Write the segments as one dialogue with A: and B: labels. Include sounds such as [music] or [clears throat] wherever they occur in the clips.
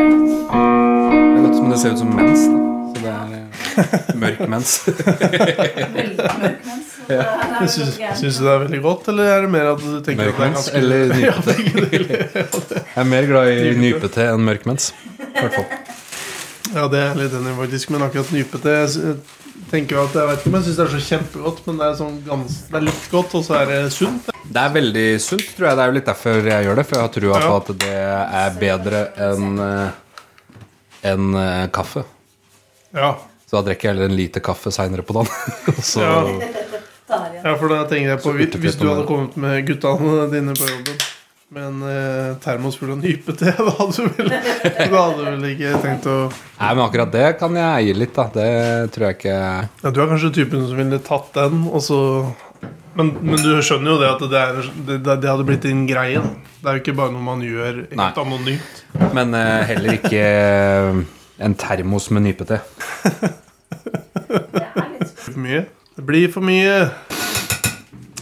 A: Det er godt, men det ser ut som mens, da. Så det er eh, mørk mens.
B: Veldig mørk mens. så det er- det er
C: Men
B: jo
C: Syns
B: noe gærent.
C: syns du det er veldig godt, eller er det mer at du tenker
A: Mørk
C: at det er
A: mens
C: ganske
A: eller
C: [laughs] Ja,
A: nypete.
C: tenker du det?
A: Jeg er mer glad i nypete enn mørk mens. I hvert fall.
C: ja, det er litt enig i, faktisk, men akkurat nypete jeg sy- tenker jo at Jeg vet ikke om jeg syns det er så kjempegodt, men det er, sånn gans, det er litt godt, og så er det sunt.
A: Det er veldig sunt, tror jeg. Det er jo litt derfor jeg gjør det. For jeg har trua på
C: Ja.
A: at det er bedre enn eh, enn, eh, kaffe.
C: Ja,
A: Så da drikker jeg heller en liter kaffe seinere på dagen. [laughs] Og så
C: Ja.
B: Tar igjen.
C: ja for da tenker jeg på
A: Så
C: hvis- Hvis
A: urtefett
C: du
A: om
C: hadde
A: det.
C: kommet med guttene [laughs] dine på jobben med en eh, termos full av nypete, [laughs] da hadde du vel, da hadde du vel ikke tenkt å
A: Nei, men akkurat det kan jeg eie litt, da. Det tror jeg ikke
C: Ja, Du er kanskje typen som ville tatt den, og så men, men du skjønner jo det at det, er, det, det det hadde blitt din greie. Da. Det er jo ikke bare noe man gjør helt
A: Nei.
C: anonymt.
A: Men eh, heller ikke eh, en termos med nypete.
B: Det er litt
C: Det blir For mye. Det blir for mye.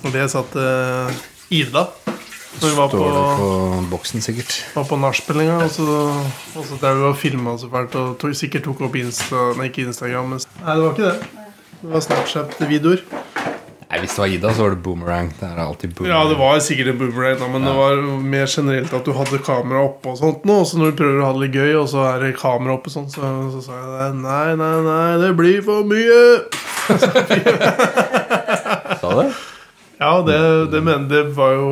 C: Og det satt eh, Ida når vi var på,
A: Står det på boksen, sikkert.
C: var på nachspiel en gang. Og så, og så drev vi og filma så fælt og tok, sikkert tok opp Insta Nei, ikke Instagram. Men, nei, det var ikke det. Det var Snapchat-videoer.
A: Nei, Hvis det var Ida, så var det boomerang. Det er alltid
C: Ja,
A: boomerang.
C: det var sikkert en boomerang, da, men det var mer generelt at du hadde kamera oppe og sånt nå. Og så når du prøver å ha det litt gøy, og så er det kamera oppe og sånn, så, så sa jeg det. Nei, nei, nei, det blir for mye!
A: Sa det?
C: Ja, det, det mener det var jo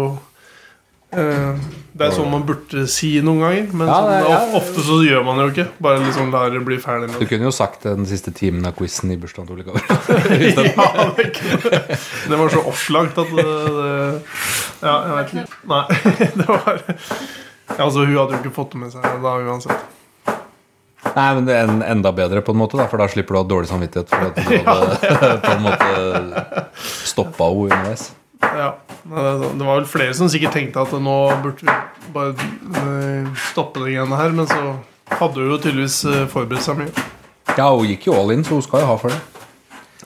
C: eh, Det er sånn man burde si noen ganger, men
A: Ja, det-
C: sånn, of-
A: ja.
C: ofte så gjør man det jo ikke. Bare liksom lar det bli ferdig [laughs]
A: Du
C: med det.
A: kunne jo sagt det den siste timen av quizen i bursdagen til Ole Gaver.
C: [laughs] Ja, det er ikke- det var så opplagt at det, det Ja, jeg vet ikke. Nei, [laughs] det var ja, Altså, hun hadde jo ikke fått det med seg da uansett.
A: Nei, men det er en, enda bedre på en måte, da, for da slipper du å ha dårlig samvittighet for at du hadde på en måte stoppa henne underveis.
C: Ja, nei, det er sant. det var vel flere som sikkert tenkte at nå burde vi bare eh, stoppe de greiene her, men så hadde hun jo tydeligvis eh, forberedt seg mye.
A: Ja, hun gikk jo all in, så hun skal jo ha for det.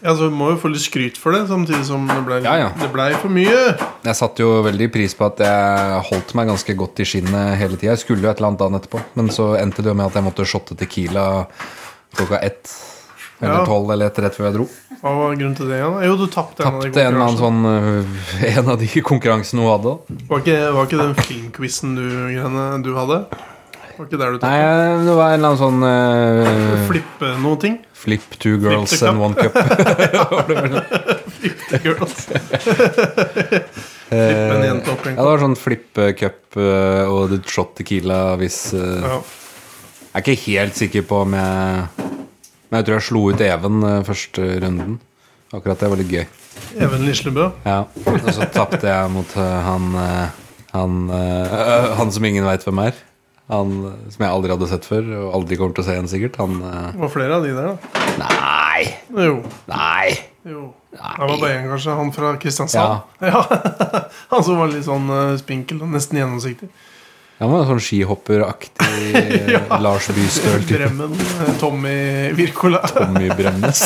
C: Ja, så Hun må jo få litt skryt for det, samtidig som det blei
A: Ja, ja.
C: det ble for mye.
A: Jeg satte jo veldig pris på at jeg holdt meg ganske godt i skinnet hele tida. Jeg skulle jo et eller annet dagen etterpå, men så endte det jo med at jeg måtte shotte Tequila klokka ett eller
C: Ja.
A: tolv eller ett rett før jeg dro.
C: Hva var grunnen til det igjen? da? Jo, du tapte en av de
A: Tapte en eller annen
C: konkurransene.
A: sånn [laughs] øh, En av de konkurransene hun hadde.
C: Var ikke, var ikke den filmquizen du, greiene du hadde? Var ikke der du
A: Nei,
C: tapte?
A: det var en eller annen sånn øh,
C: Flippe noe ting? [laughs]
A: Flip two girls
C: the
A: and one
C: [laughs]
A: cup. Eh, [laughs]
C: Flippe en
A: Eh,
C: jente opp i en
A: Ja, det var sånn flippecup eh, og the shot tequila hvis eh,
C: Ja.
A: Jeg er ikke helt sikker på om jeg Men jeg tror jeg slo ut Even eh, første runden. Akkurat det var litt gøy.
C: Even Lislebø.
A: Ja. Og så tapte jeg mot eh, han eh, han, eh, [laughs] han som ingen veit hvem er. Han eh, som jeg aldri hadde sett før, og aldri kommer til å se igjen, sikkert. Han eh,
C: Det var flere av de der, da.
A: Nei!
C: Jo.
A: Nei!
C: Jo. Det var bare én, kanskje. Han fra Kristiansand.
A: Ja.
C: [laughs] Ja. han som var litt sånn eh, spinkel og nesten gjennomsiktig.
A: Han var sånn skihopperaktig eh,
C: [laughs] Ja.
A: Lars Bystøl-type.
C: Bremmen. eh, Tommy Wirkola. [laughs]
A: Mye [laughs] Bremnes.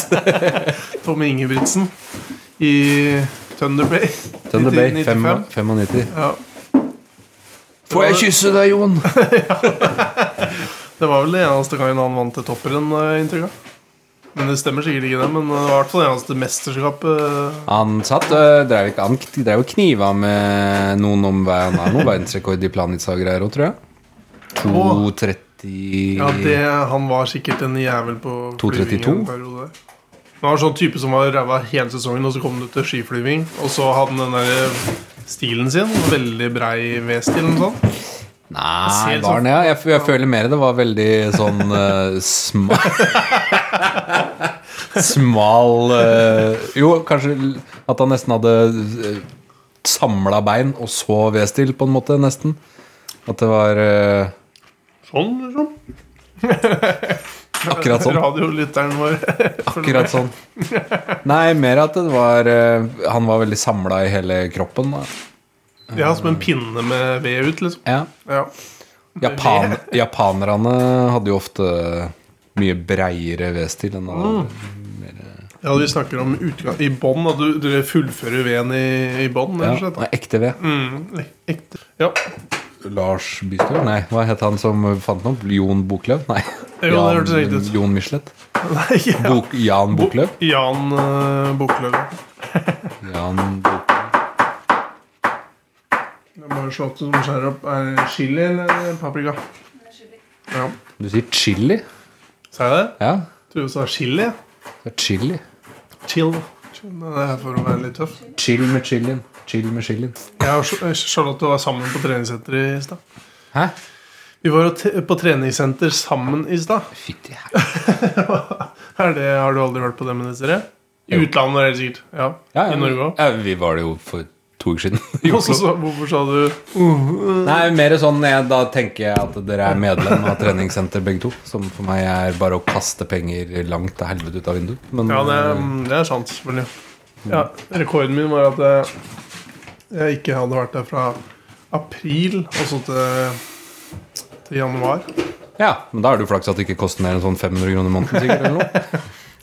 C: Tommy Ingebrigtsen i Thunder Bay.
A: Thunder Bay
C: 1995.
A: 95.
C: Ja.
A: Får jeg kysse deg, Jon?
C: Det var vel det eneste gangen han vant et topprenn, eh, inntrykk av. Men det stemmer sikkert ikke, det. Men det var i hvert fall det eneste mesterskapet. eh,
A: Han satt øh, drev, ikke- Han k- drev og kniva med noen om hver Han har noen verdensrekord i planitsa-greier òg, tror jeg.
C: Åh.
A: 2.30
C: Ja, det, han var sikkert en jævel på
A: 2.32?
C: flyving en periode. Han var sånn type som var ræva hele sesongen, og så kom du til skiflyving. Og så hadde han den der eh, stilen sin. Veldig brei V-stil. og sånn.
A: Nei,
C: Jeg ser
A: var
C: sånn-
A: den, ja. Jeg, f- jeg føler mer det var veldig sånn øh, [laughs] sma Smal øh, Jo, kanskje l- at han nesten hadde uh, samla bein og så V-stil, på en måte, nesten. At det var øh,
C: Sånn, liksom.
A: akkurat sånn.
C: Radiolytteren vår.
A: [laughs] Akkurat sånn. Nei, mer at det var eh, Han var veldig samla i hele kroppen. Da.
C: [laughs] Ja, som en pinne med ved ut, liksom.
A: Ja.
C: Ja.
A: Japan,
C: [laughs]
A: japanerne hadde jo ofte mye breiere V-stil enn
C: Mm,
A: alle.
C: ja, vi snakker om utgang i bånn. At du, du fullfører veden i, i bånn,
A: Ja,
C: rett og slett.
A: ekte V.
C: Mm, ekte. Ja. [laughs]
A: Lars Bystøl? Nei, hva het han som fant den opp? Jon Boklöv? Nei.
C: Jo, det hørtes riktig ut.
A: Jon Michelet?
C: Nei, ja.
A: Bok, Jan Boklöv?
C: Jan uh, Bokløv.
A: Jan Boklöv.
C: Jeg må jo slå til som skjærer opp. Er det chili eller paprika? Ja.
A: Du sier chili?
C: Sa jeg det?
A: Ja,
C: Tror du sa chili?
A: det er chili.
C: Chill. Chill. Det er for å være litt tøff.
A: Chill med chilien. Chill med chilien.
C: Jeg og Ch- Charlotte var sammen på treningssenteret i stad.
A: Hæ?
C: Vi var jo t- på treningssenter sammen i stad.
A: Fytti helvete.
C: Er det- Har du aldri hørt på det ministeriet? I
A: Jo.
C: utlandet, helt sikkert. Ja.
A: Ja, ja,
C: I Norge òg.
A: ja, vi var det jo for to
C: [laughs]
A: uker siden. i Oslo.
C: Hvorfor sa du uh, uh,
A: Nei, mer sånn jeg, Da tenker jeg at dere er medlem av treningssenter begge to. Som for meg er bare å kaste penger langt til helvete ut av vinduet. Men eh,
C: Ja, det, mm, det er sant, selvfølgelig. Ja, rekorden min var at jeg, jeg ikke hadde vært der fra april og så til, til januar.
A: ja, men da er det jo flaks at det ikke koster mer enn sånn 500 kroner i måneden. sikkert eller
C: [laughs]
A: noe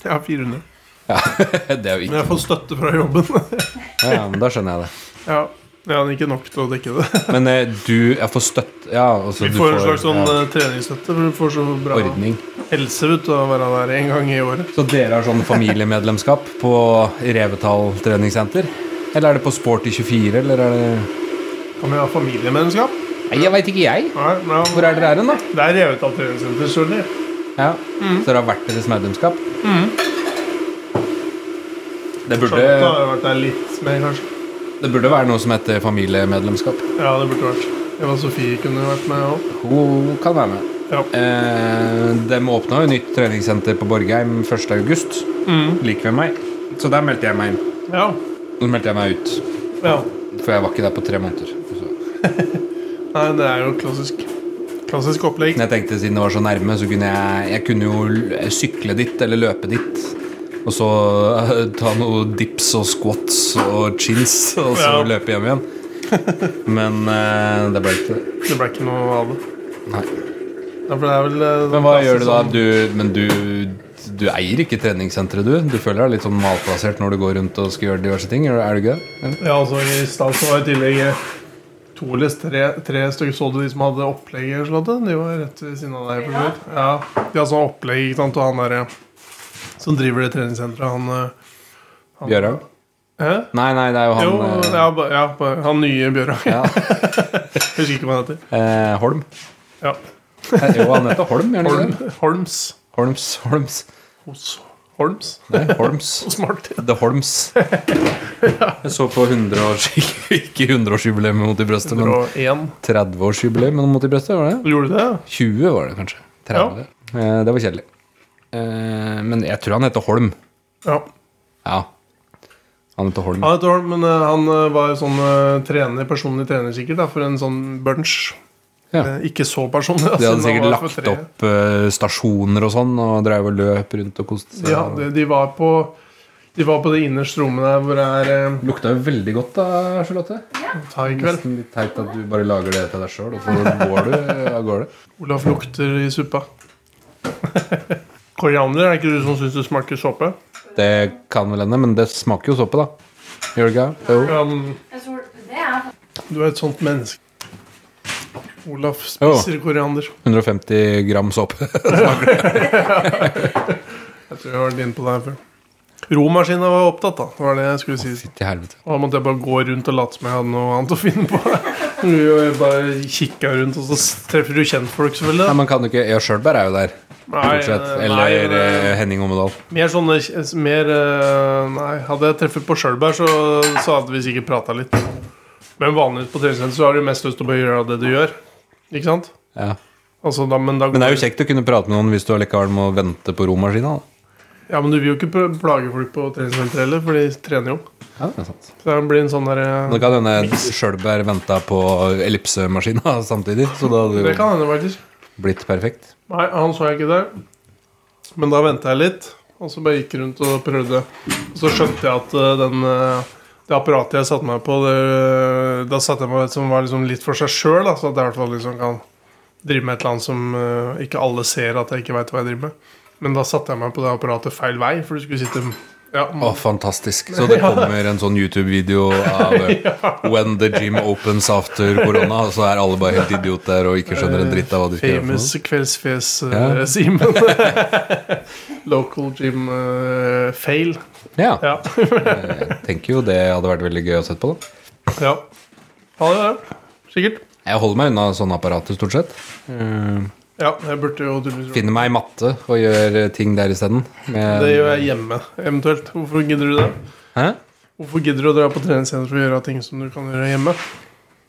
C: Jeg har 400.
A: Det er jo
C: Men
A: ikke
C: jeg har fått støtte fra jobben. [laughs]
A: ja, ja, men Da skjønner jeg det.
C: Ja, jeg hadde ikke nok til å dekke det.
A: Men eh, du Jeg får støtte Ja, altså,
C: Vi
A: du
C: [laughs] får en slags sånn
A: ja,
C: eh, treningsstøtte, for du får så bra
A: ordning.
C: helse ut av å være der en gang i året.
A: Så dere har sånn familiemedlemskap på Revetal treningssenter? Eller er det på Sporty24, eller er det
C: Kan vi ha familiemedlemskap?
A: Nei, jeg veit ikke, jeg.
C: Nei, nei,
A: Hvor er dere hen, da?
C: Det er revet av treningssenter, skjønner du.
A: Ja. Så dere har vært deres medlemskap? Det, burde,
C: Charlotte har jo vært der litt mer, kanskje.
A: det burde være noe som heter familiemedlemskap.
C: Ja, det burde vært. Eva Sofie kunne vært med òg.
A: Hun kan være med.
C: Ja.
A: Eh, de åpna jo nytt treningssenter på Borgheim 1.8.
C: Mm.
A: Like ved meg. Så der meldte jeg meg inn.
C: ja.
A: Så meldte jeg meg ut.
C: Ja.
A: For jeg var ikke der på tre måneder. Så.
C: Nei, det er jo klassisk. Klassisk opplegg.
A: Men jeg tenkte siden det var så nærme, så kunne jeg, jeg kunne jo l- eh, sykle dit eller løpe dit. Og så eh, ta noen dips og squats og chins, og så
C: Ja.
A: løpe hjem igjen. Men eh, det ble ikke det.
C: Det ble ikke noe av det.
A: Nei.
C: Ja, for det er vel eh,
A: Men hva
C: klassisk
A: gjør du da?
C: sånn-
A: Du, men du, du eier ikke treningssenteret, du? Du føler deg litt sånn malplassert når du går rundt og skal gjøre diverse ting? Er du- er du ikke det? Eller?
C: Ja, altså I stad så var i tillegg eh, to eller tre, tre stykker så du de som hadde opplegget. Charlotte? De var rett ved siden av deg. for så vidt. Ja, De hadde sånn opplegg, ikke sant, og han der eh, som driver det treningssenteret, han eh,
A: Bjørhaug?
C: Hæ?
A: Nei, nei, det er jo han
C: jo,
A: eh,
C: ja, ba- ja, ba- han nye Bjørhaug.
A: ja.
C: Jeg Husker ikke hva han heter.
A: Eh, Holm.
C: Ja,
A: Eh, Jo, han heter Holm, gjør han
C: Holm,
A: ikke det?
C: Holms.
A: Holms. Holms.
C: Hos Holms?
A: Nei, Holms.
C: Hos Martin.
A: The Holms. Jeg så på 100-års- ikke 100-årsjubileet med Mot i brøstet, men
C: Og én.
A: 30-årsjubileet med Mot i brøstet, var det?
C: Gjorde du det?
A: 20 var det kanskje. 30. Eh, Det var kjedelig. Eh, Men jeg tror han heter Holm.
C: Ja.
A: Ja. Han heter Holm.
C: Han heter Holm, men eh, han eh, var jo sånn eh, trener, personlig trener sikkert da, for en sånn bunch.
A: Ja.
C: Eh, Ikke så personlig. da,
A: De hadde
C: siden han
A: sikkert
C: var
A: lagt
C: for tre.
A: opp eh, stasjoner og sånn, og drev og løp rundt og koste seg.
C: Ja, de, de var på De var på det innerste rommet der hvor det er eh,
A: Lukta jo veldig godt da, Charlotte.
C: Thai-kveld.
A: Nesten litt teit at du bare lager det til deg sjøl, og så går du eh, av gårde.
C: Olaf lukter i suppa. [laughs] Koriander, er det ikke du som syns det smaker såpe?
A: Det kan vel hende, men det smaker jo såpe, da. Gjør det ikke? Jo.
C: Ja, men
B: Jeg tror det er
C: du er et sånt menneske. Olaf spiser koriander.
A: 150 gram såpe. [laughs]
C: Jeg tror jeg har vært inne på det her før. Romaskina var opptatt, da. Det var det jeg skulle si.
A: Til helvete.
C: Og da måtte jeg bare gå rundt og late som jeg hadde noe annet å finne på. [laughs] Jeg bare kikka rundt, og så treffer du kjentfolk, selvfølgelig.
A: Nei, man kan jo ikke Ja, Sjølberg er jo der, stort sett.
C: eh,
A: Eller
C: nei, men,
A: eh, Henning Ommedal.
C: Mer sånne mer, eh, Nei, hadde jeg treffet på Sjølberg, så, så hadde vi sikkert prata litt. Men vanligvis på treningssenter så har du mest lyst til å bare gjøre det du gjør. Ikke sant?
A: Ja.
C: Altså, da, men, da går,
A: Men det er jo kjekt å kunne prate med noen hvis du allikevel må vente på romaskina. da.
C: Ja, men du vil jo ikke pl- plage folk på treningssenter heller, for de trener jo.
A: Ja, det er sant.
C: Så det blir en sånn der, eh,
A: Men det kan hende Sjølberg venta på ellipsemaskina samtidig, så det hadde
C: Det kan hende, faktisk.
A: jo blitt perfekt.
C: Nei, han så jeg ikke der. Men da venta jeg litt, og så bare gikk jeg rundt og prøvde. Og så skjønte jeg at eh, den eh, det apparatet jeg satte meg på, det, da satte jeg meg på et som var liksom litt for seg sjøl. Så at jeg i hvert fall liksom kan drive med et eller annet som eh, ikke alle ser at jeg ikke veit hva jeg driver med. Men da satte jeg meg på det apparatet feil vei, for du skulle sitte Ja,
A: Å, fantastisk.
C: [laughs]
A: Så det kommer en sånn YouTube-video av eh, When the gym opens after corona, så er alle bare helt idioter og ikke skjønner en dritt av hva de skal gjøre. for
C: Famous
A: noe.
C: [laughs]
A: Ja.
C: kveldsfjes-Simen. Local gym eh, fail.
A: Ja,
C: Ja.
A: jeg tenker jo det hadde vært veldig gøy å sett på, da.
C: ja. Ha det, det. Sikkert.
A: Jeg holder meg unna sånne apparater, stort sett. Eh,
C: Ja, jeg burde jo tydeligvis
A: Finner meg i matte og gjør ting der isteden.
C: Det gjør
A: eh,
C: jeg hjemme, eventuelt. Hvorfor gidder du det?
A: Hæ?
C: Hvorfor gidder du å dra på treningssenter for å gjøre ting som du kan gjøre hjemme?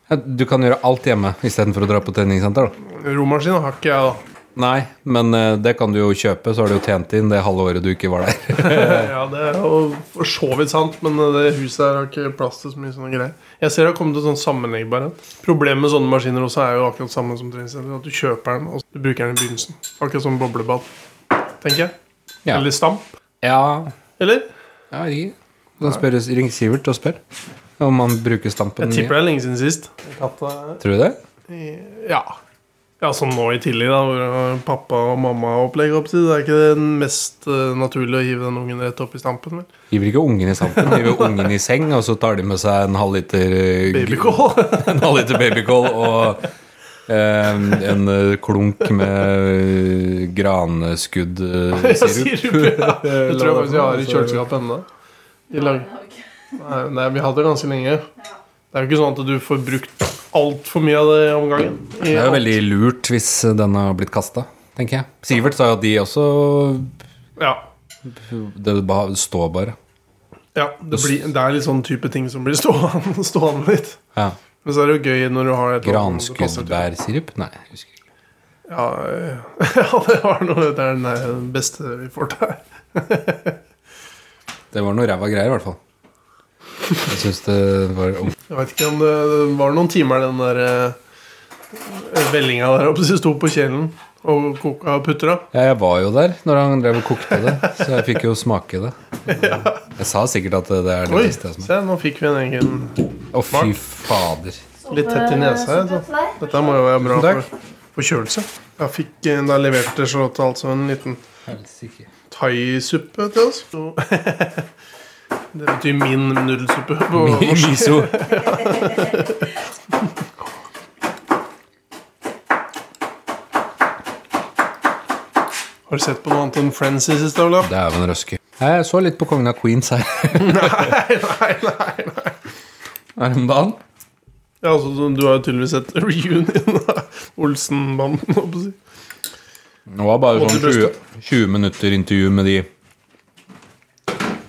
A: Ja, Du kan gjøre alt hjemme istedenfor å dra på treningssenter. da.
C: Romaskin har ikke jeg, da.
A: Nei, men eh, det kan du jo kjøpe, så har du jo tjent inn det halve året du ikke var der. [laughs]
C: [laughs] Ja, Det er jo for så vidt sant, men eh, det huset her har ikke plass til så mye sånne greier. Jeg ser det har kommet en sånn sammenleggbar en. Problemet med sånne maskiner også er jo akkurat samme som treningssenter. At du kjøper den, og du bruker den i begynnelsen. Akkurat som boblebad, tenker jeg.
A: Ja.
C: Eller stamp.
A: Ja,
C: Eller?
A: ja ikke. Da spør Ring Sivert og spør om han bruker stampen
C: Jeg
A: mye.
C: tipper det er lenge siden sist. Katta-
A: Tror du det?
C: Ja. Ja, Som nå i tillegg, da. Hvor det var pappa og mamma opplegg opp til. Det er ikke det mest eh, naturlige å hive den ungen rett opp i stampen. vel?
A: Hiver ikke ungen i stampen, hiver ungen i seng, og så tar de med seg en halv liter eh,
C: Babycall. [laughs]
A: En halv liter babycall og eh, en eh, klunk med eh, granskudd eh,
C: [laughs] Jeg
A: sirup.
C: sier det. Ja. Det tror jeg faktisk jeg har i kjøleskapet ennå. I lag- Nei, nei, vi hadde det ganske lenge. Det er jo ikke sånn at du får brukt altfor mye av det om gangen. I
A: Det er jo
C: alt.
A: veldig lurt hvis den har blitt kasta, tenker jeg. Sivert sa jo at de også
C: Ja.
A: Det ba- står bare.
C: ja det, blir, det er litt sånn type ting som blir [laughs] stående, stående litt.
A: Ja.
C: Men så er det jo gøy når du har et eller annet som det passer til.
A: Granskuddbærsirup? Nei, jeg husker ikke.
C: Ja, [laughs] ja, det var noe Det er den eh, beste vi får til her.
A: Det var noe ræva greier, i hvert fall. Jeg syns det var om-
C: Jeg vet ikke om det var noen timer den der eh, vellinga der oppe som sto på kjelen og koka putra.
A: Ja, jeg var jo der når han drev og kokte det, så jeg fikk jo smake det.
C: [laughs]
A: Jeg sa sikkert at det er det
C: Oi,
A: beste jeg smaker.
C: se, nå fikk vi en egen
A: Å, fy fader.
C: Litt tett i nesa, altså. Dette må jo være bra
A: Takk.
C: for forkjølelse. Jeg fikk, eh, da leverte Charlotte altså en liten
A: Helsike.
C: thaisuppe til oss. Så- [laughs] Det betyr min nudelsuppe på
A: [laughs] Mi-
C: norsk.
A: Miso.
C: Har du sett på noe annet enn Friends i siste, Olav?
A: Dæven røske. Nei, Jeg så litt på Kongen av Queens her
C: [laughs] Nei, nei, nei.
A: her om dagen.
C: Ja, altså, du- du har jo tydeligvis sett [laughs] reunion av Olsen-banden. holdt på å si.
A: Det var bare
C: Og
A: sånn
C: til
A: 20,
C: brystet.
A: 20 minutter intervju med de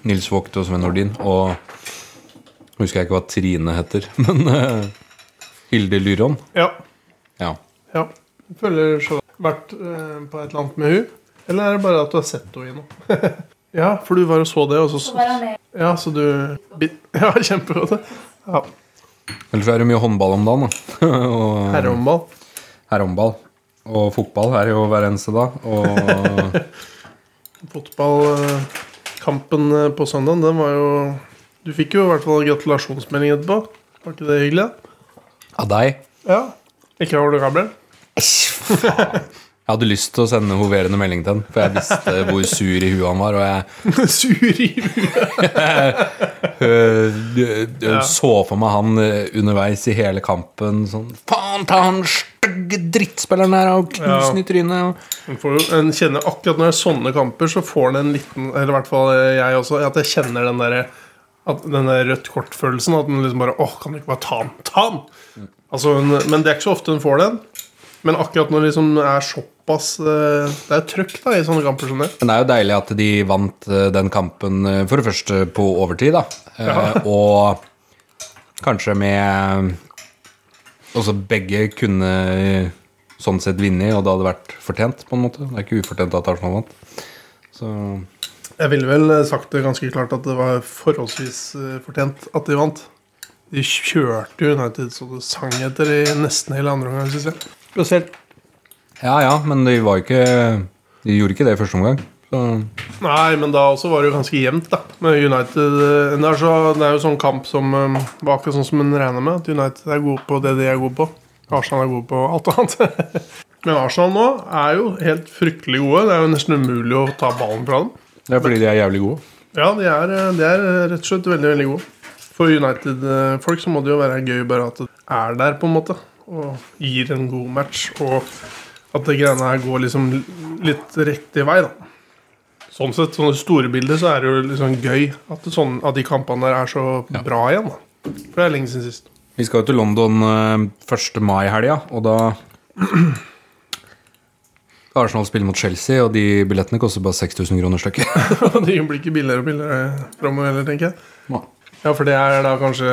A: Nils Vogt og Sven Nordin og Husker jeg ikke hva Trine heter, [laughs] men eh, Hilde Lyron.
C: Ja.
A: Ja.
C: Ja. Jeg Føler så vært eh, på et eller annet med hun? Eller er det bare at du har sett henne i noe? [laughs] ja, for du var og så det, og
B: Så
C: så
B: var han med.
C: Ja, så du bi- [laughs] Ja, kjempegodt. Ja.
A: Ellers er det mye håndball om dagen. Da. [laughs] og
C: Herrehåndball.
A: herrehåndball. Og fotball er jo hver eneste dag. Og
C: [laughs] Fotballkampen eh, på søndag, den var jo Du fikk jo i hvert fall gratulasjonsmelding etterpå. Var ikke det hyggelig?
A: av deg
C: Ja. Ikke av Ole Gabriel? [laughs]
A: Jeg hadde lyst til å sende hoverende melding til han, for jeg visste hvor sur i huet han var. Og jeg
C: Sur i huet.
A: øh, øh, øh, så for meg han øh, underveis i hele kampen sånn Faen ta han stygge drittspilleren her og knus han i trynet!
C: Man får jo- En kjenner akkurat når det er sånne kamper, så får en en liten Eller i hvert fall eh, jeg også, at jeg kjenner den derre at den der rødt kort-følelsen. At den liksom bare åh, kan du ikke bare ta den? Ta den! Altså, en- men det er ikke så ofte en får den. Men akkurat når det liksom er såpass eh, Det er trøkk da i sånne kamper som det.
A: Men det er jo deilig at de vant øh, den kampen, øh, for det første på overtid, da. Eh, Og kanskje med Også begge kunne øh, sånn sett vunnet, og det hadde vært fortjent, på en måte. Det er ikke ufortjent at Arsenal vant. Så
C: Jeg ville vel eh, sagt det ganske klart at det var forholdsvis eh, fortjent at de vant. De kjørte jo United så det sang etter i nesten hele andre omgang, syns jeg. Spesielt
A: Ja, ja, men de var jo ikke De gjorde ikke det i første omgang. Så
C: Nei, men da også var det jo ganske jevnt, da. Med United eh, Det er, så, det er jo sånn kamp som eh, var akkurat sånn som en regner med. At United er gode på det de er gode på. Arsenal er gode på alt annet. [laughs] men Arsenal nå er jo helt fryktelig gode. Det er jo nesten umulig å ta ballen fra dem.
A: Det er fordi de er jævlig gode.
C: Ja, de er, eh, de er rett og slett veldig veldig gode. For United-folk så må det jo være gøy bare at det er der, på en måte. Og gir en god match. Og at det greiene her går liksom litt riktig vei, da. Sånn sett, sånne store bilder, så er det jo liksom gøy at, det sånn, at de kampene der er så bra igjen. da. For det er lenge siden sist. [laughs]
A: Vi skal jo til London eh, 1. mai-helga, og da skal Arsenal spille mot Chelsea, og de billettene koster bare 6000 kroner stykket. [laughs]
C: de blir ikke billigere og billigere framover heller, tenker jeg.
A: Nei,
C: Ja, for det er da kanskje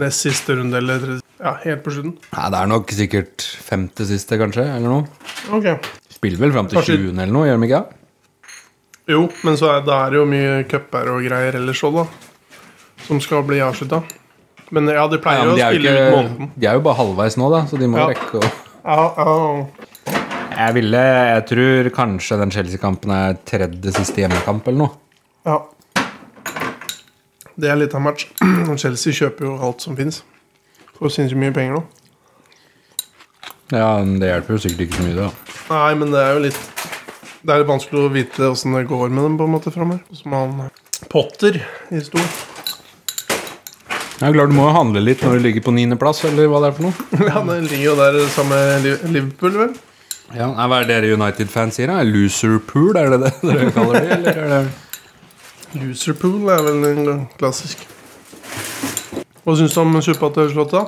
C: nest siste runde, eller tredje- Ja, helt på slutten.
A: det er nok sikkert femte siste, kanskje, eller noe.
C: Ok.
A: Spiller vel fram til
C: Kanskje-
A: 20. eller noe, gjør de ikke det?
C: Jo, men så er, da er det jo mye cuper og greier ellers òg, da. Som skal bli avslutta. Men ja, de
A: Ja,
C: pleier
A: men
C: jo
A: de,
C: å
A: er jo
C: spille ut
A: ikke,
C: måneden.
A: de er jo bare halvveis nå, da, så de må
C: Ja.
A: rekke å
C: Ja, ja.
A: Jeg ville Jeg tror kanskje den Chelsea-kampen er tredje siste hjemmekamp eller noe.
C: ja. Det er litt av en match. [clears throat] Chelsea kjøper jo alt som fins. Får sinnssykt mye penger nå.
A: Ja, men Det hjelper jo sikkert ikke så mye, det.
C: Nei, men det er jo litt Det er litt vanskelig å vite åssen det går med dem på en måte framover. Som han Potter i stor.
A: Jeg er glad du må handle litt når du ligger på niendeplass, eller hva det er for noe.
C: [laughs] Ja, Den ligger jo der sammen med Liverpool, vel.
A: Ja, nei, Hva er det dere United-fans sier? da? Loser pool, er det [laughs] det dere kaller det? Eller er det
C: Loserpool er vel en klassisk. Hva syns du om suppa til Slåtta?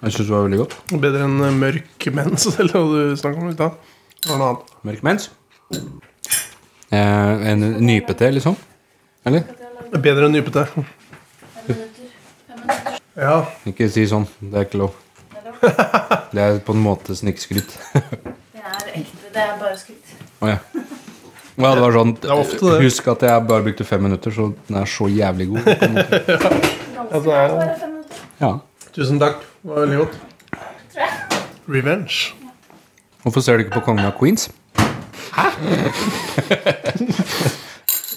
A: Jeg syns det var veldig godt.
C: Bedre enn eh, mørk mens, [laughs] eller hva du snakket om i stad? Det var noe annet.
A: Mørk mens. Eh, en nypete, liksom? Eller?
C: Bedre enn nypete.
B: Fem minutter. Fem minutter.
C: [laughs] Ja.
A: Ikke si sånn. Det er ikke lov.
B: Det er lov.
A: Det er på en måte snikskryt.
B: Det er ekte. Det er bare skryt.
A: Å ja. Ja, det var sånn
C: er ofte det.
A: Husk at jeg bare brukte fem minutter, så den er så jævlig god. på en
C: [laughs]
A: måte.
B: Ganske
C: Altså, det er-
B: bare fem minutter.
A: Ja.
C: Tusen takk. Det var veldig godt. Revenge.
A: Hvorfor ser du ikke på Kongen av Queens?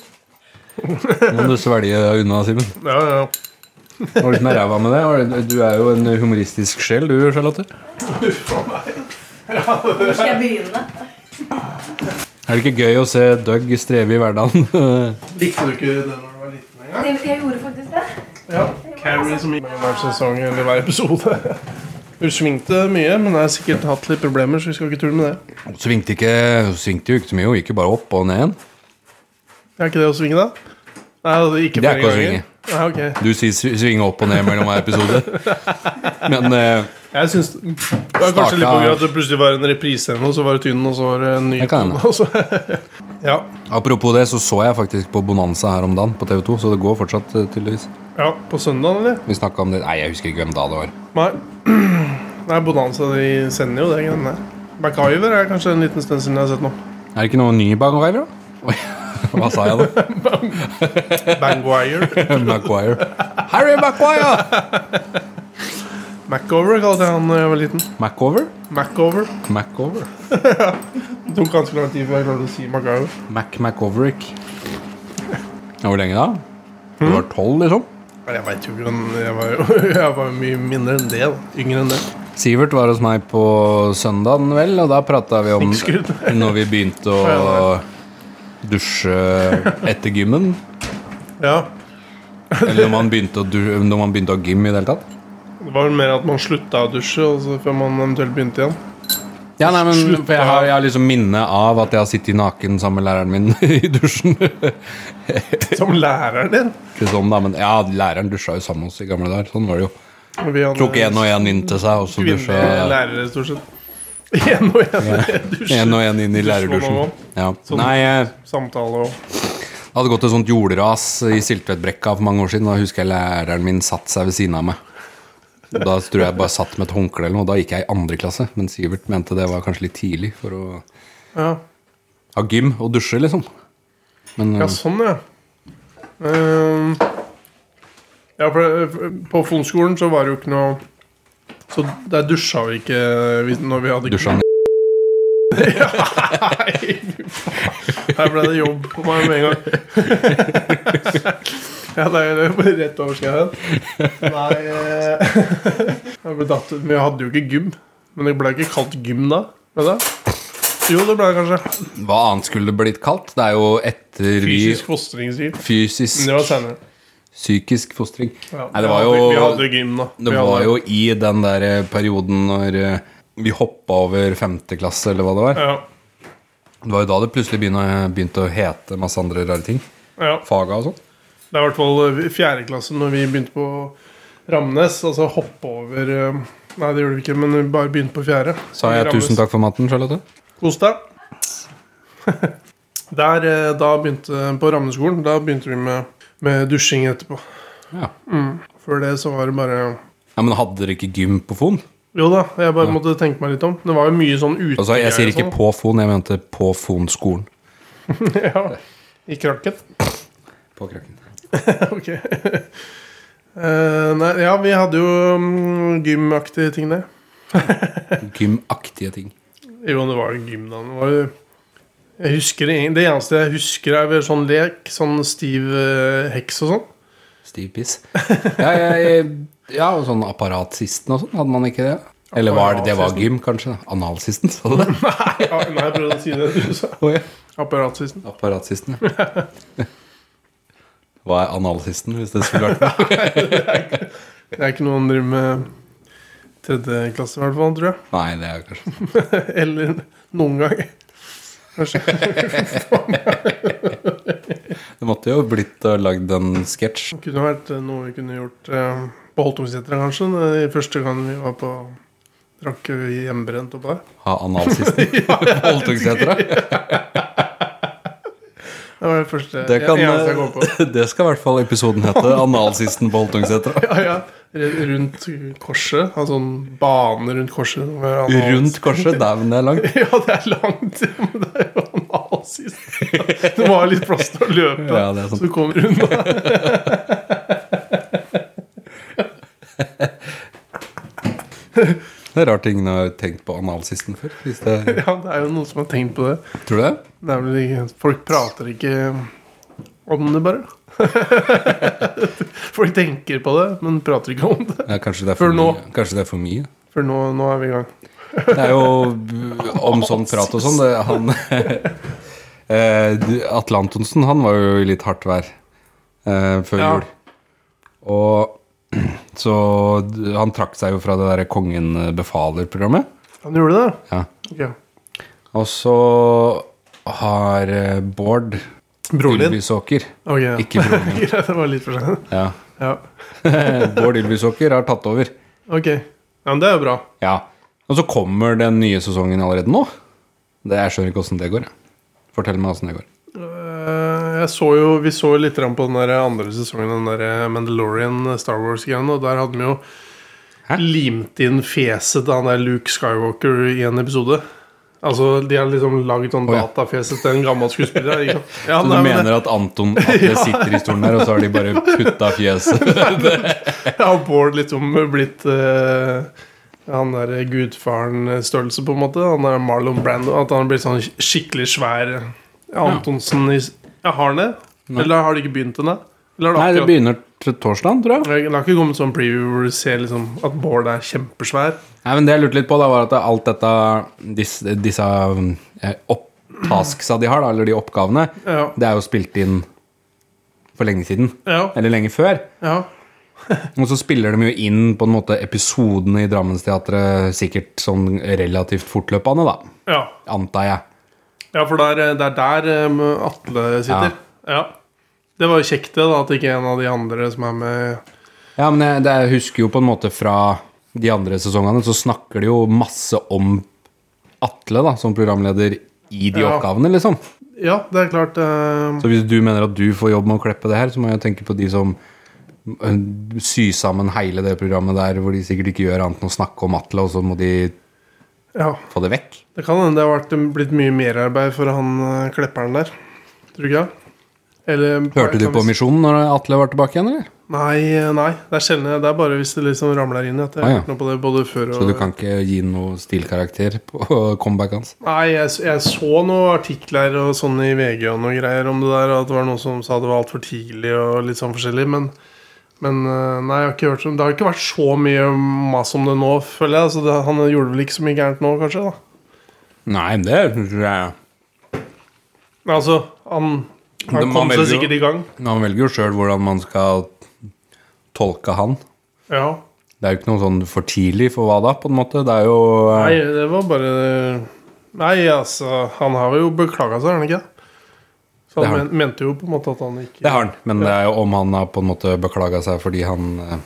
A: Hæ? Må du svelge unna, Simen.
C: Ja, ja, ja.
A: Hva er det som er ræva med det? Hva er det- Du er jo en humoristisk sjel, du, Charlotte.
B: Hvor skal jeg begynne?
A: Er det ikke gøy å se Doug streve i hverdagen?
C: Likte du ikke det da du var liten engang?
B: Jeg, jeg gjorde faktisk det.
C: Ja. Carrie som gikk mellom hver sesong eller hver episode. [laughs] Hun svingte mye, men har sikkert hatt litt problemer, så vi skal ikke tulle med det.
A: [laughs] svingte, ikke, svingte jo ikke så mye, hun gikk jo bare opp og ned igjen.
C: Er ikke det å svinge, da? Nei, altså, ikke
A: Det er
C: flere
A: ikke å
C: ganger.
A: svinge.
C: Nei, ok.
A: Du sier sv- svinge opp og ned mellom hver episode. Men eh,
C: Jeg synes Det var
A: Starta-
C: kanskje litt på grunn av at det plutselig var en reprise eller noe, så var det tynn, og så var det en ny
A: Det kan
C: tynn,
A: hende.
C: og så- [laughs] ja,
A: apropos det, så så jeg faktisk på Bonanza her om dagen på TV2, så det går fortsatt, eh, tydeligvis.
C: ja, på søndag, eller?
A: Vi snakket om det Nei, jeg husker ikke hvem da det var.
C: Nei. [clears throat] Nei, Bonanza de sender jo det greiene der. MacGyver er kanskje en liten stund siden jeg
A: [laughs]
C: har sett nå.
A: Er det ikke noe ny Bangwire, da? Oi, [laughs] hva sa jeg [laughs] da?
C: Bangwire.
A: Maguire. Harry Maguire!
C: Macover kalte jeg han da jeg var liten.
A: Macover?
C: Macover.
A: Macover.
C: Det tok ganske lang tid før jeg klarte å si MacGyver.
A: Mac Macoverick. Ja, Hvor lenge da? Du var tolv, liksom?
C: Men jeg veit jo ikke, men jeg var jo [laughs] jeg var jo mye mindre enn det. da. Yngre enn det.
A: Sivert var hos meg på søndagen, vel, og da prata vi om
C: Snikskryt.
A: når vi begynte [laughs] å dusje etter gymmen.
C: Ja.
A: Eller når man begynte å, du- når man begynte å ha gym i det hele tatt.
C: Det var vel mer at man slutta å dusje, og så før man eventuelt begynte igjen.
A: Ja, nei, men
C: Slutt,
A: for jeg, har,
C: ja.
A: jeg har liksom minne av at jeg har sittet naken sammen med læreren min [laughs] i dusjen.
C: Som læreren din.
A: Ikke sånn da, men ja, Læreren dusja jo sammen med oss i gamle dager. Sånn var det jo.
C: Og vi hadde-
A: Tok én og én inn til seg, og så dusja
C: Kvinnelige lærere, stort sett. [laughs] Én og én
A: én og
C: dusjer.
A: én inn i lærerdusjen. Ja.
C: Sånn.
A: Nei, jeg
C: Samtale og
A: hadde gått et sånt jordras i Siltvedtbrekka for mange år siden. Da husker jeg læreren min satt seg ved siden av meg. Da tror jeg bare satt med et håndkle eller noe. Da gikk jeg i andre klasse, men Sivert mente det var kanskje litt tidlig for å
C: Ja,
A: ha gym og dusje, liksom. Men eh,
C: ja sånn, ja. Ehm, ja, for det- på Fonskolen så var det jo ikke noe Så der dusja vi ikke vi- når vi hadde
A: dusja han
C: Nei, fy faen. Her ble det jobb på meg med en gang. Ja, det er jo bare rett over skrevet. Nei eh, jeg ble datt ut. Men jeg hadde jo ikke gym. Men det ble ikke kalt gym da. Vet du? Jo, det ble det kanskje.
A: Hva annet skulle det blitt kalt? Det er jo etter vi
C: Fysisk fostringshjelp. Men
A: Fysisk
C: Det var senere.
A: Psykisk fostring.
C: Ja.
A: Nei, det var jo
C: vi, vi hadde gym, da.
A: Det
C: Vi
A: var
C: hadde-
A: jo i den der eh, perioden når eh, vi hoppa over femte klasse, eller hva det var.
C: ja.
A: Det var jo da det plutselig begynte, begynte å hete masse andre rare ting.
C: ja.
A: Faga og sånn.
C: Det er i hvert fall eh, fjerde klasse når vi begynte på Ramnes. Altså hoppe over eh, Nei, det gjorde vi ikke, men vi bare begynte på fjerde.
A: Sa jeg tusen takk for maten, Charlotte?
C: Kos deg. [laughs] Der, eh, da begynte På Ramneskolen da begynte vi med, med dusjing etterpå.
A: Ja.
C: Før det så var det bare
A: ja Men hadde dere ikke gym på Fon?
C: Jo da, jeg bare måtte tenke meg litt om. Det var jo mye sånn ute.
A: Altså, jeg sier ikke på Fon, jeg mente på Fon-skolen.
C: [laughs] ja, I krakken. [laughs]
A: På krakken.
C: ok. Eh, nei, ja, vi hadde jo mm, gymaktige ting der.
A: [laughs] Gymaktige ting.
C: Jo, det var jo gym da. Det, var jo, jeg husker det, det eneste jeg husker, er vel sånn lek. Sånn stiv eh, heks
A: [laughs]
C: og sånn.
A: Stiv piss. Ja, jeg, ja, og sånn apparatsisten og sånn, hadde man ikke det? Eller var det, det var gym, kanskje? da? Analsisten, sa du det? [laughs]
C: Ja, nei, jeg prøvde å si det du sa.
A: Å, ja.
C: Apparatsisten.
A: Apparatsisten, ja. Hva er analsisten, hvis det skulle
C: [laughs]
A: vært det?
C: Det er ikke noe han driver med tredje klasse, i hvert fall, tror jeg.
A: Nei, det er kanskje
C: [laughs] Eller noen gang. Kanskje.
A: Det måtte jo blitt og lagd en sketsj.
C: Det kunne vært eh, noe vi kunne gjort eh, på Holtungsetra, kanskje. eh, Første gang vi var på Drakk vi hjemmebrent oppå der.
A: Ha analsisten
C: [laughs]
A: på Holtungsetra.
C: Det var det første
A: Det, kan, eh,
C: eneste jeg kom på. [laughs]
A: [laughs] det skal i hvert fall episoden hete. Analsisten på Holtungsetra.
C: Ja, ja. R- Rundt korset. Ha sånn bane rundt korset. med anal-
A: Rundt korset. Dæven, det er langt.
C: [laughs] Ja, det er langt, men det er jo analsist. [laughs] Det må ha litt plass til å løpe,
A: Ja, det er sant.
C: så du kommer unna. [laughs]
A: Det er rart ingen har tenkt på analsisten før. Hvis det,
C: Ja, det er jo noen som har tenkt på det.
A: tror du det?
C: det er vel ikke, folk prater ikke om det, bare. [laughs] Folk tenker på det, men prater ikke om det.
A: Ja, kanskje, det er
C: Før
A: for
C: nå.
A: mye. kanskje det er for mye?
C: For nå, nå er vi i gang.
A: Det er jo om sånn prat og sånn det, han, [laughs] eh, du- Atle Antonsen han var jo i litt hardt vær eh, før
C: Ja.
A: jul. Og [clears throat] så d- han trakk seg jo fra det derre Kongen befaler-programmet.
C: Han gjorde det?
A: Ja.
C: Ok.
A: Og så har eh, Bård
C: Broren din?
A: Ylvisåker
C: Ok, [laughs] ja.
A: Ikke broren min.
C: Greit, det var litt for sent. [laughs]
A: Ja.
C: Ja.
A: Bård Ylvisåker har tatt over.
C: Ok. Ja, men det er jo bra.
A: Ja. Og så kommer den nye sesongen allerede nå. Det, jeg skjønner ikke åssen det går. jeg. Fortell meg åssen det går.
C: Eh, Jeg så jo, Vi så jo litt grann på den der andre sesongen, den der Mandalorian eh, Star Wars-greien. Og der hadde vi jo
A: Hæ?
C: limt inn fjeset til han der Luke Skywalker i en episode. Altså, De har liksom lagd sånn
A: Å, ja.
C: datafjeset til en gammel skuespiller. ikke sant? Ja,
A: [laughs] Så du
C: nei, men
A: mener at Anton Atle sitter i stolen her, og så har de bare putta fjeset
C: det- [laughs] Jeg har Bård liksom blitt eh, han der gudfaren-størrelse, på en måte. Han er Marlon Brando. At han blir sånn skikkelig svær eh, Antonsen i ja, Har han det?
A: Nei.
C: Eller har det ikke begynt ennå? Eller har
A: Nei, det
C: akkurat-
A: begynner til torsdag, tror jeg.
C: Det har ikke kommet sånn preview hvor du ser liksom at Bård er kjempesvær.
A: Nei, men Det jeg lurte litt på, da var at alt dette disse, disse eh, opptasksa de har, da, eller de oppgavene,
C: Ja.
A: det er jo spilt inn for lenge siden.
C: Ja.
A: Eller lenge før.
C: ja.
A: Og så spiller de jo inn på en måte episodene i Drammensteatret sikkert sånn relativt fortløpende, da.
C: ja.
A: Antar jeg.
C: ja for det er, det er der eh, Atle sitter. Ja. Det var jo kjekt det, da, at ikke en av de andre som er med
A: Ja, men jeg, det, jeg husker jo på en måte fra de andre sesongene, så snakker de jo masse om Atle da, som programleder i de
C: Ja.
A: oppgavene, liksom.
C: Ja, det er klart. eh,
A: Så hvis du mener at du får jobb med å kleppe det her, så må jeg tenke på de som eh, syr sammen hele det programmet der, hvor de sikkert ikke gjør annet enn å snakke om Atle, og så må de
C: Ja.
A: få det vekk.
C: Det kan hende det har vært, eh, blitt mye merarbeid for han eh, klepperen der. Tror du ikke det? Eller
A: Hørte du på Misjonen når Atle var tilbake igjen, eller?
C: Nei, eh, nei. Det er sjelden. Det er bare hvis det liksom ramler inn. At jeg
A: Ah,
C: har
A: ja.
C: hørt noe på det både før og
A: Så du kan ikke gi noe stilkarakter på [laughs] comeback hans?
C: Nei, jeg, jeg så noen artikler og sånn i VG og noen greier om det der. og At det var noen som sa det var altfor tidlig og litt sånn forskjellig. Men, men eh, nei, jeg har ikke hørt sånn. det har ikke vært så mye mas om det nå, føler jeg. Så det, han gjorde vel ikke så mye gærent nå, kanskje? da
A: Nei, det tror jeg
C: Men Altså, han,
A: Det-
C: han
A: man
C: kom
A: velger
C: seg
A: jo-
C: sikkert i gang.
A: Man velger jo sjøl hvordan man skal tolke han.
C: Ja.
A: Det er jo ikke noe sånn for tidlig for hva da, på en måte. Det er jo eh,
C: Nei, det var bare Nei, altså, han har jo beklaga seg, har han ikke? Så
A: Det
C: han
A: har
C: men, mente jo på en måte at han ikke
A: Det har han, men det er jo om han har på en måte beklaga seg fordi han eh,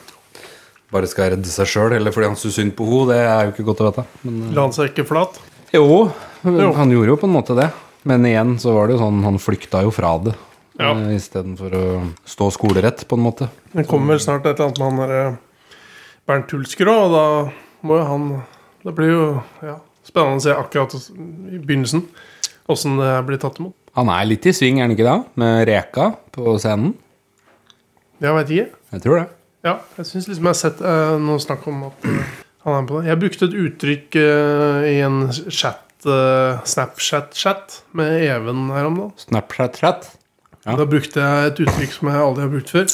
A: bare skal redde seg sjøl, eller fordi han syns synd på henne, det er jo ikke godt å vite. Men, eh,
C: La han seg ikke flat.
A: jo,
C: Jo.
A: han gjorde jo på en måte det. Men igjen så var det jo sånn, han flykta jo fra det.
C: Ja.
A: eh, Istedenfor å stå skolerett, på en måte.
C: Det kommer vel snart et eller annet med han derre Bernt Hulsker òg, og da må jo han Det blir jo ja, spennende å se akkurat i begynnelsen åssen det blir tatt imot.
A: Han er litt i sving, er han ikke det? Med Reka på scenen.
C: Jeg veit ikke.
A: Jeg tror det.
C: Ja, jeg syns liksom jeg har sett eh, noe snakk om at eh, han er med på det. Jeg brukte et uttrykk eh, i en chat, eh, Snapchat-chat med Even her om dagen.
A: Snapchat-chat. Ja.
C: Da brukte jeg et uttrykk som jeg aldri har brukt før.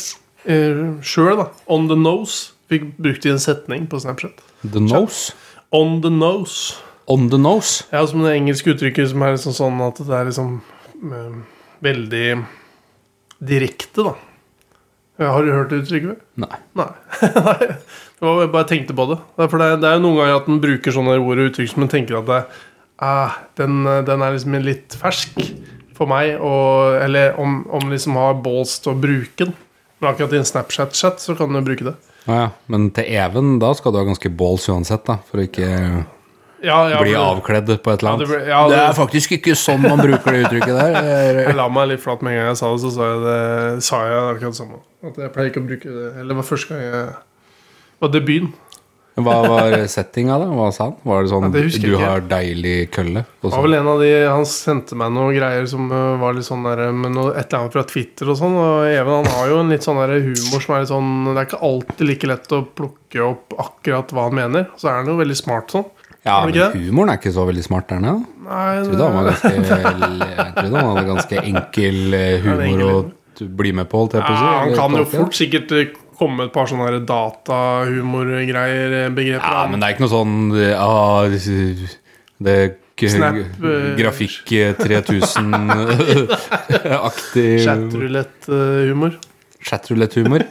C: Eh, Sjøl, da. On the nose. Fikk brukt i en setning på Snapchat.
A: The nose.
C: On the nose.
A: On the nose.
C: Ja, som det engelske uttrykket som er liksom sånn at det er liksom eh, veldig direkte, da. Ja, Har du hørt det uttrykket før?
A: Nei.
C: Nei. [laughs] Nei. Det var bare jeg tenkte på det. Det er, for det, er- det er jo noen ganger at en bruker sånne ord og uttrykk som en tenker at det, ah, den, eh, den er liksom litt fersk for meg, og, eller om, om liksom har balls til å bruke den. Men akkurat i en Snapchat-chat så kan du bruke
A: Å
C: det.
A: ja. Men til Even, da skal du ha ganske balls uansett, da. For å ikke
C: Ja, ja,
A: bli
C: for-
A: avkledd på et eller
C: Ja, det
A: annet.
C: ble- ja,
A: det
C: det-
A: er faktisk ikke sånn man bruker det uttrykket
C: [laughs]
A: der.
C: Jeg la meg litt flat med en gang jeg sa det, så sa jeg, det, sa jeg akkurat det samme. At jeg pleier ikke å bruke det. Eller det var første gang jeg Det var debuten.
A: Hva var settinga, da? Hva sa han? Var det sånn
C: Ja, det husker
A: du
C: jeg ikke.
A: har deilig kølle? Og
C: Det
A: så,
C: var vel en av de, Han sendte meg noen greier som øh, var litt sånn der, med noe, et eller annet fra Twitter og sånn. Og Even han har jo en litt sånn der humor som er litt sånn Det er ikke alltid like lett å plukke opp akkurat hva han mener. Så er han jo veldig smart sånn.
A: ja,
C: var det ikke
A: men humoren er ikke så veldig smart der nede. da.
C: Nei,
A: Jeg
C: det,
A: trodde han var
C: [laughs]
A: ganske, jeg trodde han hadde ganske enkel eh,
C: det er
A: humor å
C: enkel.
A: t- bli med på, holdt jeg
C: ja,
A: på å si.
C: han
A: eller
C: kan jo
A: tolke.
C: fort sikkert øh, komme med et par sånne der datahumorgreier, eh, begreper.
A: Ja,
C: da.
A: men det er ikke noe sånn eh, ah, det- det k-
C: Snap, eh,
A: Grafikk
C: [laughs]
A: 3000-aktig
C: Chatrulett-humor.
A: chatroulette-humor.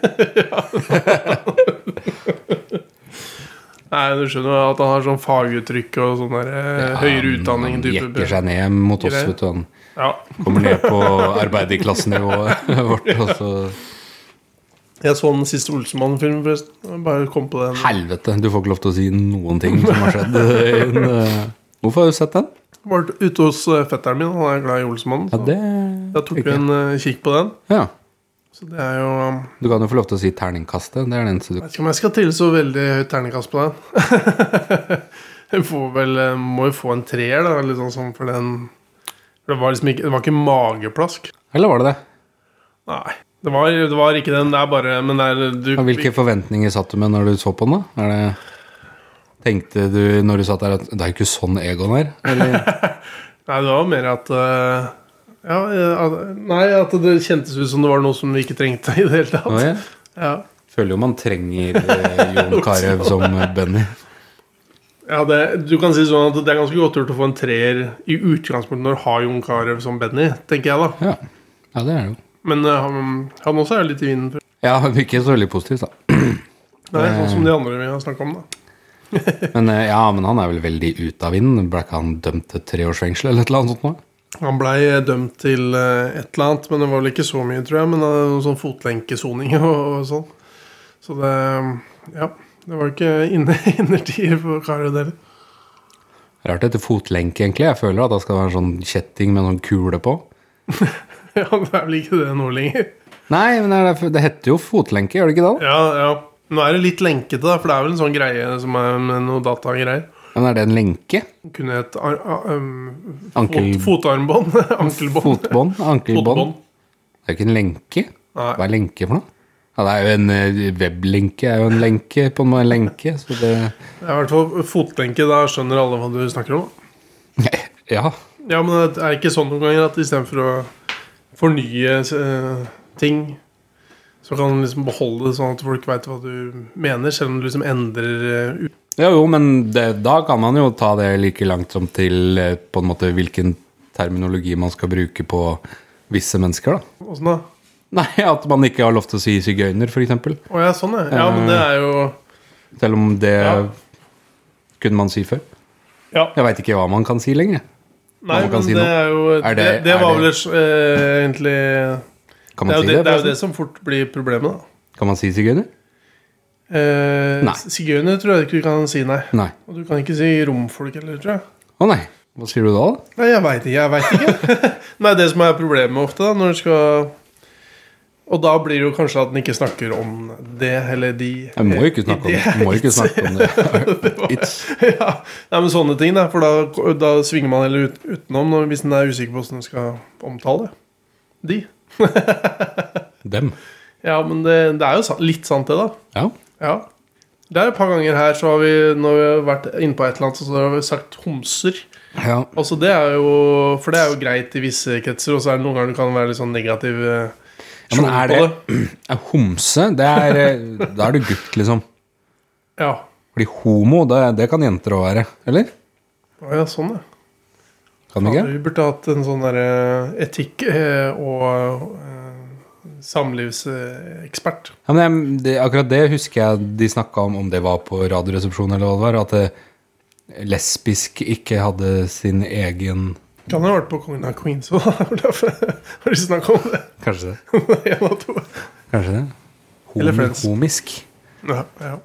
C: Nei, du skjønner jo at han har sånn faguttrykk og sånn der eh, [laughs] høyere utdanning.
A: Han
C: type-
A: jekker seg ned mot oss,
C: Greier.
A: vet du. Han
C: Ja.
A: kommer ned
C: [laughs]
A: på arbeiderklassenivået vårt. Og så
C: Jeg så den siste Olsemann-filmen, forresten. Jeg Bare kom på det.
A: Helvete, du får ikke lov til å si noen ting som har skjedd. i en, eh, Hvorfor har du sett den?
C: Vært ute hos eh, fetteren min, han er glad i Olsmannen.
A: Ja,
C: så
A: det
C: Da tok vi en eh, kikk på den.
A: Ja,
C: Så det er jo um,
A: Du kan jo få lov til å si terningkastet. Det er den eneste du
C: Jeg vet ikke om jeg skal trille så veldig høyt terningkast på den. [laughs] jeg får vel, eh, må jo få en treer, da, litt sånn sånn for den for Det var liksom ikke, det var ikke mageplask.
A: Eller var det det?
C: Nei. Det var, det var ikke den. Det er bare Men det er du
A: Ja, Hvilke forventninger satt du med når du så på den, da? Er det Tenkte du når du satt der at det er jo ikke sånn Egon er? [laughs] Eller
C: Nei, det var mer at eh, ja, eh, at- Nei, at det kjentes ut som det var noe som vi ikke trengte i det hele tatt.
A: Nå, jeg
C: Ja.
A: føler jo man trenger eh, [laughs] Jon Carew som eh, Benny.
C: Ja, det, du kan si sånn at det er ganske godt gjort å få en treer i utgangspunktet når du har Jon Carew som Benny, tenker jeg da.
A: Ja. ja, det er det jo.
C: Men eh, han, han også er litt i vinden. for-
A: Ja, [laughs] ikke så veldig positivt, da.
C: Nei, sånn som de andre vi har snakka om, da.
A: Men eh, ja, men han er vel veldig ute av vinden. Ble ikke han dømt til tre års fengsel eller et eller annet sånt noe?
C: Han blei dømt til eh, et eller annet, men det var vel ikke så mye, tror jeg. Men eh, sånn fotlenkesoning og, og sånn. Så det Ja. Det var ikke inne, [laughs] innertier for Carew [laughs] heller.
A: Rart etter fotlenke, egentlig. Jeg føler at det skal være en sånn kjetting med en sånn kule på.
C: Ja, det er vel ikke det nå lenger.
A: Nei, men det, er derfor- det heter jo fotlenke, gjør det ikke det? da?
C: Ja, ja. Nå er det litt lenkete, da, for det er vel en sånn greie som er med noe datagreier.
A: Men er det en lenke?
C: Kunne hett ar ar um,
A: Ankel...
C: Fot, fotarmbånd. [laughs] Ankelbånd.
A: Fotbånd? Ankelbånd?
C: Fotbånd.
A: Det er ikke en lenke?
C: Nei.
A: Hva er lenke for noe? Ja, det er jo en eh, weblenke, er jo en lenke på en måte, en lenke, så det [laughs]
C: Det er i hvert fall fotlenke. Da skjønner alle hva du snakker om.
A: Ja.
C: Ja, men det er ikke sånn noen ganger at istedenfor å fornye eh, ting, så kan du liksom beholde det sånn at folk veit hva du mener, selv om du liksom endrer eh, ut.
A: Jo, jo, men det, da kan man jo ta det like langt som til eh, på en måte hvilken terminologi man skal bruke på visse mennesker, da. [laughs]
C: Åssen sånn da?
A: Nei, at man ikke har lov til å si sigøyner, f.eks.
C: Å ja, sånn, ja. Ja,
A: Eh.
C: men det er jo
A: Selv om det
C: Ja.
A: kunne man si før.
C: Ja.
A: Jeg veit ikke hva man kan si lenger.
C: Nei,
A: man kan
C: men
A: si
C: det
A: noe.
C: er jo
A: Er det-
C: Det, det,
A: er
C: var
A: det-
C: vel et, eh, egentlig det
A: Kan
C: er,
A: man
C: jo
A: si det?
C: det, det er jo det
A: forresten?
C: som fort blir problemet, da.
A: Kan man si sigøyner?
C: Eh,
A: Nei.
C: Sigøyner tror jeg ikke du kan si nei.
A: Nei.
C: Og du kan ikke si romfolk heller, tror jeg.
A: Å nei. Hva sier du da? da?
C: Nei, jeg veit ikke. Jeg vet ikke. [laughs] Nei, det som er problemet ofte, da, når du skal Og da blir det jo kanskje at den ikke snakker om det eller de.
A: Jeg må jo ikke snakke
C: [laughs]
A: om det. Jeg må jo ikke snakke om det. [laughs] It's.
C: ja. Nei, men sånne ting, da. For da, da svinger man heller ut, utenom når, hvis den er usikker på hvordan den skal omtale det. De.
A: Dem.
C: Ja, men det, det er jo sa- litt sant, det, da.
A: Ja.
C: Ja. Det er et par ganger her så har vi når vi har vært inne på et eller annet, så har vi sagt homser.
A: ja.
C: Altså det er jo For det er jo greit i visse kretser, og så er det noen ganger du kan være litt sånn negativ. eh,
A: Ja, men
C: sjå
A: er
C: på
A: det, er homse? Det er, eh, da er du gutt, liksom.
C: Ja.
A: Fordi homo, det, det kan jenter òg være. Eller?
C: Å ja, sånn, ja.
A: Kan du
C: Ja,
A: ikke?
C: vi burde hatt en sånn derre etikk- eh, og eh, samlivsekspert.
A: Ja, men jeg, det, akkurat det husker jeg de snakka om, om det var på Radioresepsjonen eller hva det var, at eh, lesbisk ikke hadde sin egen
C: Kan ha vært på Kongen av Queens [laughs] òg, Olaf. Har du snakka om det? [laughs]
A: Kanskje det.
C: En av to.
A: Kanskje det.
C: Eller
A: Homo,
C: Friends.
A: homisk.
C: Ja, ja.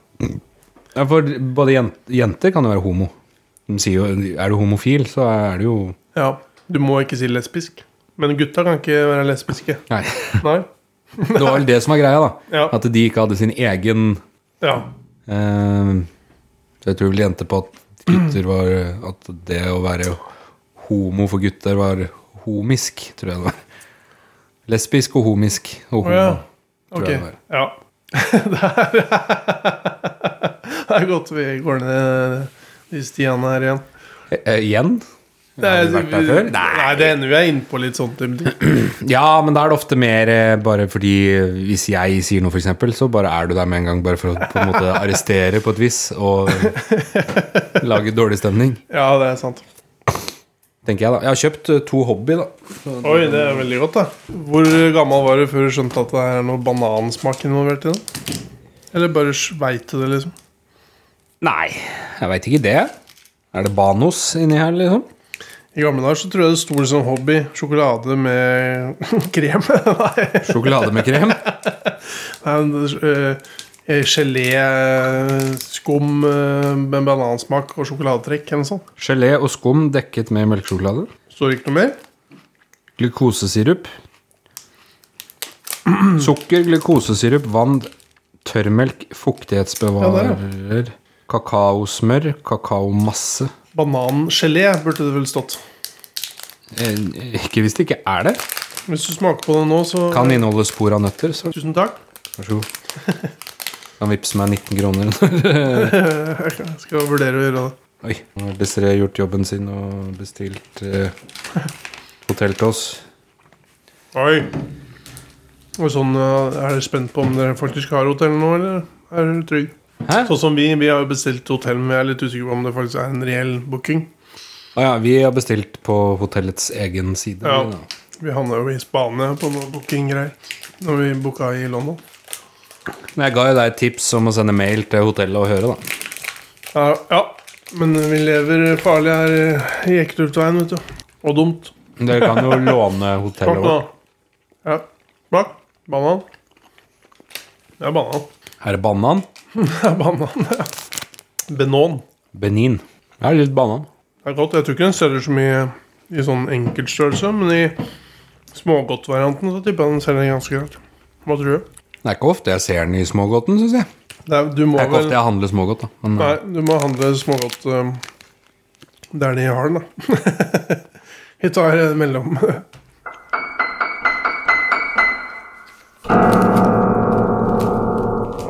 A: Ja, for både jenter, jenter kan jo være homo. De sier jo Er du homofil, så er du jo
C: ja. Du må ikke si lesbisk. Men gutta kan ikke være lesbiske.
A: Nei.
C: Nei.
A: Det var vel det som var greia, da.
C: Ja.
A: At de ikke hadde sin egen
C: Ja.
A: eh, Så jeg tror vel jenter på at gutter var At det å være homo for gutter var homisk, tror jeg det var. Lesbisk og homisk og
C: Å
A: homo.
C: ja.
A: tror
C: Ok.
A: jeg det var.
C: Ja. [laughs] det er Det er godt vi går ned de stiene her igjen.
A: Eh, eh, igjen?
C: Det
A: Har
C: er,
A: vi vært der før?
C: Nei. det ender vi er inne på litt sånn sånt. Det
A: Ja, men da er det ofte mer eh, bare fordi eh, hvis jeg sier noe, f.eks., så bare er du der med en gang, bare for å på en måte arrestere på et vis og lage dårlig stemning.
C: Ja, det er sant.
A: Tenker jeg, da. Jeg har kjøpt eh, to hobby, da.
C: Oi, det er veldig godt, da. Hvor gammel var du før du skjønte at det er noe banansmak involvert i det? Eller bare veit du det, liksom?
A: Nei, jeg veit ikke det. Er det Banos inni her, liksom?
C: I gamle dager så tror jeg det sto liksom hobby sjokolade med [laughs] krem. Nei,
A: Sjokolade med krem?
C: nei, det er, eh, gelé, eh, skum eh, med banansmak og sjokoladetrekk eller noe sånt.
A: Gelé og skum dekket med melkesjokolade?
C: Står det ikke noe mer?
A: Glukosesirup? Sukker, glukosesirup, vann, tørrmelk,
C: Ja,
A: fuktighetsbevarer, kakaosmør, kakaomasse
C: Banangelé burde det vel stått.
A: Eh, Ikke hvis det ikke er det.
C: Hvis du smaker på det nå, så
A: Kan inneholde spor av nøtter. Så
C: Tusen takk. [laughs]
A: vær så god. Kan vippse meg 19 kroner. [laughs]
C: Jeg skal vurdere å gjøre det.
A: Oi. Nå har Desiree gjort jobben sin og bestilt eh, hotell til oss.
C: Oi. Og sånn, eh, Er dere spent på om dere faktisk har hotell nå, eller er dere trygge?
A: Hæ?
C: Sånn som vi, vi har jo bestilt hotell, men jeg er litt usikker på om det faktisk er en reell booking.
A: Å ja, vi har bestilt på hotellets egen side.
C: Ja.
A: vi da.
C: Vi havna jo i Spania på noen bookinggreier når vi booka i London.
A: Men jeg ga jo deg et tips om å sende mail til hotellet og høre, da.
C: Ja, ja. men vi lever farlig her eh, i Ekerulfveien, vet du. Og dumt.
A: Dere kan
C: [laughs]
A: jo låne hotellet
C: Smak nå.
A: vårt.
C: Ja. Smak. Banan. Det er banan. [laughs]
A: Her er banan.
C: Det er banan, ja. Benon.
A: Benin. Det er litt banan.
C: Det er godt. Jeg tror ikke den selger så mye i sånn enkeltstørrelse, men i smågodtvarianten så tipper jeg den selger ganske greit. Hva tror du?
A: Det er ikke ofte jeg ser den i smågodten, syns jeg.
C: Det er, du må
A: Det er ikke
C: vel
A: ofte jeg handler smågodt, da. Men,
C: Nei, du må handle smågodt um, der de har den, da. [laughs] Vi tar eh, mellom [laughs]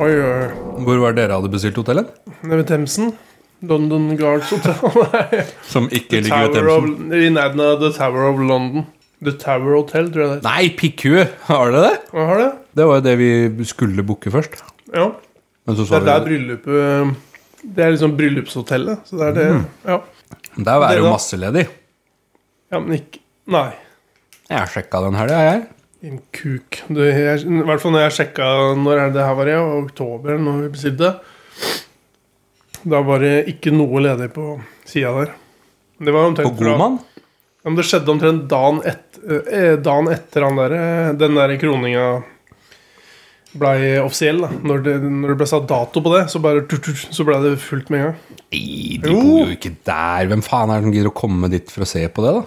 C: Oi, oi, oi.
A: eh, Hvor var dere hadde bestilt hotellet?
C: Nede ved Themsen. London Guards Hotel. [laughs] Nei.
A: Som ikke ligger ved
C: Tower of,
A: Themsen.
C: I nærheten av The Tower of London. The Tower Hotel, tror jeg det heter.
A: Nei, pikkhue! [laughs] Har dere det?
C: Jeg har det.
A: Det var jo det vi skulle booke først.
C: Ja.
A: Men så
C: Det
A: sa
C: er der
A: vi
C: bryllupet um, Det er liksom bryllupshotellet. Så det er
A: Mm.
C: det Ja,
A: Der er
C: Det
A: jo
C: da?
A: masse ledig.
C: ja men ikke Nei.
A: Jeg sjekka den helga, jeg.
C: En kuk. Du, jeg, I hvert fall når jeg sjekka når er det her var, i oktober, når vi bestilte. Da var det ikke noe ledig på sida der. Det var omtrent
A: På Godmann.
C: Ja, men det skjedde omtrent dagen, et, eh, dagen etter han der, eh, den der kroninga blei offisiell. da Når det, når det ble satt dato på det, så bare tut, tut, Så blei det fullt med en gang.
A: Nei, de bor
C: Jo.
A: jo ikke der. Hvem faen er det som gidder å komme dit for å se på det, da?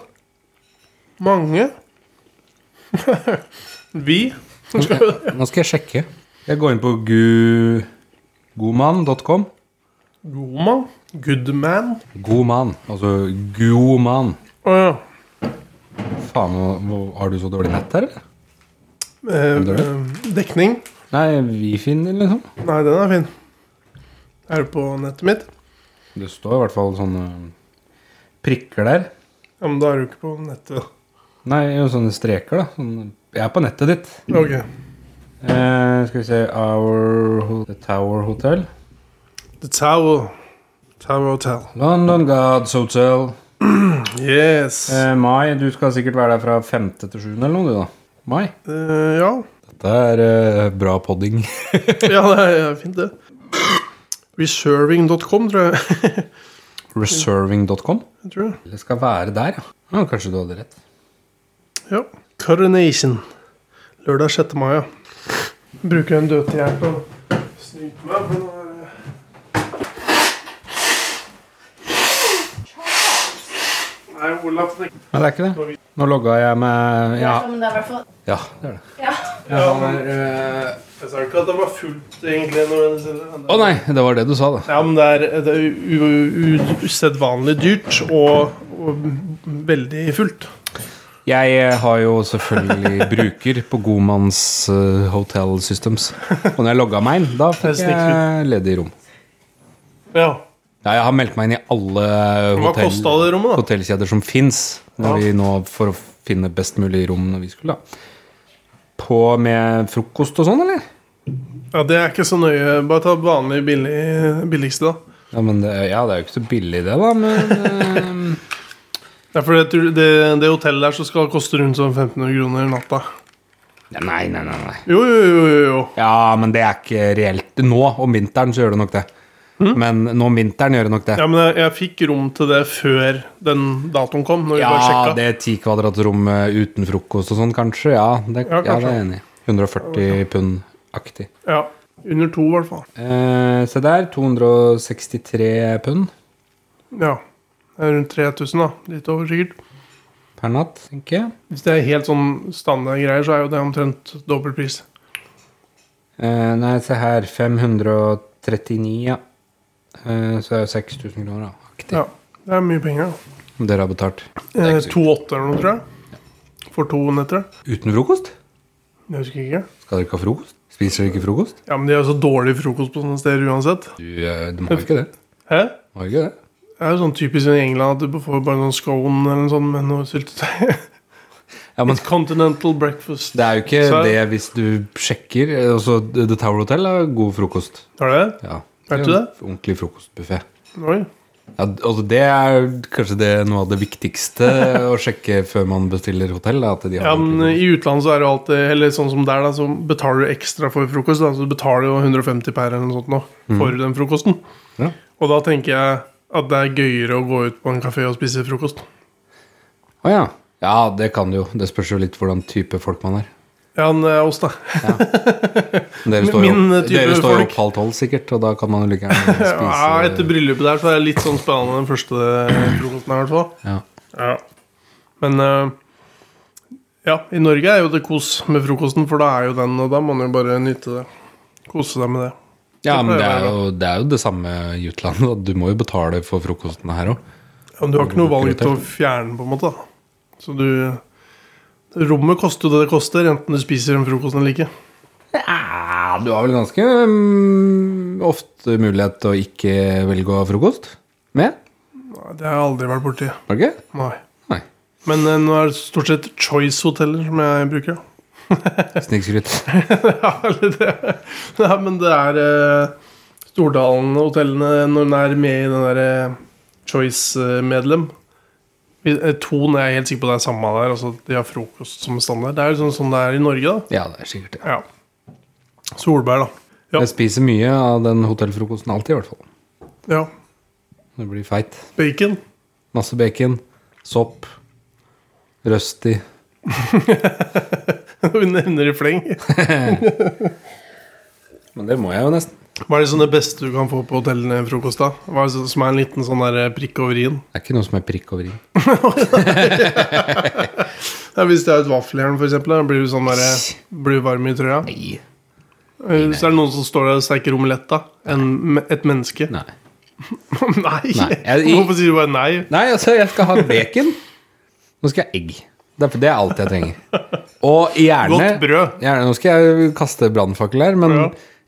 C: Mange. [laughs] Vi.
A: Nå skal, jeg, nå skal jeg sjekke. Jeg går inn på gu... godmann.com.
C: Goma. Goodman.
A: Godmann. Altså Goman.
C: Å ja.
A: Faen, nå- nå- har du så dårlig nett her, eller?
C: Eh,
A: Hvem er det?
C: eh, dekning.
A: Nei, Wifin, liksom.
C: Nei, den er fin. Er du på nettet mitt?
A: Det står i hvert fall sånne prikker der.
C: Ja, men da er du ikke på nettet.
A: Nei, jo, sånne streker, da. Sånn, jeg er på nettet ditt.
C: Ok.
A: Eh, skal vi se Our Ho- The Tower Hotel.
C: The Tower. Tower Hotel.
A: London Gods Hotel.
C: Yes.
A: Eh, mai, du skal sikkert være der fra 5. til 7. eller noe, du, da. Mai.
C: Eh, ja.
A: Dette er eh, bra podding. [laughs]
C: Ja, det er er fint, det. Reserving.com, tror jeg. [laughs]
A: Reserving.com.
C: jeg tror det.
A: Det skal være der, ja. ja. Kanskje du hadde rett.
C: Ja. Coronation. Lørdag 6. mai, ja. Bruker en død til hjelp og snyter meg. eh. for nå er det- Nei, Olaf det-
A: Nei, det er ikke det. Nå logga jeg med Ja,
B: Men det er i hvert fall
A: ja det er det.
B: Ja.
A: Jeg har, eh,
C: Jeg sa ikke at det var fullt, egentlig. Når
A: Å nei, det var det du sa, da.
C: Ja, men det er, det er u- u- u- usedvanlig dyrt og, og veldig fullt.
A: Jeg eh, har jo selvfølgelig [laughs] bruker på Gomanns eh, Hotel Systems. Og når jeg logga meg inn, da fikk
C: Det er
A: jeg ledig rom.
C: Ja.
A: Ja, jeg har meldt meg inn i alle
C: Hva
A: hotell,
C: kosta det rommet, da?
A: hotellkjeder som fins,
C: Ja.
A: for å finne best mulig rom når vi skulle, da. På med frokost og sånn, eller?
C: Ja, Det er ikke så nøye. Bare ta vanlig billig, billigste, da.
A: Ja, men det, ja, det er jo ikke så billig, det, da, men eh,
C: Ja, for det, det, det hotellet der så skal det koste rundt sånn 1500 kroner natta.
A: [laughs] Nei, nei, nei. nei.
C: Jo, jo, jo, jo, jo.
A: Ja, men det er ikke reelt. Nå om vinteren så gjør det nok det. Men nå om vinteren gjør det nok det.
C: Ja, men jeg, jeg fikk rom til det før den datoen kom. Når vi bare
A: Ja,
C: sjekket.
A: det er ti kvadratrom eh, uten frokost og sånn, kanskje. Ja, det,
C: Ja,
A: ja,
C: kanskje.
A: det er jeg enig i. 140 pund-aktig.
C: Ja, Under to, i hvert fall.
A: Eh, se der, 263 pund
C: Ja. Det er rundt 3000, da. Litt over, sikkert.
A: per natt, tenker jeg.
C: Hvis det er helt sånn standardgreier, så er jo det omtrent dobbel pris.
A: Eh, nei, se her, 539, ja. Eh, så er det 6000 kroner, da. Aktig.
C: Ja, Det er mye penger. da.
A: Om Dere har betalt. Det er
C: Eh,
A: ikke så-
C: 2,8 eller noe, tror jeg. For to netter.
A: Uten frokost?
C: Jeg husker ikke.
A: Skal dere ikke ha frokost? Spiser dere ikke frokost?
C: Ja, Men de har jo så dårlig frokost på sånne steder uansett.
A: Du, eh, de har jo ikke det.
C: Hæ?
A: De Har jo ikke det.
C: Det er jo sånn typisk i England at du får bare noen scone eller noe sånt med noe syltetøy.
A: Ja, men
C: It's continental breakfast.
A: det er jo ikke
C: Så-
A: det hvis du sjekker. eh, Altså, The Tower Hotel har god frokost.
C: Har du det?
A: Ja.
C: Vet du det?
A: Ordentlig frokostbuffé.
C: Oi.
A: Ja, d- altså det er kanskje det noe av det viktigste
C: [laughs]
A: å sjekke før man bestiller hotell. da, At de har
C: Ja, men
A: ordentlig frokost.
C: I utlandet så er det jo alltid Eller sånn som der, da, så betaler du ekstra for frokost. Da, så du betaler jo 150 per eller noe sånt nå for den frokosten.
A: Mhm. Ja.
C: Og da tenker jeg at det er gøyere å gå ut på en kafé og spise frokost.
A: Å ja. ja, det kan du jo. Det spørs jo litt hvordan type folk man er.
C: Ja, men det er oss, da.
A: Men Dere
C: Men
A: står, jo-
C: min eh, type
A: dere står jo
C: folk-
A: opp halv tolv sikkert, og da kan man jo like gjerne spise
C: [laughs] Ja, etter bryllupet der så er det litt sånn spennende den første frokosten her, i hvert fall.
A: ja.
C: Ja. Men eh, ja, i Norge er jo det kos med frokosten, for da er jo den, og da må man jo bare nyte det. Kose seg med det.
A: ja, men det
C: pleier
A: er,
C: å
A: jo, det er jo det samme i utlandet. da. Du må jo betale for frokosten her òg.
C: Ja, men du har ikke noe valg til å fjerne den, på en måte. da. Så du Rommet koster jo det det koster, enten du spiser den frokosten eller ikke.
A: Ja, du har vel ganske mm, ofte mulighet til å ikke velge å ha frokost med?
C: Nei, Det har jeg aldri vært borti.
A: Har du ikke?
C: Nei.
A: Nei.
C: Men eh, nå er det stort sett Choice-hoteller som jeg bruker. da. [laughs]
A: Snikskryt. [laughs]
C: Ja, eller det. Nei, men det er eh, Stordalen-hotellene når den er med i den der eh, Choice-medlem. Ton er jeg helt sikker på det er samme der. Altså at de har frokost som standard. Det er jo sånn, sånn det er i Norge, da.
A: Ja, det er sikkert det.
C: Ja. Solbær, da. Ja.
A: Jeg spiser mye av den hotellfrokosten alltid, i hvert fall.
C: Ja.
A: Det blir feit.
C: Bacon. [laughs]
A: Masse bacon, sopp, røsti.
C: Vi nevner i fleng.
A: Men det må jeg jo nesten.
C: Hva er det sånn det beste du kan få på hotellene frokost, da? Hva er det som er en liten sånn der prikk over i-en?
A: Det er ikke noe som er prikk over i.
C: Ja, hvis det er et vaffeljern, for eksempel, da blir du sånn der, blir du varm i trøya.
A: Nei.
C: Eh, Hvis det er noen som står der og steker omelett, da. En, me- et menneske.
A: Nei.
C: [laughs] Nei!
A: Nei. Jeg-
C: Hvorfor sier du bare nei?
A: Nei, altså, jeg skal ha bacon. Nå skal jeg ha egg. Det er, det er alt jeg trenger. Og gjerne
C: Godt brød.
A: Gjerne, nå skal jeg kaste brannfakkel her, men
C: Ja.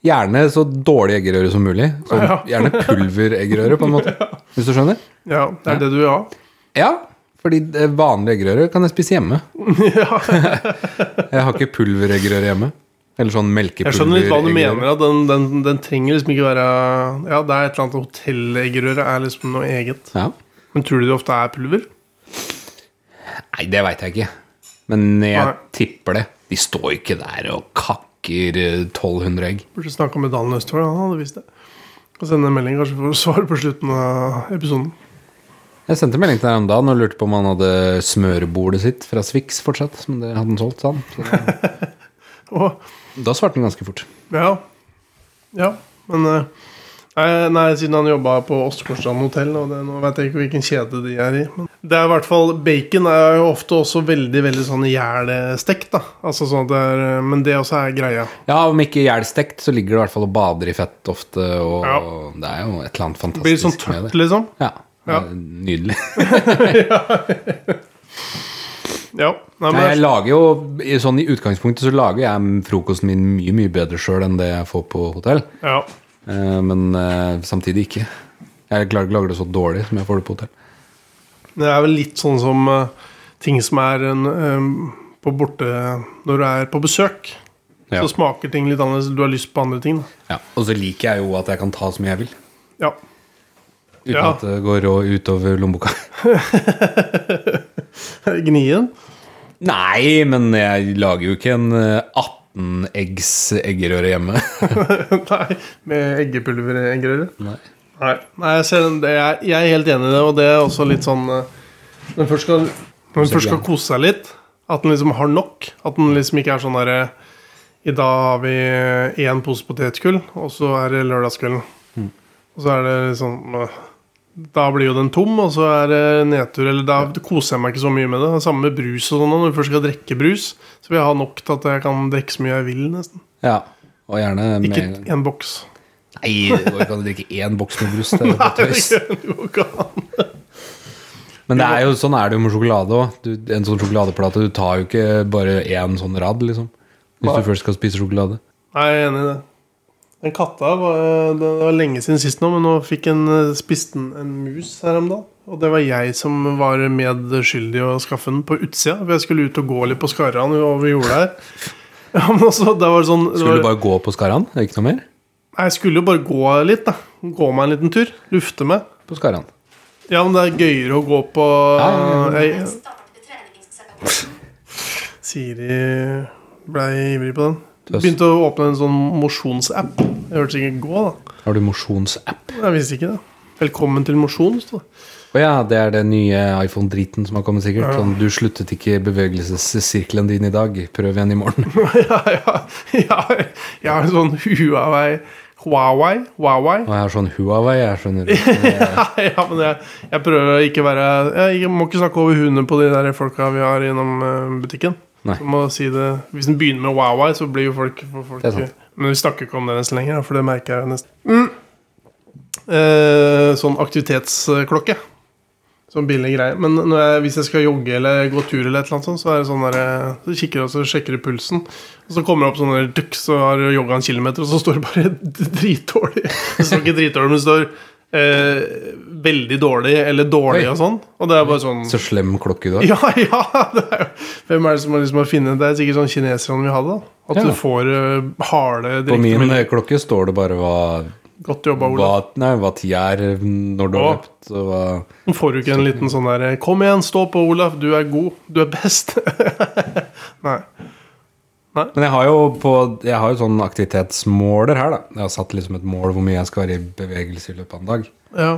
A: gjerne så dårlig eggerøre som mulig. Så
C: Ja.
A: gjerne pulvereggerøre, på en måte. Hvis du skjønner?
C: Ja, det er det du vil ha.
A: Ja, fordi det vanlige eggerøre kan jeg spise hjemme. [laughs] jeg har ikke pulvereggerøre hjemme. Eller sånn
C: Jeg skjønner litt hva du
A: melkepulvereggerøre.
C: mener. At den, den, den trenger liksom ikke være Ja, det er et eller annet hotelleggerøre er liksom noe eget.
A: Ja.
C: Men tror du det ofte er pulver?
A: Nei, det veit jeg ikke. Men jeg
C: Nei.
A: tipper det. De står ikke der og kakker eh, 1200 egg.
C: Burde snakka med Dan Østfold, han hadde visst det. Og sende en melding, kanskje får du svar på slutten av episoden.
A: Jeg sendte melding til deg om dagen og lurte på om han hadde smørebordet sitt fra Swix fortsatt. Men det hadde han solgt, sa han. Så det-
C: Åh, [laughs]
A: da svarte han ganske fort.
C: Ja. Ja, men eh, Nei, nei siden han jobba på Åsgårdstrand hotell, og det, nå vet jeg ikke hvilken kjede de er i. Men det er i hvert fall Bacon er jo ofte også veldig veldig sånn jævlstekt, da. Altså sånn at det er eh, Men det også er greia.
A: Ja, om ikke jævlstekt, så ligger det i hvert fall og bader i fett ofte. Og
C: Ja.
A: det er jo et eller annet
C: Det blir
A: fantastisk
C: sånn
A: med
C: tørt,
A: det.
C: liksom.
A: Ja, det
C: Ja.
A: er Nydelig.
C: Ja. Nei,
A: Nei, jeg
C: men,
A: lager jo, i- sånn I utgangspunktet så lager jeg frokosten min mye mye bedre sjøl enn det jeg får på hotell.
C: ja.
A: Eh, Men eh, samtidig ikke. Jeg klarer ikke å lage det så dårlig som jeg får det på hotell.
C: Det er vel litt sånn som eh, ting som er en, eh, på borte Når du er på besøk,
A: Ja.
C: så smaker ting litt annerledes. Du har lyst på andre ting, da.
A: Ja, Og så liker jeg jo at jeg kan ta så mye jeg vil.
C: Ja.
A: Uten
C: Ja.
A: at det går rå utover lommeboka.
C: Gnien.
A: Nei, men jeg lager jo ikke en eh, 18 eggs eggerøre hjemme.
C: [laughs] Nei, med eggepulvergreier.
A: Nei.
C: Nei, Nei jeg, ser, den- det er, jeg er helt enig i det, og det er også litt sånn eh, Når en først skal, når en først skal kose seg litt, at en liksom har nok. At en liksom ikke er sånn derre I dag har vi eh, én pose potetgull, og så er det lørdagskvelden. Og så er det liksom eh, Da blir jo den tom, og så er det nedtur. Eller da koser jeg meg ikke så mye med det. Det samme med brus og sånn. Når jeg først skal drikke brus, så vil jeg ha nok til at jeg kan drikke så mye jeg vil, nesten.
A: [laughs] Ja, Og gjerne med
C: Ikke
A: en gang.
C: én boks.
A: Nei, det går ikke an å drikke én boks med brus. [laughs] Det er jo bare
C: [laughs] Nei,
A: tøys.
C: det går ikke an.
A: Men det er jo, sånn er det jo med sjokolade òg. En sånn sjokoladeplate, du tar jo ikke bare én sånn rad, liksom. Hvis
C: Nei.
A: du først skal spise sjokolade.
C: Nei, jeg er enig i det. Den katta var, det var lenge siden sist nå, men nå fikk en, eh, spiste den en mus her om dagen. Og det var jeg som var medskyldig i å skaffe den på utsida. For jeg skulle ut og gå litt på Skarran over jorda her. [laughs] Ja, men også, det var sånn, det
A: Skulle du
C: var,
A: bare gå på Skaran? Er det Ikke noe mer?
C: Nei, jeg skulle jo bare gå litt, da. Gå meg en liten tur. Lufte meg.
A: På Skaran.
C: Ja, men det er gøyere å gå på
A: Ja,
C: jeg,
D: Start treningssesjonen.
C: Siri ble ivrig på den.
A: Tøst.
C: Begynte å åpne en sånn mosjonsapp. Jeg hørte sikkert gå, da.
A: Har du mosjonsapp?
C: Jeg visste ikke det. Velkommen til mosjon, sto det. [laughs]
A: Å ja, det er den nye iPhone-driten som har kommet, sikkert.
C: Ja.
A: Sånn, du sluttet ikke bevegelsessirkelen din i dag. Prøv igjen i morgen.
C: ja, ja, ja, jeg har en sånn Huawei Huawei? Huawei?
A: Og jeg har sånn Huawei, jeg skjønner. [laughs]
C: [laughs] ja, men jeg, jeg prøver å ikke være Jeg må ikke snakke over hundene på de der folka vi har innom eh, butikken.
A: Nei.
C: Så må jeg si det Hvis en begynner med Huawei, så blir jo folk, får folk
A: Det er sant.
C: Men vi snakker ikke om det nesten lenger, da, for det merker jeg nesten. Mm. Eh, sånn aktivitetsklokke. Sånn billig greie. Men når jeg, hvis jeg skal jogge eller gå tur, eller et eller annet sånt, så er det sånn der, eh, så kikker jeg og så sjekker du pulsen. Og så kommer det opp sånn der, dukk, så har du jogga en kilometer, og så står det bare [laughs] dritdårlig. Det står ikke dritdårlig, men det står eh, veldig dårlig eller dårlig
A: Oi.
C: og sånn. Og det er bare sånn [laughs]
A: Så slem klokke du har.
C: ja, ja! Det er, jo- hvem er det som har liksom har funnet Det er sikkert sånn kineserne vi hadde. da At
A: Ja.
C: du får eh, harde
A: På min
C: direktemeldinger.
A: klokke står det bare hva
C: Godt jobba,
A: hva,
C: Olav.
A: nei, hva tida er når du har
C: Å.
A: løpt, og hva
C: Nå får du ikke en liten sånn derre Kom igjen, stå på, Olav. Du er god. Du er best. [laughs] Nei.
A: Men jeg har jo på Jeg har jo sånn aktivitetsmåler her, da. Jeg har satt liksom et mål hvor mye jeg skal være i bevegelse i løpet av en dag.
C: Ja.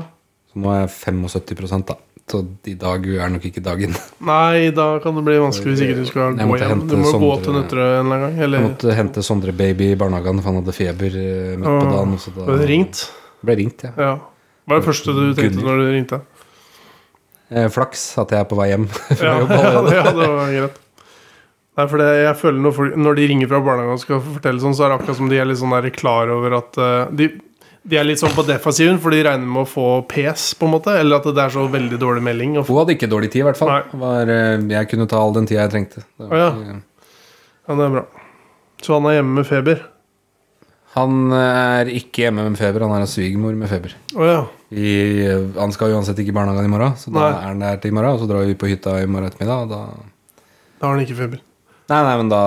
A: Så nå er jeg 75 da. Så i dag er nok ikke dagen.
C: Nei, da kan det bli vanskelig hvis ikke du skal
A: Jeg
C: gå
A: måtte
C: hjem.
A: hente
C: Du må gå
A: Sondre-
C: til Nøtterøy en eller annen gang.
A: Jeg
C: Eller
A: måtte hente Sondre Baby i barnehagen, for han hadde feber eh, midt på
C: Åh,
A: dagen. Så da
C: Ble det ringt?
A: Ble ringt, ja.
C: Ja. Hva er det første du tenkte
A: Gunnhild.
C: når du ringte?
A: Eh, Flaks at jeg er på vei hjem [laughs] fra
C: Ja,
A: jobb
C: [laughs] ja,
A: allerede.
C: det var greit. Nei, for det, jeg føler når, folk, når de ringer fra barnehagen og skal fortelle sånn, så er det akkurat som de er litt sånn der klar over at eh, de, de er litt sånn på defensiven, for de regner med å få pes, på en måte. Eller at det er så veldig dårlig melding. Og f-
A: Hun hadde ikke dårlig tid, i hvert fall.
C: Nei.
A: Var, eh, jeg kunne ta all den tida jeg trengte. Det var
C: Å, ja.
A: ikke-
C: ja, det er bra. Så han er hjemme med feber.
A: Han eh, er ikke hjemme med feber, han er en svigermor med feber.
C: Å ja.
A: I, han skal uansett ikke i barnehagen i morgen, så da
C: Nei.
A: er han der til i morgen. Og så drar vi på hytta i morgen ettermiddag, og da
C: Da har han ikke feber.
A: Nei, nei, men da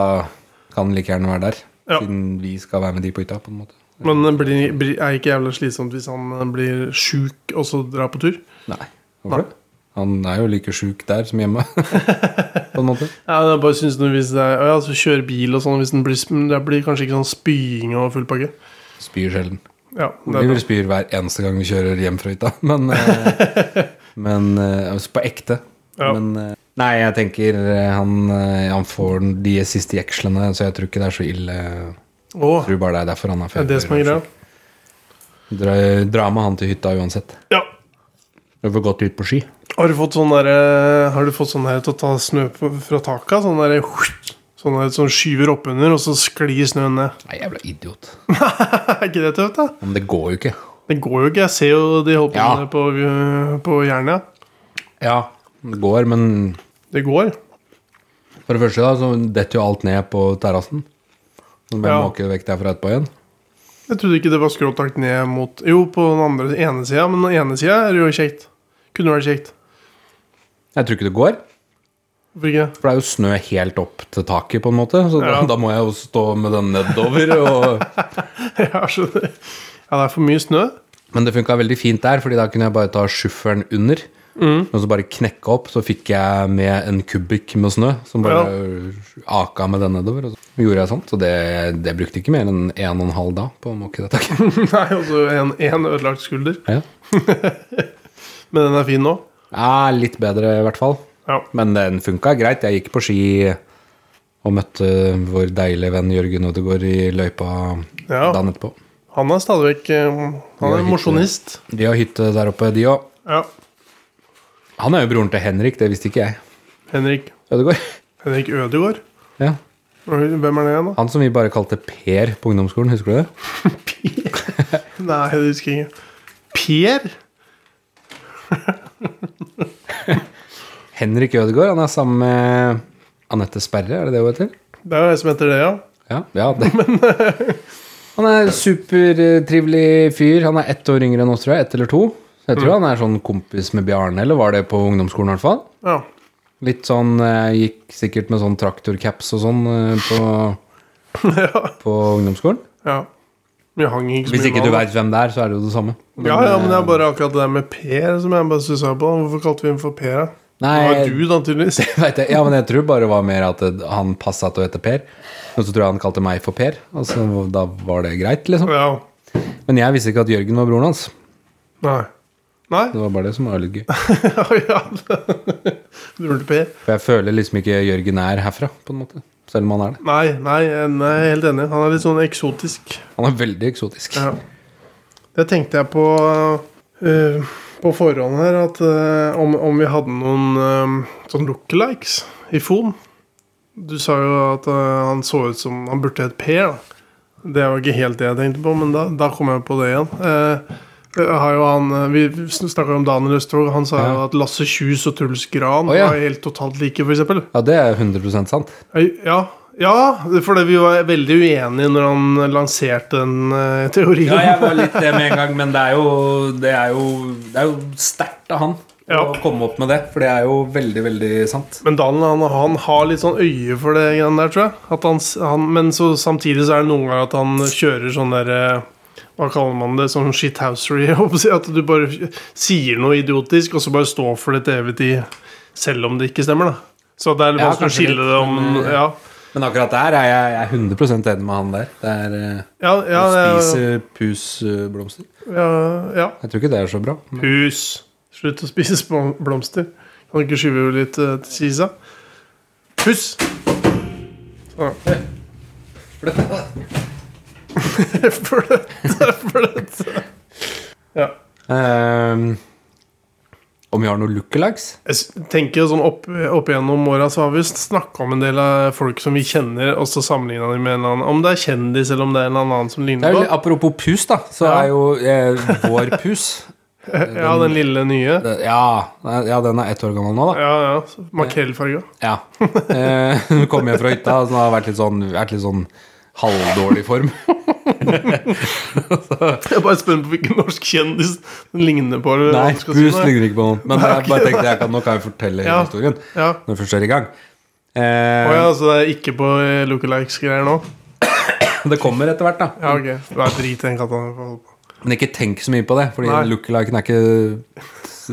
A: kan han like gjerne være der.
C: Ja.
A: Siden vi skal være med de på hytta, på en måte.
C: Men det blir, blir, er ikke jævla slitsomt hvis han eh, blir sjuk og så drar på tur?
A: Nei.
C: Nei.
A: Hvorfor det? Han er jo like sjuk der som hjemme, [laughs] på en måte.
C: Ja, jeg bare synes noe hvis det er, ja, så Kjøre bil og sånn. Hvis den blir, sp- det blir kanskje ikke sånn spying og full pakke.
A: Spyr sjelden.
C: Ja, det er
A: Vi
C: bra.
A: vil spyr hver eneste gang vi kjører hjem fra hytta, [laughs] men,
C: [laughs]
A: eh, men eh, altså på ekte.
C: Ja.
A: Men eh, Nei, jeg tenker eh, han, eh, han får de siste jekslene, så jeg tror ikke det er så ille.
C: Å,
A: Jeg tror bare det er derfor han har
C: det er det som er greia.
A: Dra, dra med han til hytta uansett.
C: Ja.
A: Du får gått ut på ski.
C: Har du fått sånn derre Har du fått sånn her til å ta snø på- fra taket? Sånn derre Sånn der som skyver oppunder, og så sklir snøen ned. [laughs]
A: Nei, jævla idiot.
C: Er ikke det tøft, da?
A: Men det går jo ikke.
C: Det går jo ikke. Jeg ser jo de holder på
A: Ja.
C: med det på, øh, på Jernia.
A: Ja, det går, men
C: Det går.
A: for det første da, så detter jo alt ned på terrassen. Så bare
C: Ja.
A: måker det vekk derfra etterpå igjen.
C: Jeg trodde ikke det var skråtakt ned mot Jo, på den andre ene sida, men den ene sida er jo kjekt. Kunne vært kjekt.
A: Jeg tror ikke det går,
C: Hvorfor ikke? [laughs]
A: for det er jo snø helt opp til taket, på en måte. Så da,
C: Ja.
A: da må jeg jo stå med den nedover. Og...
C: Jeg skjønner. Ja, det er for mye snø. [laughs]
A: Men det funka veldig fint der, Fordi da kunne jeg bare ta sjuffelen under.
C: Mm.
A: Og så bare knekke opp, så fikk jeg med en kubikk med snø som bare aka med den nedover. Og så gjorde jeg sånn, så det, det brukte ikke mer enn en og en halv dag på å måke det
C: [laughs]
A: taket.
C: Nei, altså en, en ødelagt skulder.
A: Ja.
C: Men den er fin nå.
A: Ja, litt bedre, i hvert fall.
C: Ja.
A: Men den funka greit. Jeg gikk på ski og møtte vår deilige venn Jørgen Odegaard i løypa
C: Ja.
A: dagen etterpå.
C: Han er stadig vekk eh, Han
A: Ja,
C: er
A: hytte.
C: mosjonist.
A: De har hytte der oppe, de òg.
C: Ja.
A: Han er jo broren til Henrik, det visste ikke jeg.
C: Henrik
A: Ødegaard.
C: Henrik Ødegaard.
A: Ja.
C: Hvem er det igjen, da?
A: Han som vi bare kalte Per på ungdomsskolen, husker du det?
C: Nei, det husker jeg ikke. Per?
A: Henrik Ødegaard, han er sammen med Anette Sperre, er det det hun heter?
C: Det er jo jeg som heter det, ja.
A: Ja, ja
C: [laughs]
A: det.
C: eh.
A: Han er supertrivelig fyr. Han er ett år yngre enn oss, tror jeg. Ett eller to. Så
C: Mm.
A: jeg tror han er sånn kompis med Bjarne, eller var det på ungdomsskolen i hvert fall.
C: ja.
A: Litt sånn eh, Gikk sikkert med sånn traktorcaps og sånn eh, på,
C: [laughs]
A: på ungdomsskolen.
C: Ja. Vi hang ikke så
A: Hvis
C: mye
A: ikke
C: med
A: du
C: han, da.
A: veit hvem det er, så er det jo det samme. eh,
C: Ja, ja, men det er bare akkurat det der med Per som jeg bare stussa på. Hvorfor kalte vi ham for Per? da? Det var
A: Nei,
C: du, da, tydeligvis.
A: vet jeg. Ja, men jeg tror bare det var mer at det- han passa til å hete Per. Og så tror jeg han kalte meg for Per, og så da var det greit, liksom.
C: Ja.
A: Men jeg visste ikke at Jørgen var broren hans.
C: Nei. Nei?
A: Det var bare det som var litt gøy.
C: [laughs] ja. Du hørte Per?
A: For jeg føler liksom ikke Jørgen er herfra, på en måte. Selv om han er det.
C: Nei, nei, jeg nei, jeg er helt enig. Han er litt sånn eksotisk.
A: Han er veldig eksotisk.
C: Ja. Det tenkte jeg på eh, på forhånd her, at eh, om, om vi hadde noen eh, sånn lookalikes i Fon. Du sa jo at eh, han så ut som han burde hett Per. da. Det var ikke helt det jeg tenkte på, men da, da kom jeg på det igjen. Eh, jeg har jo han, eh, vi snakka om Daniel Østvåg. Han sa jo
A: Ja.
C: at Lasse Kjus og Truls Gran
A: Å, ja.
C: var helt totalt like, f.eks.
A: Ja, det er 100 sant.
C: Ja, ja fordi vi var veldig uenige når han lanserte den eh, teorien.
A: Ja, jeg var litt det med en gang, men det er jo, det er jo, det er jo sterkt av han
C: Ja.
A: å komme opp med det, for det er jo veldig, veldig sant.
C: Men Dalen han, han har litt sånn øye for det greiene der, tror jeg. At han, s- han, men så, samtidig så er det noen ganger at han kjører sånn der eh, hva kaller man det, sånn shithousery. [laughs] jeg håper å si, At du bare sier noe idiotisk, og så bare står for det til evig tid. Selv om det ikke stemmer, da. Så det er
A: Ja,
C: vanskelig å
A: kanskje
C: skille
A: litt,
C: det om
A: men, eh,
C: Ja,
A: Men akkurat der er jeg, jeg er 100 enig med han der. Det er eh,
C: ja, ja,
A: å
C: ja,
A: spise pusblomster.
C: ja, ja.
A: Jeg tror ikke det er så bra. Men
C: Pus! Slutt å spise blom- blomster. Kan du ikke skyve litt eh, til kisa? Puss! Sånn. [laughs] Fløte. Fløte. Ja.
A: Ehm, om vi har noen lookalikes?
C: Jeg s- tenker jo sånn opp, opp igjennom åra så har vi snakka om en del av folk som vi kjenner, og så sammenligna dem med en eller annen. Om det er kjendis, eller om det er en annen som
A: Det er
C: ligner
A: jo,
C: på.
A: litt- apropos pus, da, så
C: Ja.
A: er jo eh, vår pus [laughs]
C: Ja, den lille nye.
A: det, ja, ja, den er ett år gammel nå, da.
C: Ja, ja. så Makrellfarga.
A: Ja. Eh, [laughs] hun kom hjem fra hytta og har vært litt sånn, vært litt sånn halvdårlig
C: [laughs]
A: form.
C: [laughs] Jeg er bare spent på hvilken norsk kjendis den ligner på. Eller hva
A: Nei,
C: du skal
A: pus
C: si, [laughs] nei.
A: ligner ikke på noen. Men jeg bare tenkte jeg kan, nå kan jeg fortelle hele
C: Ja.
A: historien
C: Ja.
A: når vi først er i gang.
C: Å ja,
A: Eh,
C: så det er ikke på eh, lookalikes-greier nå?
A: Eh, det kommer etter hvert, da.
C: Ja, ok. Det er drit den katta får holde på.
A: Men ikke tenk så mye på det, Fordi
C: Nei.
A: lookaliken er ikke s-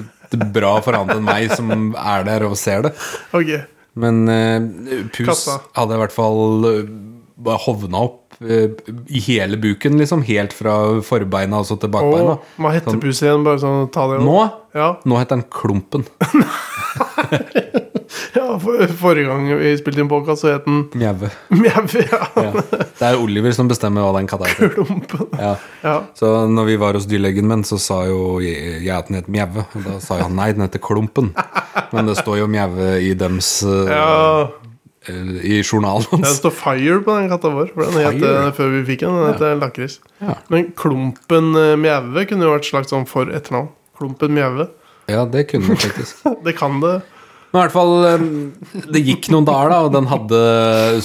A: bra for annet enn meg som er der og ser det.
C: Ok.
A: Men eh, pus
C: Kassa.
A: hadde i hvert fall eh, bare hovna opp eh, i hele buken, liksom. Helt fra forbeina og så til bakbeina.
C: Og hva heter pus igjen? Bare sånn, ta det
A: Nå,
C: Ja,
A: nå heter den Klumpen.
C: ja for, Forrige gang vi spilte inn podkast, så het den
A: Mjaue.
C: Mjau. Ja.
A: Ja. Det er Oliver som bestemmer hva den katta heter.
C: Klumpen.
A: Ja.
C: Ja.
A: Så når vi var hos dyrlegen min, så sa jo jeg jeg at den het Mjaue. Og Da sa jo han nei, den heter Klumpen. Men det står jo Mjaue i dems eh,
C: ja.
A: eh, I journalen
C: Det
A: hans.
C: står Fire på den katta vår. For den het
A: Fire?
C: det før vi fikk den. Den heter Lakris.
A: Ja.
C: Men Klumpen eh, Mjaue kunne jo vært slags sånn for etternavn. Klumpen Mjaue.
A: Ja, det kunne den faktisk.
C: Det kan
A: [laughs]
C: det.
A: Men i hvert fall, eh, det gikk noen dager, da, og den hadde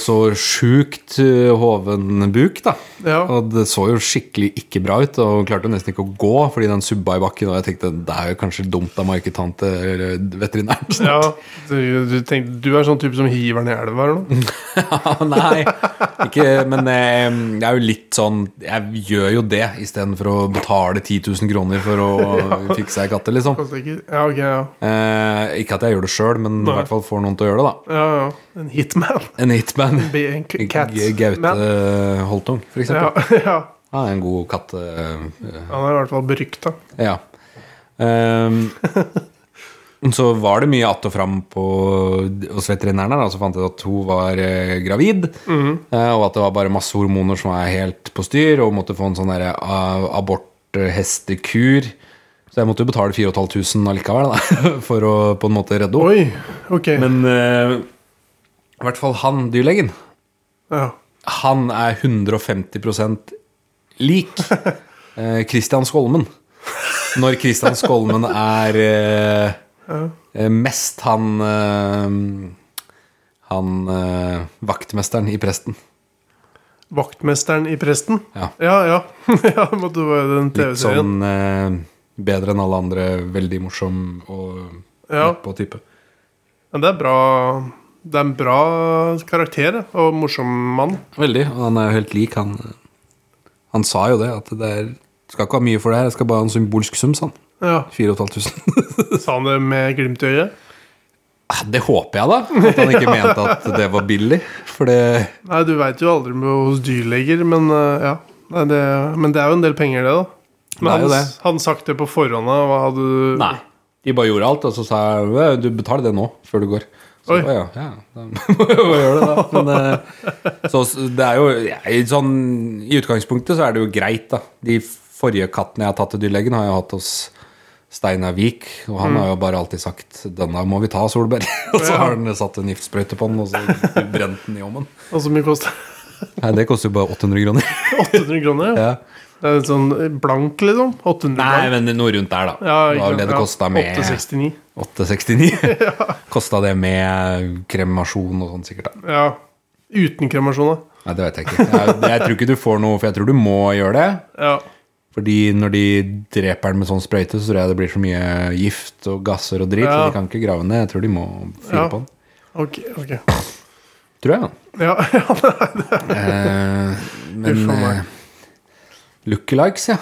A: så sjukt eh, hoven buk, da.
C: Ja.
A: Og det så jo skikkelig ikke bra ut, og hun klarte jo nesten ikke å gå fordi den subba i bakken. Og jeg tenkte det er jo kanskje dumt av meg ikke ta den til veterinæren. [laughs]
C: ja. Du, du, tenkte, du er sånn type som hiver den i elva
A: [laughs]
C: eller noe?
A: Ja, Nei, ikke, men eh, jeg er jo litt sånn Jeg gjør jo det istedenfor å betale 10 000 kroner for
C: [laughs]
A: å fikse ei katte, liksom.
C: Koster ikke. Ja, ok, ja.
A: Eh, ikke at jeg gjør det sjøl, men i
C: Nei.
A: hvert fall får noen til å gjøre det, da.
C: Ja, ja. En hitman. [laughs]
A: En hitman.
C: Be en k- cat.
A: G-
C: man.
A: Gaute Holtung, for eksempel.
C: Ja, [laughs] ja.
A: Han er en god katte... eh,
C: Han er i hvert fall berykta.
A: Ja. Ehm, [laughs] men så var det mye att og fram på, hos veterinæren, her, da, så fant jeg at hun var eh, gravid.
C: Mhm.
A: eh, og at det var bare masse hormoner som var helt på styr, og hun måtte få en sånn derre uh, aborthestekur. Så jeg måtte jo betale 4500 allikevel, da, [laughs] for å på en måte redde henne.
C: Oi, ok.
A: Men eh, i hvert fall han, dyrlegen,
C: ja.
A: han er 150
C: [laughs]
A: lik eh, Christian Skolmen. Når Christian Skolmen er eh, eh, mest han eh, Han eh, vaktmesteren i Presten.
C: Vaktmesteren i Presten?
A: Ja.
C: Ja, ja. [laughs] ja det måtte være den
A: Litt
C: TV-serien.
A: sånn eh, bedre enn alle andre, veldig morsom og
C: Ja.
A: på type.
C: Men det er bra Det er en bra karakter da, og morsom mann.
A: Veldig. Og han er jo helt lik, han. eh, Han sa jo det, at det er Skal ikke ha mye for det her, jeg skal bare ha en symbolsk sum, sa han.
C: Ja, [laughs]
A: 4500. [laughs]
C: Sa han det med glimt i øyet?
A: Ah, Det håper jeg, da. At han ikke mente at det var billig. For det
C: Nei, du veit jo aldri med hos dyrleger, men eh, ja. Nei, det, men det er jo en del penger, det, da. Men
A: Det er jo
C: han,
A: det.
C: han sagt det på forhånd, da? Hva hadde du
A: Nei. De bare gjorde alt, og så sa jeg «Ø, du betaler det nå, før du går. Så
C: Oi.
A: «Å ja, ja, da [laughs] må jeg jo gjøre det, da. Men, eh, så det er jo jeg- sånn I utgangspunktet så er det jo greit, da. De forrige kattene jeg har tatt til dyrlegen, har jeg hatt hos Steinar Vik, og han har jo bare alltid sagt 'denne må vi ta, Solberg'. [laughs] og så har han satt en giftsprøyte på den, og så brent den i ovnen.
C: Og så mye koster
A: Nei, det koster jo bare 800 kroner.
C: 800 kroner? Ja.
A: ja.
C: Det er litt sånn blank, liksom? 800
A: Nei,
C: blank.
A: men noe rundt der, da.
C: Ja,
A: det
C: ikke
A: var vel det
C: sant,
A: det
C: ja.
A: kosta med
C: 869. [laughs]
A: [laughs] 869. Kosta det med kremasjon og sånn, sikkert. da
C: Ja. Uten kremasjon, da.
A: Nei, det vet jeg ikke. Jeg, jeg tror ikke du får noe, for jeg tror du må gjøre det.
C: Ja.
A: Fordi når de dreper den med sånn sprøyte, så tror jeg det blir så mye gift og gasser og drit.
C: Ja.
A: Så de kan ikke grave ned. Jeg tror de må fyre
C: Ja.
A: på den.
C: Ok. ok [laughs]
A: Tror jeg.
C: Ja, ja,
A: Eh, men
C: Uff a meg.
A: eh, Lookalikes, ja.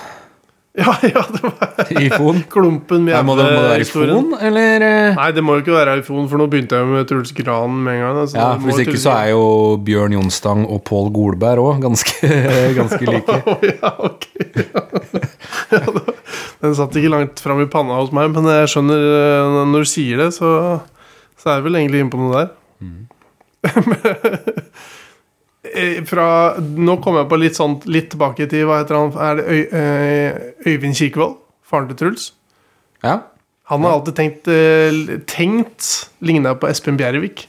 C: Ja, ja, det var
A: I
C: [laughs]
A: fon.
C: klumpen med
A: Nei, Må det, må det være i
C: historien.
A: fon, eller? eh?
C: Nei, det må jo ikke være iPhone, for nå begynte jeg jo med Truls Gran med en gang. altså,
A: Ja,
C: det må
A: Hvis
C: jo
A: ikke
C: Truls
A: så
C: Gran.
A: er jo Bjørn Jonstang og Pål Golberg òg ganske, [laughs] ganske
C: [laughs]
A: like.
C: Å, ja, ok. ja, da- den satt ikke langt fram i panna hos meg, men jeg skjønner eh, Når du sier det, så, så er jeg vel egentlig inne på noe der. [laughs] Eh, Fra, nå kommer jeg på litt sånn Litt tilbake til hva heter han? Er det Øy, eh, Øyvind Kirkevold? Faren til Truls?
A: Ja,
C: Han har alltid tenkt eh, l- Tenkt ligna på Espen Bjervik.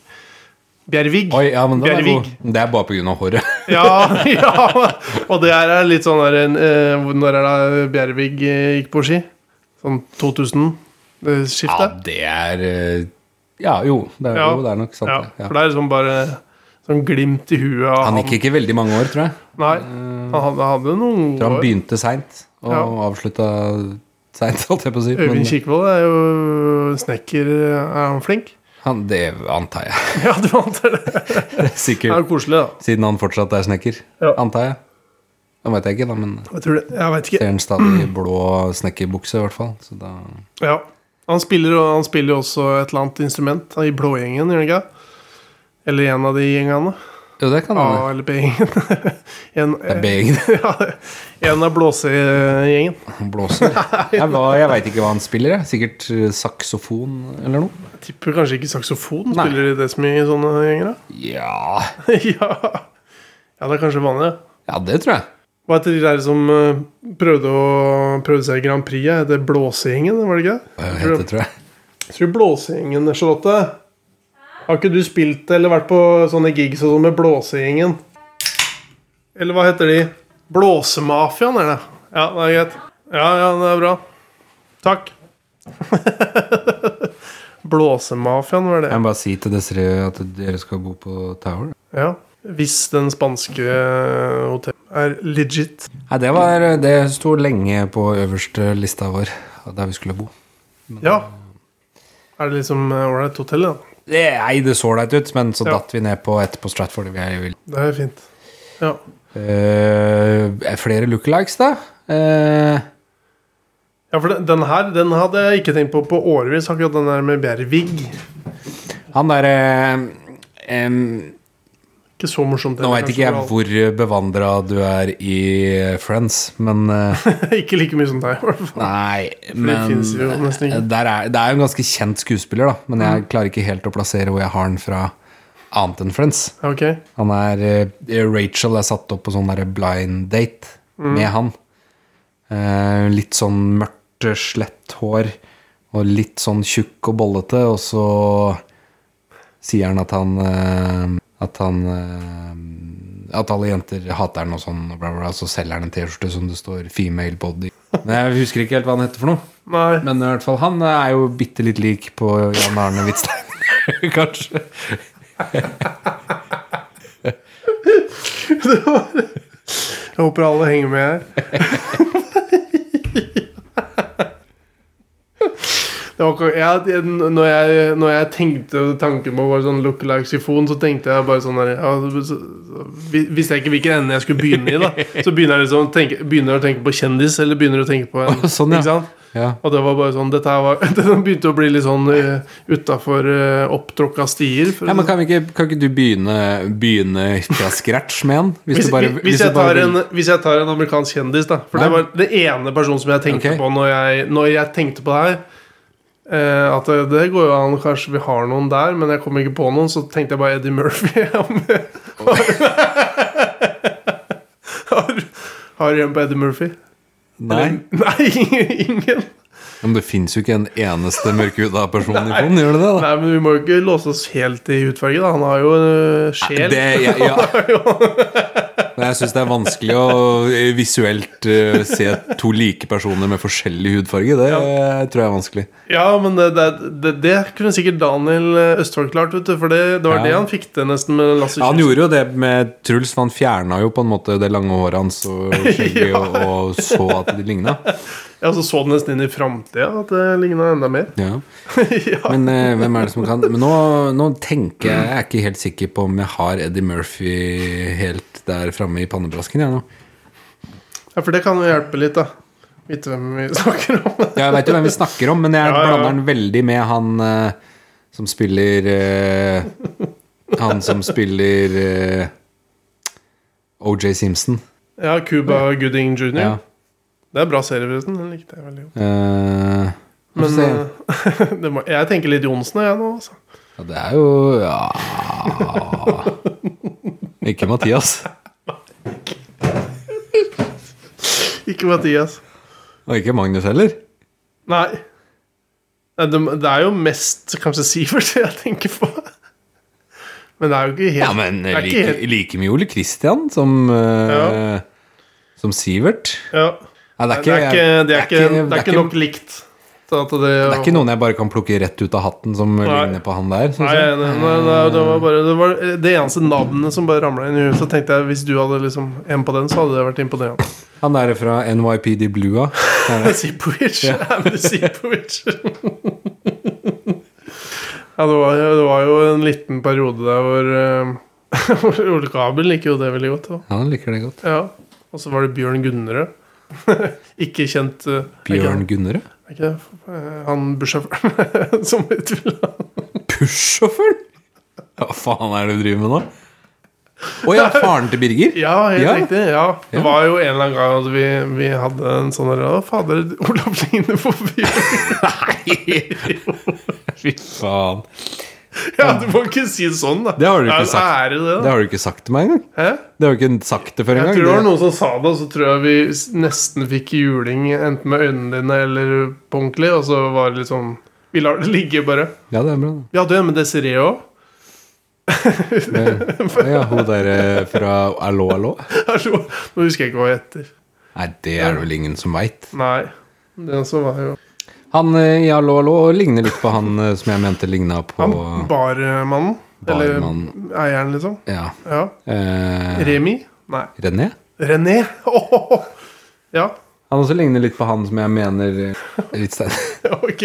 C: Bjervig.
A: Oi, ja men den er god.
C: Bjervig.
A: Det er bare pga. håret.
C: Ja, [laughs] ja. Og det her er litt sånn der en, eh, hvor- Når er det Bjervig eh, gikk på ski? Sånn eh,
A: Ja,
C: 2000-skiftet?
A: det er eh, Ja, jo. Det er,
C: Ja.
A: jo, det er nok sant.
C: Ja,
A: det. sånn, Ja.
C: for det er liksom bare sånn glimt i huet av
A: Han gikk ikke veldig mange år, tror jeg.
C: Nei, han hadde, hadde noen
A: Jeg tror han
C: år.
A: begynte seint og
C: Ja.
A: avslutta seint, holdt jeg på å si.
C: Øyvind
A: Men
C: Kirkevold er jo snekker. eh, Er han flink? [laughs]
A: han, det antar jeg.
C: Ja, du antar det. Det er
A: [laughs] Sikkert.
C: jo koselig, da.
A: Siden han fortsatt er snekker,
C: Ja.
A: antar jeg. Det vet jeg ikke, da, men
C: Jeg, tror det. jeg vet ikke.
A: ser han stadig i blå snekkerbukse, i hvert fall. Så da
C: Ja. Han spiller jo han spiller jo også et eller annet instrument i blågjengen, gjør han ikke? det? Eller en av de gjengene.
A: Jo, det kan hende.
C: A- eller B-gjengen. [laughs] En-
A: Det er B-gjengen.
C: Ja, [laughs] en av blåsegjengen.
A: Han
C: [laughs]
A: blåser. Jeg, var- jeg veit ikke hva han spiller. Jeg. Sikkert eh, saksofon eller noe.
C: Jeg Tipper kanskje ikke saksofon
A: Nei.
C: spiller de det så mye i sånne gjenger, da? [laughs]
A: Ja
C: ja. ja, det er kanskje vanligere.
A: Ja, det tror jeg.
C: Hva heter de der som eh, prøvde, å, prøvde seg i Grand Prix? ja? Heter Blåsegjengen, var det ikke?
A: Hva
C: Jeg
A: heter det,
C: tror,
A: tror jeg.
C: jeg tror Blåsegjengen, Charlotte. Har ikke du spilt eller vært på sånne gigs og sånn med Blåsegjengen? Eller hva heter de? Blåsemafiaen, er det. Ja, det er greit. Ja, ja, det er bra. Takk. [laughs] Blåsemafiaen, var det.
A: Jeg må bare si til dere at dere skal bo på Tower.
C: Ja, hvis den spanske hotell er legit.
A: Nei, det, var, det sto lenge på øverste lista vår, der vi skulle bo.
C: Ja. Er det liksom eh, ålreit hotell, ja?
A: Det, nei, det så leit ut, men så
C: Ja.
A: datt vi ned på ett på Stratford. Vi er jo i-
C: Det er fint. Ja.
A: Eh, flere lookalikes, da? Eh,
C: ja, for den, den her den hadde jeg ikke tenkt på på årevis, akkurat den der med Bjervig.
A: han derre
C: Ikke så morsomt.
A: Nå veit ikke jeg
C: kanskje,
A: hvor bevandra du er i Friends, men eh,
C: for all- [laughs] ikke like mye som deg, i hvert fall.
A: Nei, men eh,
C: finnes jo Mm. nesten ikke.
A: der er, Det er jo en ganske kjent skuespiller, da. Men jeg klarer ikke helt å plassere hvor jeg har han fra annet enn Friends.
C: Ja, Ok.
A: Han er, eh, Rachel er satt opp på sånn der blind date med han. Eh, litt sånn mørkt, eh, slett hår og litt sånn tjukk og bollete, og så sier han at han eh, At han eh, At alle jenter hater han og sånn, og bla, bla, bla, så selger han en T-skjorte som det står 'female body'. Men jeg husker ikke helt hva han heter for noe.
C: Nei.
A: Men i hvert fall, han er jo bitte litt lik på Jan Arne Hvitstein, [laughs] kanskje.
C: Jeg håper alle henger med her. [laughs] Det var ikke, jeg, jeg- når, jeg, når jeg tenkte tanken på bare sånn look like sifon, så tenkte jeg bare sånn der, ja, så- så- hvis- Visste jeg ikke hvilken ende jeg skulle begynne i, da. Så begynner jeg liksom å tenke, begynner å tenke på kjendis, eller begynner å tenke på en
A: Sånn, ja.
C: ikke sant?
A: Ja.
C: Og det var bare sånn Dette her var, [laughs] det begynte å bli litt sånn uh, utafor eh, opptråkka stier. for
A: Ja,
C: å si
A: men kan, vi ikke, kan ikke du begynne, begynne fra scratch med en? Hvis,
C: Hvis,
A: du bare,
C: hvis, jeg
A: du bare
C: tar en,
A: vil-
C: hvis jeg tar en amerikansk kjendis, da For det
A: Nei.
C: var det ene personen som jeg tenkte
A: Ok.
C: på når jeg, når jeg tenkte på det her. Eh, at det, det går jo an, kanskje vi har noen der, men jeg kom ikke på noen. Så tenkte jeg bare Eddie Murphy. [laughs] har, har du en på Eddie Murphy?
A: Nei,
C: [laughs] Nei, ingen.
A: Ja, men det fins jo ikke en eneste mørkhuda person i Fon, gjør det det? da?
C: Nei, men vi må jo ikke låse oss helt i hudfarge, da. Han har jo eh, sjel.
A: Det, ja, ja.
C: [laughs]
A: Men Jeg syns det er vanskelig å eh, visuelt eh, se to like personer med forskjellig hudfarge. Det eh, tror jeg er vanskelig.
C: Ja, men det, det, det, det kunne sikkert Daniel eh, Østfold klart, vet du. For det, det var
A: Ja.
C: det han fikk til nesten med Lasse
A: Ja, han
C: Kjus.
A: gjorde jo det med Truls. for Han fjerna jo på en måte det lange håret hans
C: [laughs]
A: og skjegget og, og så at de ligna.
C: Ja, så så det nesten inn i framtida at det ligna enda mer. [laughs]
A: Ja.
C: ja.
A: Men eh, hvem er det som kan Men nå, nå tenker jeg Jeg er ikke helt sikker på om jeg har Eddie Murphy helt der framme i pannebrasken. Jeg, nå.
C: Ja, for det kan jo hjelpe litt, da. Vite hvem vi [laughs] snakker om.
A: Jeg veit jo hvem vi snakker om, men jeg
C: Ja, ja, ja.
A: blander den veldig med han eh, som spiller eh, Han som spiller eh, OJ Simpson.
C: Ja, Cuba Gooding jr.
A: Ja.
C: Det er en bra serie, forresten. Den likte jeg veldig godt.
A: Eh,
C: Men
A: se.
C: eh, [laughs] det må, jeg tenker litt Johnsen, jeg nå. Altså.
A: ja, det er jo Ja Ikke Mathias.
C: Ikke Mathias.
A: Og ikke Magnus heller.
C: Nei. Nei, Det, det er jo mest kanskje [laughs] Sivert jeg tenker på. Men det er jo ikke helt
A: Ja, men
C: det er ikke
A: like,
C: helt,
A: like mye Ole Christian som, eh, som Sivert.
C: ja.
A: Nei,
C: Nei, det, er ikke, det, er ikke, det er
A: det er
C: ikke nok likt til at det
A: Det er ikke noen jeg bare kan plukke rett ut av hatten som ligner på han der. synes
C: Nei,
A: jeg.
C: nei, nei, nei, det var bare det, var det eneste navnet som bare ramla inn i huet. Så tenkte jeg hvis du hadde liksom en på den, så hadde det vært imponerende.
A: Han der fra NYPD Blue, ja.
C: [laughs] Zipovic. Andy Zipovic. [laughs] ja, det var, jo- det var jo en liten periode der hvor eh, [laughs] hvor Ole Kabel liker jo det veldig godt. Da.
A: Han liker det godt.
C: Ja. Og så var det Bjørn Gunnerød. [laughs] ikke kjent eh, er ikke
A: Bjørn
C: han-
A: Gunnerød?
C: er ikke det, eh, Han bussjåføren [laughs] som vi tvila
A: Bussjåføren? Hva faen er det du driver med nå? Å ja, faren til Birger?
C: [laughs] Ja, helt
A: Ja.
C: riktig. Ja. Det
A: Ja.
C: var jo en eller annen gang at vi, vi hadde en sånn der Å, fader, Olav ligner på Bjørn.
A: [laughs] Fy faen.
C: [laughs] Ja, du må ikke si sånn, da.
A: Det har du ikke
C: er en
A: sagt.
C: Ære, det,
A: Det
C: da.
A: har du ikke sagt til meg engang.
C: Hæ?
A: Det har du ikke sagt det før
C: Jeg tror det var
A: engang.
C: noen som sa det, og så tror jeg vi s- nesten fikk juling enten med øynene dine eller på ordentlig, og så var det litt sånn Vi lar det ligge, bare.
A: Det- Ja, det er bra.
C: Vi hadde jo en med Desiree [laughs] òg.
A: det. Ja, hun der eh, fra Allo, allo?
C: Nå husker jeg ikke hva jeg heter.
A: Nei, det er det vel ingen som veit.
C: Nei. Den som var jo
A: Han eh, i Allo, allo ligner litt på han eh, som jeg mente ligna på
C: Han barmannen. Eller
A: Barmannen.
C: eieren, liksom.
A: Ja.
C: Ja.
A: Eh,
C: Remi? Nei.
A: René?
C: René? Åhåhå. Ja,
A: Han også ligner litt på han som jeg mener eh, litt stein.
C: [laughs] ok.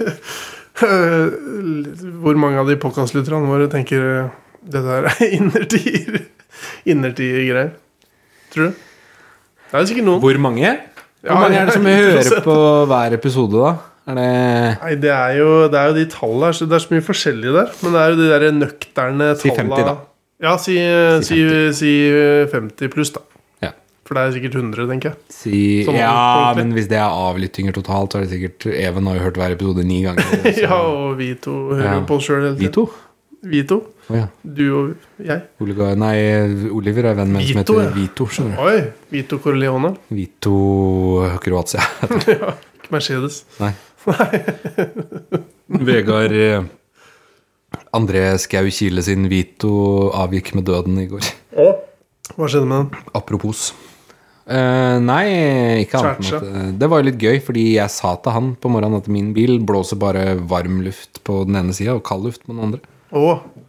C: [laughs] Hvor mange av de podkastlytterne våre tenker eh, det der er [laughs] innertier? Innertier-greier. Tror du? Det er sikkert noen.
A: [laughs] Hvor mange?
C: Ja,
A: Hvor mange er det som
C: [laughs] ja,
A: hører
C: 100%.
A: på hver episode, da? Er det
C: Nei, det er jo, det er jo de tallene her, så det er så mye forskjellig der. Men det er jo de der nøkterne tallene
A: Si 50 da.
C: Ja, si, eh, si,
A: Si
C: 50. si 50 pluss, da.
A: Ja.
C: For det er sikkert 100, tenker jeg.
A: Si,
C: Som
A: ja,
C: alle-
A: men hvis det er avlyttinger totalt, så er det sikkert Even har jo hørt hver episode ni
C: [laughs]
A: ganger. altså. så-
C: Ja, og vi to hører
A: Ja.
C: jo på oss sjøl hele
A: Vi
C: tiden.
A: to?
C: Vi to.
A: Å ja.
C: Du og jeg.
A: Olga, nei, Oliver er venn med en som
C: Vito,
A: heter
C: ja.
A: Vito. skjønner du.
C: Oi! Vito
A: [laughs]
C: Corleone.
A: Vito Kroatia. [laughs]
C: Ikke Mercedes.
A: Nei. Vegard eh, André Skau Kile sin Vito avgikk med døden i går.
C: Hva skjedde med den?
A: Apropos. Eh, nei, ikke annet enn
C: Tvertse.
A: at eh, Det var jo litt gøy, fordi jeg sa til han på morgenen at min bil blåser bare varm luft på den ene sida og kald luft på den andre.
C: Å,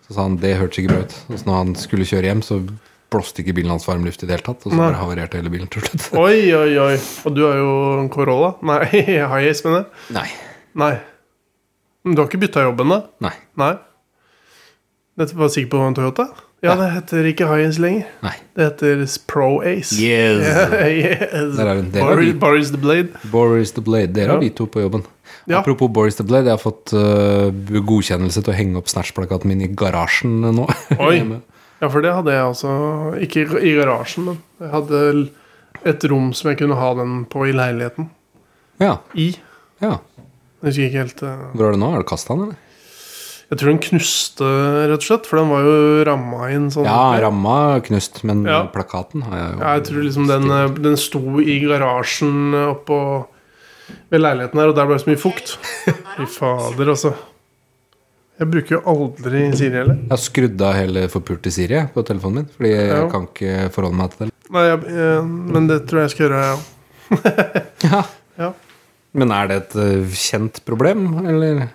A: Så sa han det hørtes ikke bra ut. Og så når han skulle kjøre hjem, så blåste ikke bilen hans varm luft i det hele tatt. Og så
C: Nei.
A: bare havarerte hele bilen til slutt.
C: oi, oi, oi. Og du har jo en Corolla. Nei, [laughs] Hiace, mener jeg.
A: Nei.
C: Nei. Men du har ikke bytta jobb ennå?
A: Nei.
C: Nei. Dette var sikkert på en Toyota? Ja, det heter ikke Hiace lenger.
A: Nei.
C: Det heter Pro Ace.
A: Yes.
C: [laughs] yes.
A: Der er den. Det var
C: Boris,
A: vi.
C: Boris the Blade.
A: Boris the Blade. Dere
C: Ja.
A: har vi to på jobben.
C: Ja.
A: Apropos Boris the Blade, jeg har fått eh, godkjennelse til å henge opp Snatch-plakaten min i garasjen nå. [laughs]
C: Oi.
A: Hjemme.
C: Ja, for det hadde jeg også. Ikke i- i garasjen, men jeg hadde l- et rom som jeg kunne ha den på i leiligheten.
A: ja.
C: I.
A: ja.
C: Jeg husker ikke helt eh,
A: Hvor er det nå? Er det kasta den, eller?
C: Jeg tror den knuste, rett og slett. For den var jo ramma inn sånn.
A: Ja, ramma knust, men
C: Ja.
A: plakaten har jeg jo.
C: Ja, jeg tror liksom den, eh, den sto i garasjen oppå ved leiligheten her, og der ble det så mye fukt. Fy fader, altså. Jeg bruker jo aldri Siri heller.
A: Jeg har skrudd av hele forpulte Siri jeg, på telefonen min, fordi jeg
C: Ja.
A: kan ikke forholde meg til det.
C: Nei, jeg, eh, men det tror jeg jeg skal gjøre, jeg òg.
A: Ja.
C: Ja.
A: Men er det et eh, kjent problem, eller?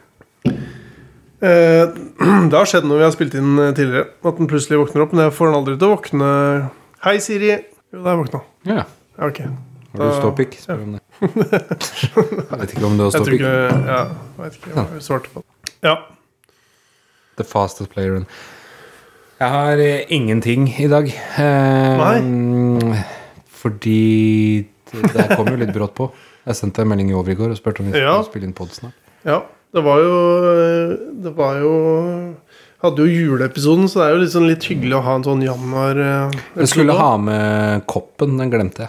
C: Eh, [clears throat] Det har skjedd når vi har spilt inn eh, tidligere, at den plutselig våkner opp. Men jeg får den aldri til å våkne. Hei, Siri. Jo, der våkna den.
A: Ja.
C: Ja, ok.
A: Har du
C: Da-
A: ståpikk? Spør
C: [laughs]
A: om det. Jeg vet ikke om du har
C: Jeg tror
A: ståpikk.
C: ikke Ja, jeg vet ikke hva jeg svarte på. Ja.
A: The fastest player in Jeg har eh, ingenting i dag. Eh, Fordi det der kom jo litt brått på. Jeg sendte en melding i over i går og spurte om vi skulle
C: Ja.
A: spille inn pod snart.
C: Ja, det var jo Det var jo Hadde jo juleepisoden, så det er jo liksom litt hyggelig å ha en sånn januar eh,
A: Jeg skulle
C: episode.
A: ha med koppen, den glemte jeg.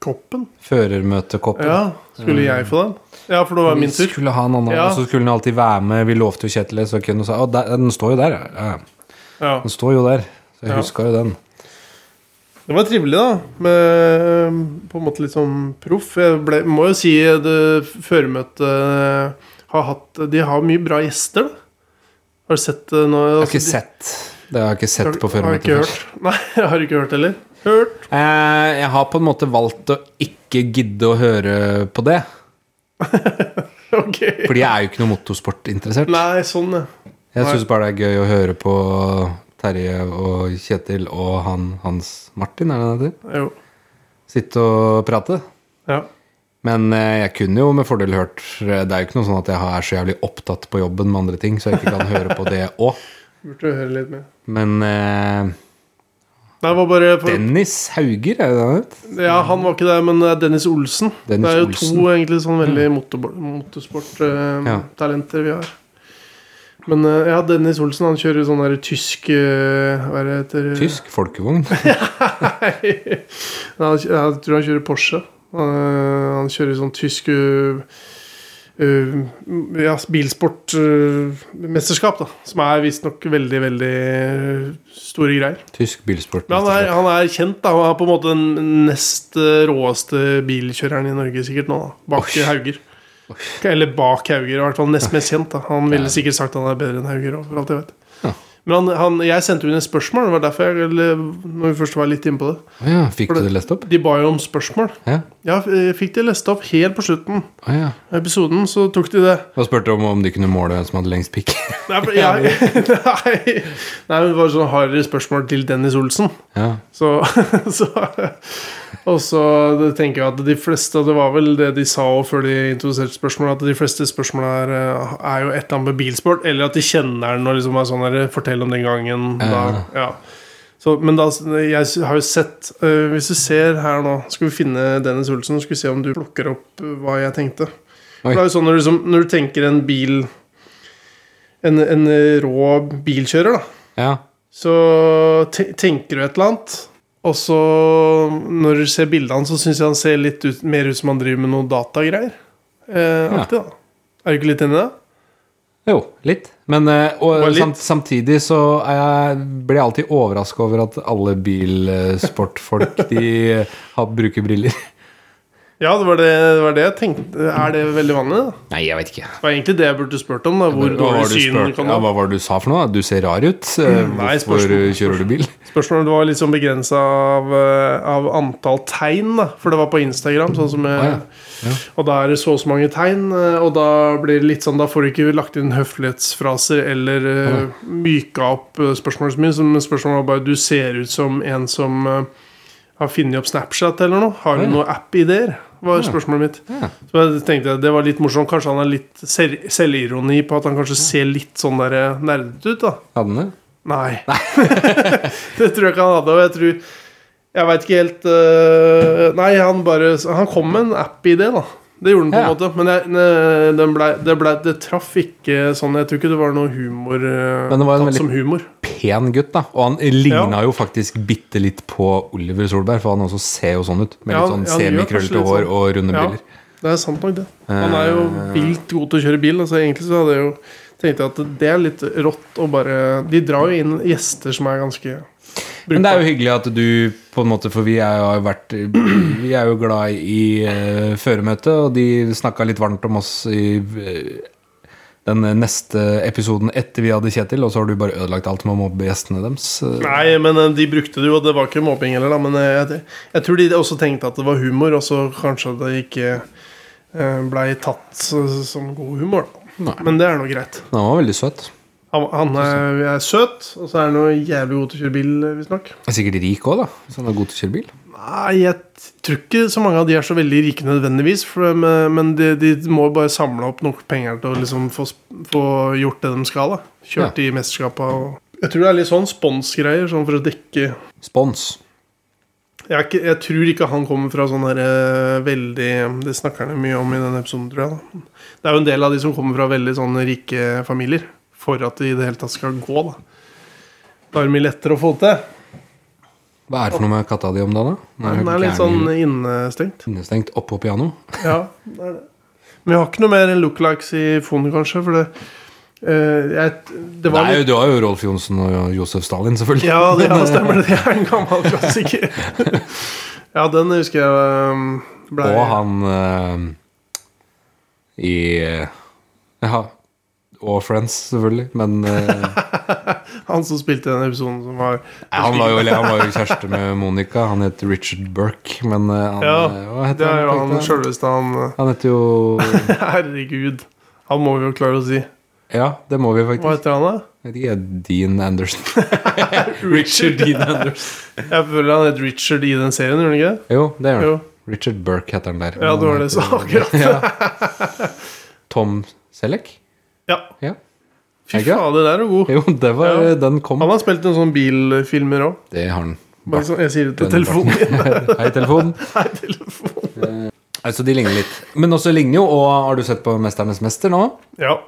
C: Koppen?
A: Førermøtekoppen.
C: Ja, skulle
A: Mm.
C: jeg få den? Ja, for det var min
A: Vi
C: tur.
A: skulle ha en annen,
C: Ja.
A: og så skulle den alltid være med. Vi lovte jo Kjetil det, så kunne hun sa Å, der, den står jo der, ja. ja.
C: Ja.
A: Den står jo der. Så jeg
C: Ja.
A: huska jo den.
C: Det var trivelig, da. Med på en måte litt sånn proff. Jeg ble, må jo si det føremøtet har hatt De har mye bra gjester, da. Har du sett det nå?
A: Jeg har ikke sett. Det har jeg ikke sett på førermøtet.
C: Altså, Har
A: før.
C: ikke hørt. Nei, [laughs] jeg har ikke hørt heller. Hørt.
A: Eh, Jeg har på en måte valgt å ikke gidde å høre på det.
C: Ok.
A: Fordi jeg er jo ikke noe motorsportinteressert.
C: Nei, sånn, ja.
A: Jeg syns bare det er gøy å høre på Terje og Kjetil og han Hans Martin, er det han heter?
C: Jo.
A: Sitte og prate.
C: Ja.
A: Men eh, jeg kunne jo med fordel hørt Det er jo ikke noe sånn at jeg er så jævlig opptatt på jobben med andre ting, så jeg ikke kan høre på
C: [laughs]
A: det òg.
C: Burde høre litt mer.
A: Men eh,
C: Nei, det var bare for,
A: Dennis Hauger, er det han het?
C: ja, Han var ikke der, men det er Dennis Olsen.
A: Dennis
C: det er jo
A: Olsen. Mm.
C: to egentlig sånn veldig motorsporttalenter eh, vi har. Men eh, ja, Dennis Olsen han kjører sånn der tysk eh, Hva er det heter [laughs]
A: Tysk folkevogn.
C: Nei, han, jeg tror han kjører Porsche. Han, eh, han kjører sånn tysk eh, eh, ja, bilsportmesterskap, da. Som er visstnok veldig, veldig eh, store greier.
A: Tysk bilsport.
C: Men han er, han er kjent, da. Han er på en måte den nest eh, råeste bilkjøreren i Norge sikkert nå. da Bak
A: Oi.
C: Hauger. Eller bak Hauger, i hvert fall nest mest kjent. da Han ville sikkert sagt han er bedre enn Hauger. også, For alt jeg vet.
A: Ja.
C: Men han, han, jeg sendte jo inn et spørsmål, det var derfor jeg, eller, når vi først var litt inne på det.
A: Å ja, fikk du det lest opp?
C: De ba jo om spørsmål.
A: Ja.
C: Ja, jeg fikk de lest opp helt på slutten
A: Å ja.
C: av episoden, så tok de det.
A: Da spurte jeg om, om de kunne måle hvem som hadde lengst [laughs] pikk.
C: Nei, for jeg, [laughs] nei, nei men det var sånn harde spørsmål til Dennis Olsen.
A: Ja.
C: Så, [laughs] så Og så tenker jeg at de fleste, og det var vel det de sa også før de introduserte spørsmålet, at de fleste spørsmål er, eh, er jo et eller annet med bilsport, eller at de kjenner den og liksom er sånn der, fortell om den gangen. Da, ja. Så, men da, jeg har jo sett eh, Hvis du ser her nå Skal vi finne Dennis Olsen Skal vi se om du plukker opp eh, hva jeg tenkte
A: Oi.
C: For Det er jo sånn når du, liksom, når du tenker en bil En, en eh, rå bilkjører da
A: ja.
C: Så te tenker du et eller annet Og så Når du ser bildene så synes jeg han ser litt ut, Mer ut som han driver med noen datagreier eh,
A: Ja.
C: Aktig da Er du ikke litt enig i det?
A: Jo, litt. Men eh, og,
C: Bare litt.
A: Samt, samtidig så er jeg, blir jeg alltid overraska over at alle [laughs] bilsportfolk de eh, har, bruker briller.
C: Ja, det var det, det var det jeg tenkte Er det veldig vanlig da?
A: Nei, jeg vet ikke.
C: Det var egentlig det jeg burde spurt om da
A: hva,
C: Hvor
A: var
C: dårlig
A: det du
C: syn
A: spurte-
C: kan
A: ja,
C: du ha Mm,
A: hva var det du sa for noe? Du ser rar ut. Eh,
C: Nei,
A: Hvorfor
C: spørsmål.
A: eh, kjører du bil?
C: Spørsmålet var litt sånn begrensa av, eh, av antall tegn, da. For det var på Instagram. Sånn som jeg,
A: Ah, ja. Ja.
C: Og da er det så og så mange tegn. eh, Og da blir det litt sånn Da får du ikke lagt inn høflighetsfraser eller eh, myka opp eh, spørsmålet så mye. Som spørsmålet var bare Du ser ut som en som eh, har funnet opp Snapchat eller noe. Har du
A: Ja.
C: noen app-ideer? var spørsmålet mitt.
A: Ja.
C: Så jeg tenkte jeg, Det var litt morsomt. Kanskje han har litt selv selvironi på at han kanskje ser litt sånn der, eh, nerdete ut. da
A: Hadde den det?
C: Nei. [laughs] det tror jeg ikke han hadde. Og jeg tror Jeg veit ikke helt øh, Nei, han bare Han kom med en app-idé, da. Det gjorde han på en
A: Ja.
C: måte. Men jeg, ne- den ble, det, ble, det traff ikke sånn. Jeg tror ikke det var noe humor. øh,
A: Men det var en
C: tatt
A: veldig-
C: som humor.
A: Pen gutt, da. Og han ligna
C: Ja.
A: jo faktisk bitte litt på Oliver Solberg, for han også ser jo sånn ut. Med
C: Ja,
A: litt sånn
C: ja, han gjør kanskje
A: semikrøllete
C: litt
A: hår
C: sånn.
A: og runde
C: Ja.
A: briller.
C: Det er sant nok, det. Han er jo
A: Eh.
C: vilt god til å kjøre bil. Altså, egentlig så hadde jeg jo tenkt at det er litt rått å bare De drar jo inn gjester som er ganske
A: Men det er jo hyggelig at du på en måte For vi er jo, har vært, vi er jo glad i uh, føremøtet, og de snakka litt varmt om oss i eh, den neste episoden etter vi hadde Kjetil, og så har du bare ødelagt alt med å mobbe gjestene deres. eh.
C: Nei, men eh, de brukte det jo, og det var ikke mobbing heller, da. Men eh, jeg, jeg tror de også tenkte at det var humor, og så kanskje det ikke eh, blei tatt s- som god humor. da.
A: Nei.
C: Men det er nå greit.
A: Men Han var veldig søt.
C: Han, han er, er søt, og så er han jo jævlig god til å kjøre bil, eh, visstnok.
A: Er Sikkert rik òg, da, hvis han er god til å kjøre bil.
C: Nei, jeg t- tror ikke så mange av de er så veldig rike nødvendigvis, for, dem, eh, men de, de må bare samle opp nok penger til å liksom få, sp- få gjort det de skal. da Kjørt i mesterskapene og Jeg tror det er litt sånn sponsgreier, sånn for å dekke
A: Spons.
C: jeg, er ikke, jeg tror ikke han kommer fra sånn her eh, veldig Det snakker han mye om i denne episoden, tror jeg. Da. Det er jo en del av de som kommer fra veldig sånn rike familier. For at de i det hele tatt skal gå, da. Da er det mye lettere å få det til.
A: Hva er det for noe med katta di om dagen, da?
C: Den er litt sånn innestengt.
A: innestengt oppå piano.
C: Ja, det er det. Men vi har ikke noe mer lookalikes i fondet, kanskje. For det, eh, jeg, det var
A: Nei,
C: litt
A: du har jo Rolf Johnsen og Josef Stalin, selvfølgelig.
C: Ja, det ja, stemmer. Det er en gammel klassiker. [laughs] ja, den husker jeg eh, ble
A: Og han eh, i Ja. Og Friends, selvfølgelig. Men
C: [laughs]
A: eh,
C: Han som spilte i den episoden som var
A: han, var jo, eller han var jo kjæreste med Monica. Han het Richard Burke, men eh, han,
C: Ja,
A: eh, hva heter
C: Det er jo
A: han?
C: han sjølveste han eh.
A: Han heter jo
C: [laughs] Herregud. Han må vi jo klare å si.
A: Ja, det må vi
C: Hva
A: faktisk.
C: heter han, da?
A: Jeg vet ikke, Dean
C: [laughs]
A: Anderson. Richard Dean Anderson.
C: Jeg føler han het Richard i den serien, gjør han ikke? det?
A: Jo, det gjør
C: Jo.
A: han. Richard Burke heter han der.
C: Ja, det var det jeg sa
A: [laughs]
C: akkurat.
A: Tom Selleck?
C: Ja.
A: Ja.
C: Fy
A: Er det ikke?
C: fader, der er god.
A: Jo, det var, eh,
C: Ja.
A: den kom.
C: Han har spilt noen sånne bilfilmer òg.
A: Det har han.
C: Bare sånn, jeg sier det til
A: Den
C: telefonen [laughs] din.
A: [laughs] Hei, telefonen.
C: Nei, telefonen.
A: Altså, de ligner litt. Men også ligner jo, og har du sett på Mesternes mester nå?
C: Ja.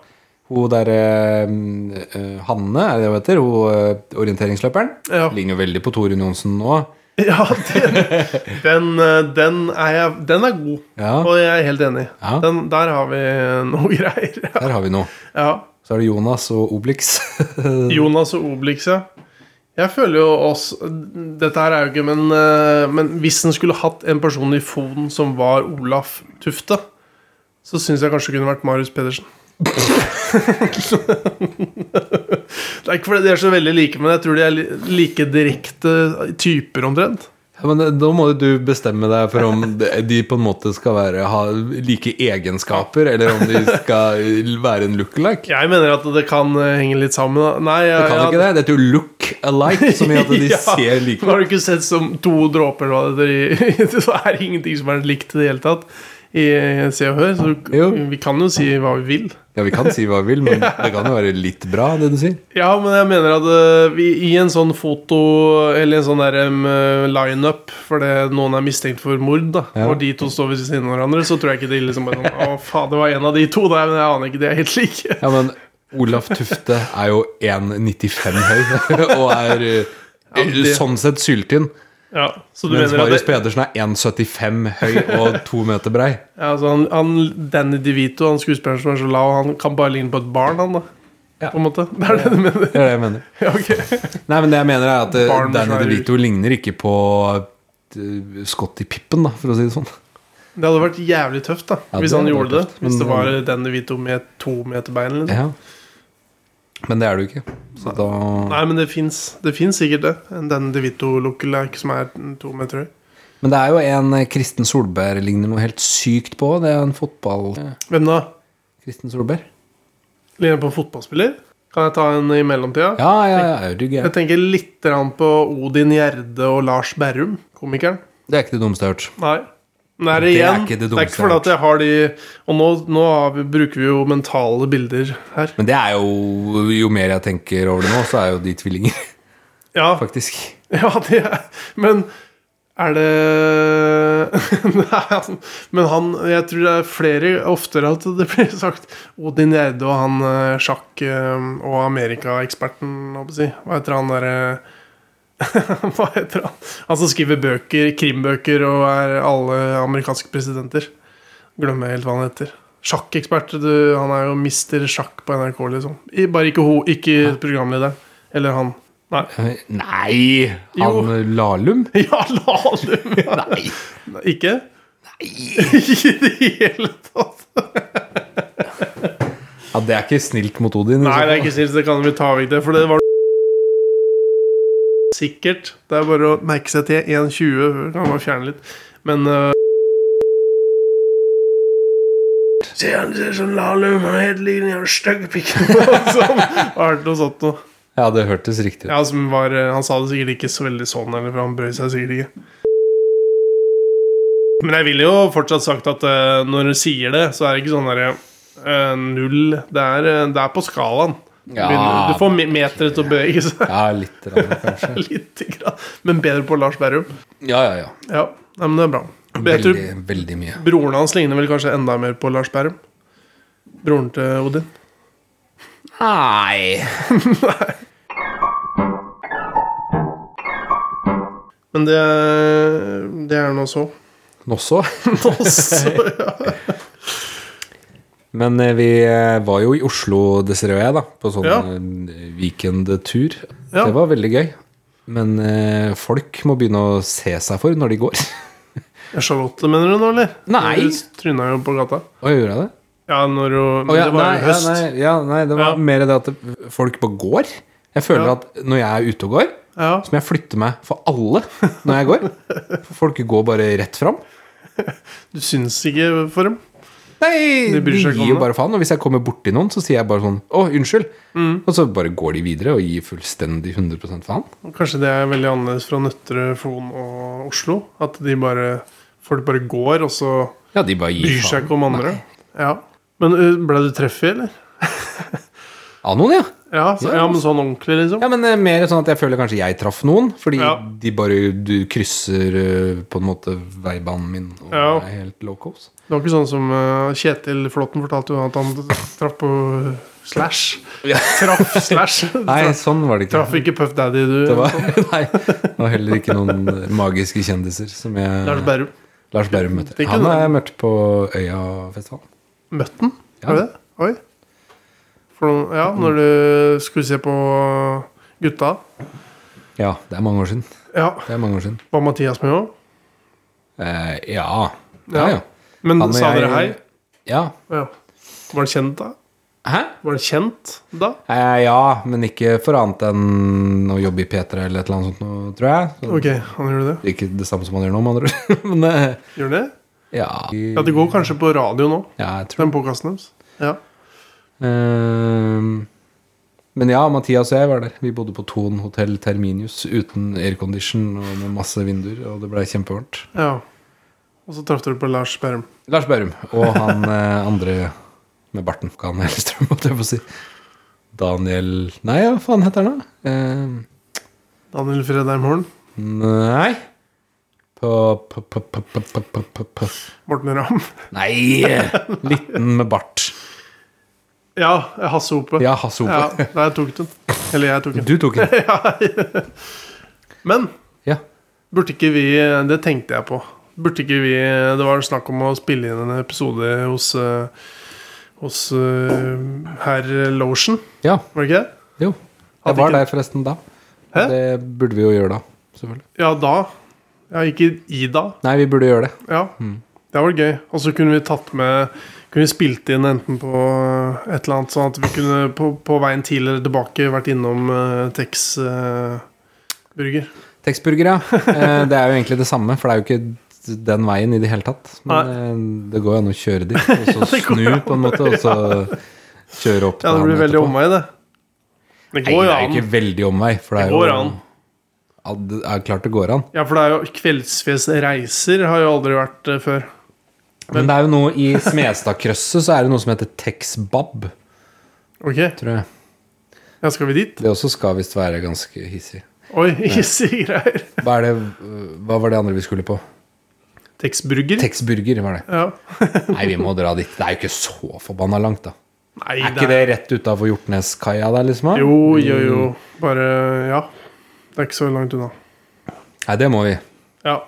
A: Hun der eh, eh, Hanne, er det det hun heter? Hun eh, orienteringsløperen.
C: Ja.
A: Ligner jo veldig på Torunn Johnsen nå.
C: ja den, den, eh, den, er jeg, den er god,
A: Ja.
C: og jeg er helt enig.
A: Ja.
C: Den, der har vi noe [laughs] greier.
A: Der har vi noe.
C: Ja.
A: Så er det Jonas og Oblix.
C: Jonas og Obelix, ja. Jeg føler jo også Dette her er jo ikke men, eh, men hvis en skulle hatt en person i Fon som var Olaf Tufte, så syns jeg kanskje det kunne vært Marius Pedersen. det er ikke fordi de er så veldig like, men jeg tror de er li- like direkte typer, omtrent.
A: [laughs] Ja, Men eh, da må jo du bestemme deg for om de på en måte skal være, ha like egenskaper, eller om de skal eh, være en look-alike.
C: Jeg mener at det kan eh, henge litt sammen. Da. Nei, ja,
A: Du kan ikke
C: ja,
A: det? Det heter jo look-alike, som gjør at de
C: [laughs] Ja.
A: ser like
C: Har du ikke sett som to dråper hva det heter i [laughs] Det er ingenting som er likt i det hele tatt i eh, Se og Hør, så du-
A: Jo.
C: vi kan jo si hva vi vil.
A: Ja, vi kan si hva vi vil,
C: [laughs]
A: men det kan jo være litt bra, det du sier.
C: Ja, men jeg mener at eh, vi, i en sånn foto Eller en sånn der em, eh, lineup fordi noen er mistenkt for mord, da
A: Ja.
C: og de to står ved siden av hverandre, så tror jeg ikke de liksom bare sånn Å, faen, det var en av de to der, men jeg aner ikke, de er helt like.
A: Ja, men Olaf Tufte er jo 1,95 høy, [laughs] og er eh,
C: Ja, det-
A: sånn sett syltynn.
C: Ja, så du
A: Mens
C: mener at
A: Marius
C: det,
A: Pedersen er 1,75 høy og to meter brei.
C: ja, altså han, han Danny DeVito, han skuespilleren som er så lav, han kan bare ligne på et barn, han, da.
A: Ja.
C: På en måte. Det er det du mener?
A: Det er det jeg mener.
C: [laughs] Ja, ok.
A: Nei, men det jeg mener er at eh,
C: Barn
A: Danny
C: som er-
A: DeVito ligner ikke på eh, Scott i pippen, da, for å si det sånn.
C: Det hadde vært jævlig tøft da
A: Ja,
C: hvis
A: det
C: han
A: hadde
C: gjorde det.
A: vært tøft,
C: Hvis
A: men- eh,
C: det var den DeVito med to meter bein. Liksom.
A: Ja. Men det er du ikke. Så da
C: Nei, men det fins det finnes sikkert det. En Den DeVito-lookalike som er to meter høy.
A: Men det er jo en eh, Kristen Solberg ligner noe helt sykt på. Det er en fotball...
C: Hvem da?
A: Kristen Solberg?
C: Ligner på en fotballspiller? Kan jeg ta en i mellomtida?
A: Ja, ja, ja. Er du
C: Jeg
A: gæren?
C: tenker litt grann på Odin Gjerde og Lars Berrum, komikeren.
A: Det er ikke det dummeste jeg har hørt.
C: Nei. Nei, det,
A: Det er
C: igjen,
A: ikke det
C: det er ikke
A: dummeste
C: fordi
A: jeg
C: at jeg har de Og nå, nå har vi, bruker vi jo mentale bilder her.
A: Men det er jo Jo mer jeg tenker over det nå, så er jo de tvillinger, [laughs]
C: Ja,
A: faktisk.
C: [laughs] Ja, det er Men er det [laughs] Nei, altså, men han Jeg tror det er flere oftere at det blir sagt Odin Gjerde og han eh, sjakk- eh, og amerikaeksperten, hva skal jeg si. Hva heter han derre [laughs] Hva heter han? Han som skriver bøker, krimbøker, og er alle amerikanske presidenter. Glemmer helt hva han heter. Sjakkekspert. Du, han er jo mister sjakk på NRK, liksom. I, bare ikke, ho, ikke programlederen. Eller han. Nei.
A: Nei!
C: Jo.
A: Han Lahlum?
C: [laughs] Ja, Lahlum! Ja.
A: Nei.
C: Nei, Ikke? Ikke i det hele tatt.
A: Ja, det er ikke snilt mot Odin. liksom. i så fall.
C: Nei, det er ikke snilt, det kan vi ta vekk det, for det var Sikkert. Det er bare å merke seg til 1,20. Kan bare fjerne litt. Men øh, Se, han ser sånn Lahlum han er helt lik den jævla stygge pikken. [laughs] Sånn. Har hørt noe sånt noe.
A: Ja, det hørtes riktig ut.
C: Ja, som var, øh, han sa det sikkert ikke så veldig sånn, eller for han brøy seg sikkert ikke. Men jeg ville jo fortsatt sagt at eh, øh, når du sier det, så eh, er det ikke sånn derre øh, null. Det er, øh, det er på skalaen. Begynner- Du får me- meteret til å bevege seg
A: ja litt, rann, kanskje.
C: [laughs] litt, grann. men bedre på Lars Berrum.
A: Ja, ja, ja.
C: Ja, Nei, men det er bra. Jeg tror
A: Veldig, veldig mye.
C: broren hans ligner vel kanskje enda mer på Lars Berrum. Broren til Odin.
A: Nei
C: Men det, det er nå så. [laughs]
A: Også.
C: Nå så, ja.
A: [laughs] Men eh, vi eh, var jo i Oslo, Desiree og jeg, da, på sånn
C: Ja.
A: eh, weekendtur.
C: Ja.
A: Det var veldig gøy. Men eh, folk må begynne å se seg for når de går. [laughs]
C: Charlotte, mener du nå, eller?
A: Nei.
C: Hun tryna jo på gata.
A: Å, gjorde jeg det?
C: Ja, når hun
A: Å,
C: men
A: ja,
C: Det var
A: nei,
C: jo
A: ja,
C: høst.
A: nei, ja, nei, det var
C: Ja.
A: mer det at det- folk bare går. Jeg føler
C: Ja.
A: at når jeg er ute og går,
C: Ja.
A: så må jeg flytte meg for alle når jeg går. For folk går bare rett fram.
C: Du syns ikke for dem?
A: Nei,
C: De
A: de
C: bryr seg ikke
A: gir
C: om
A: jo
C: det.
A: bare faen. Og hvis jeg kommer borti noen, så sier jeg bare sånn Å, unnskyld.
C: Mm.
A: Og så bare går de videre og gir fullstendig 100 faen.
C: Kanskje det er veldig annerledes fra Nøtterøy, Fon og Oslo? At de bare, folk bare går, og så
A: Ja, de bare gir
C: bryr seg
A: faen.
C: ikke om andre? Ja. Men ø, ble du treffet, eller?
A: Av noen, ja.
C: Ja, så,
A: Ja.
C: ja, men sånn ordentlig, liksom?
A: Ja, men eh, mer sånn at jeg føler kanskje jeg traff noen, fordi
C: Ja.
A: de bare du krysser eh, på en måte veibanen min og
C: Ja.
A: er helt locos.
C: Det var ikke sånn som eh, Kjetil Flåtten fortalte jo at han traff på Slash.
A: Ja.
C: Traff Slash.
A: [laughs] Nei,
C: Traff-
A: sånn var det ikke.
C: Traff ikke Puff Daddy, du.
A: Det var, [laughs] nei, det var heller ikke noen magiske kjendiser som jeg
C: Lars Berrum.
A: Lars Berrum møtte.
C: Det er ikke
A: Han har
C: noe-
A: jeg møtt på Øyafestivalen.
C: Møtte han?
A: Ja.
C: Var det det? Oi. For noen, ja, når du skulle se på gutta.
A: Ja, det er mange år siden.
C: Ja,
A: Det er mange år siden.
C: var Mathias med òg?
A: Eh, ja. Ja,
C: Ja.
A: ja.
C: Men
A: Han og
C: sa
A: jeg-
C: dere hei?
A: ja.
C: Ja. Var det kjent da?
A: Hæ?
C: Var det kjent da?
A: Eh, ja, men ikke for annet enn å jobbe i P3 eller et eller annet sånt, nå, tror jeg. Så
C: Ok, han gjorde det.
A: Ikke det samme som man gjør nå, med andre ord. [laughs] Men eh,
C: Gjør det?
A: ja.
C: Ja, det går kanskje på radio nå,
A: Ja, jeg tror
C: den podkasten deres. Ja.
A: Ehm, Men ja, Mathias og jeg var der. Vi bodde på Thon hotell Terminius uten aircondition og med masse vinduer, og det blei kjempevarmt.
C: ja. Og så traff dere på Lars Berrum.
A: Lars Berrum og han eh, andre med barten. Hva han Hellstrøm, måtte jeg få si. Daniel Nei, hva faen heter han, da? Ehm,
C: Daniel Fredheim Horn.
A: nei på, på, på, på, på, på, på, på, på.
C: Morten Ramm. [laughs]
A: Nei! Liten med bart.
C: Ja, Hasse Hope.
A: Ja, Hasse
C: Ja,
A: Hope.
C: nei, jeg tok den. Eller jeg tok den.
A: Du tok den.
C: Men
A: Ja.
C: burde ikke vi Det tenkte jeg på. Burde ikke vi Det var snakk om å spille inn en episode hos eh, Hos eh, herr Lotion,
A: ja.
C: var det ikke det?
A: Jo.
C: Hadde
A: Jeg var
C: ikke-
A: der forresten da.
C: Hæ?
A: Det burde vi jo gjøre da. Selvfølgelig.
C: Ja, da. Ja, ikke i da.
A: Nei, vi burde gjøre det.
C: Ja, det hadde vært gøy. Og så kunne vi tatt med Kunne vi spilt inn enten på et eller annet, sånn at vi kunne på, på veien til eller tilbake vært innom uh, Tex eh, Burger. [laughs]
A: Texburger, ja. Eh, Det er jo egentlig det samme, for det er jo ikke den veien i det hele tatt. Men eh, det går jo an å kjøre
C: [laughs]
A: dit, og så snu på en måte, og så kjøre opp
C: Ja,
A: til
C: det
A: han
C: blir veldig
A: etterpå.
C: omvei, det. Det
A: Nei,
C: går
A: det
C: jo
A: er jo
C: an.
A: ikke veldig omvei, for det
C: Det
A: er jo
C: går an.
A: Ja, det er klart det går an.
C: Ja, for det er jo Kveldsfjes reiser har jo aldri vært eh, før.
A: Men det er jo noe i Smestadkrøsset, så er det noe som heter Texbab,
C: Ok,
A: tror jeg.
C: ja, skal vi dit?
A: Det også skal visst være ganske hissig.
C: Oi, [laughs] hissige greier.
A: Hva, er det, hva var det andre vi skulle på?
C: Tex Burger.
A: Texburger, var det.
C: Ja. [laughs]
A: Nei, vi må dra dit. Det er jo ikke så forbanna langt, da.
C: Nei,
A: Er ikke det rett utafor Hjortneskaia der, liksom? da?
C: Jo, jo, jo. Bare Ja. Det er ikke så langt unna.
A: Nei, det må vi.
C: Ja.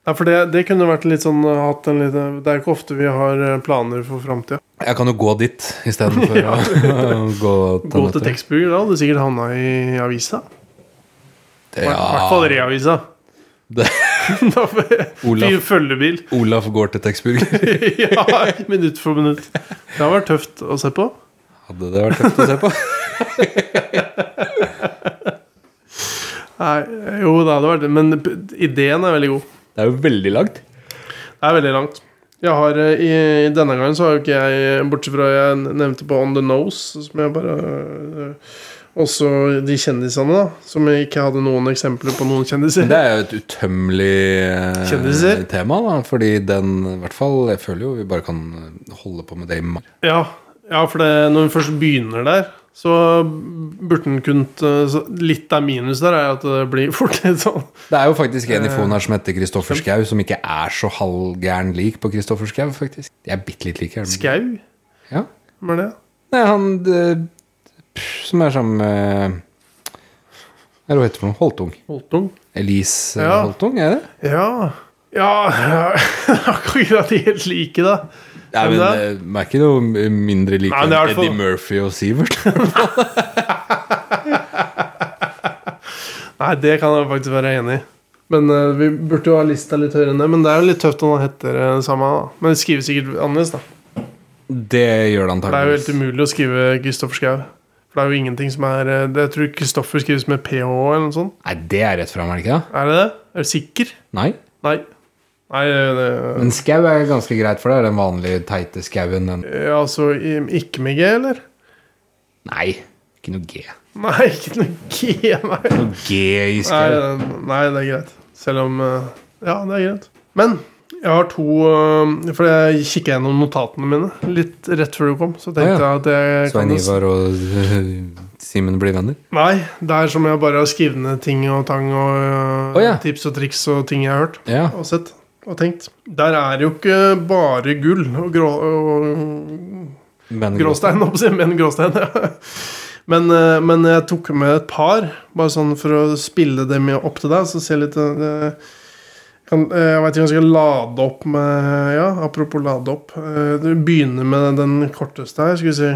C: Nei, for det, det kunne vært litt sånn eh, hatt en lite, Det er ikke ofte vi har eh, planer for framtida.
A: Jeg kan jo gå dit
C: [laughs]
A: istedenfor ja. å [laughs] gå til
C: Gå til
A: Nøtterøy.
C: Texburger, da hadde du sikkert havna i avisa. I
A: Ja.
C: hvert fall Reavisa. [laughs]
A: Det-
C: da får jeg-
A: Olaf.
C: Fy- følgebil. [laughs]
A: Olaf går til Texburger.
C: ja, minutt for minutt. Det har vært tøft å se på.
A: Hadde det vært tøft å se på?
C: Nei, jo, det hadde vært det, men p- ideen er veldig god.
A: Det er jo veldig langt.
C: Det er veldig langt. Jeg har, eh, i, i Denne gangen så har jo ikke jeg Bortsett fra jeg nevnte på On The Nose, som jeg bare eh, Også de kjendisene, da. Som jeg ikke hadde noen eksempler på noen kjendiser.
A: Det er jo et utømmelig eh,
C: Kjendiser.
A: tema, da. Fordi den, i hvert fall, jeg føler jo vi bare kan holde på med det i mai.
C: Ja, ja for det, når vi først begynner der, Så burde den kunnet eh, så Litt av minus der er at det blir fort litt sånn
A: Det er jo faktisk
C: Eh,
A: en i fonen her som heter Kristoffer Schau, som ikke er så halvgæren lik på Kristoffer Schau, faktisk. De er bitte litt like. er de ikke?
C: skau.
A: Ja.
C: Hva er det?
A: Nei, han eh, pff, som er sammen med Hva er det hun heter for noe? Holtung.
C: Holtung?
A: Elise eh,
C: Ja.
A: Holtung, er det?
C: Ja Ja, [laughs] ja. Akkurat de helt like, da.
A: Ja,
C: Hvem
A: men
C: da?
A: eh, de er ikke noe mindre like enn
C: Nei, men det er i hvert fall-
A: Eddie Murphy og Sivert. [laughs]
C: Nei, det kan jeg faktisk være enig i. Men eh, vi burde jo ha lista litt høyere enn det. Men det er jo litt tøft om han heter eh, det samme. Da. Men det skrives sikkert annerledes, da.
A: Det gjør det
C: For det er jo
A: antakeligvis.
C: helt um- umulig å skrive Kristoffer Schau. For det er jo ingenting som er eh, det, Jeg tror Kristoffer skrives med ph eller noe sånt.
A: Nei, det er rett fram, er det ikke det?
C: Er det det? Er du sikker?
A: Nei.
C: Nei. Nei, eh, det,
A: Men skau er ganske greit, for det er den vanlige teite skauen. Den.
C: ja, altså i- Ikke med G, eller?
A: Nei, ikke noe G.
C: Nei, ikke noe G, nei.
A: Noe G i
C: Nei, eh,
A: skau.
C: nei, det er greit. Selv om eh, Ja, det er greit. Men jeg har to eh, For jeg kikka gjennom notatene mine litt rett før du kom. Så
A: Å, ja.
C: tenkte jeg at jeg
A: Svein
C: kan
A: Ivar og øh, Simen blir venner.
C: Nei, det er som jeg bare har skrevet ned ting og tang og eh,
A: Å, ja.
C: tips og triks og ting jeg har hørt
A: Ja.
C: og sett og tenkt. Der er jo ikke bare gull og, grå, og
A: Men
C: Gråstein, holdt på å si, men gråstein, ja. Men, eh, men jeg tok med et par, bare sånn for å spille det med opp til deg. Så se litt eh, kan, eh, Jeg veit ikke om jeg skal lade opp med Ja, apropos lade opp. eh, Du begynner med den korteste her. Skal vi si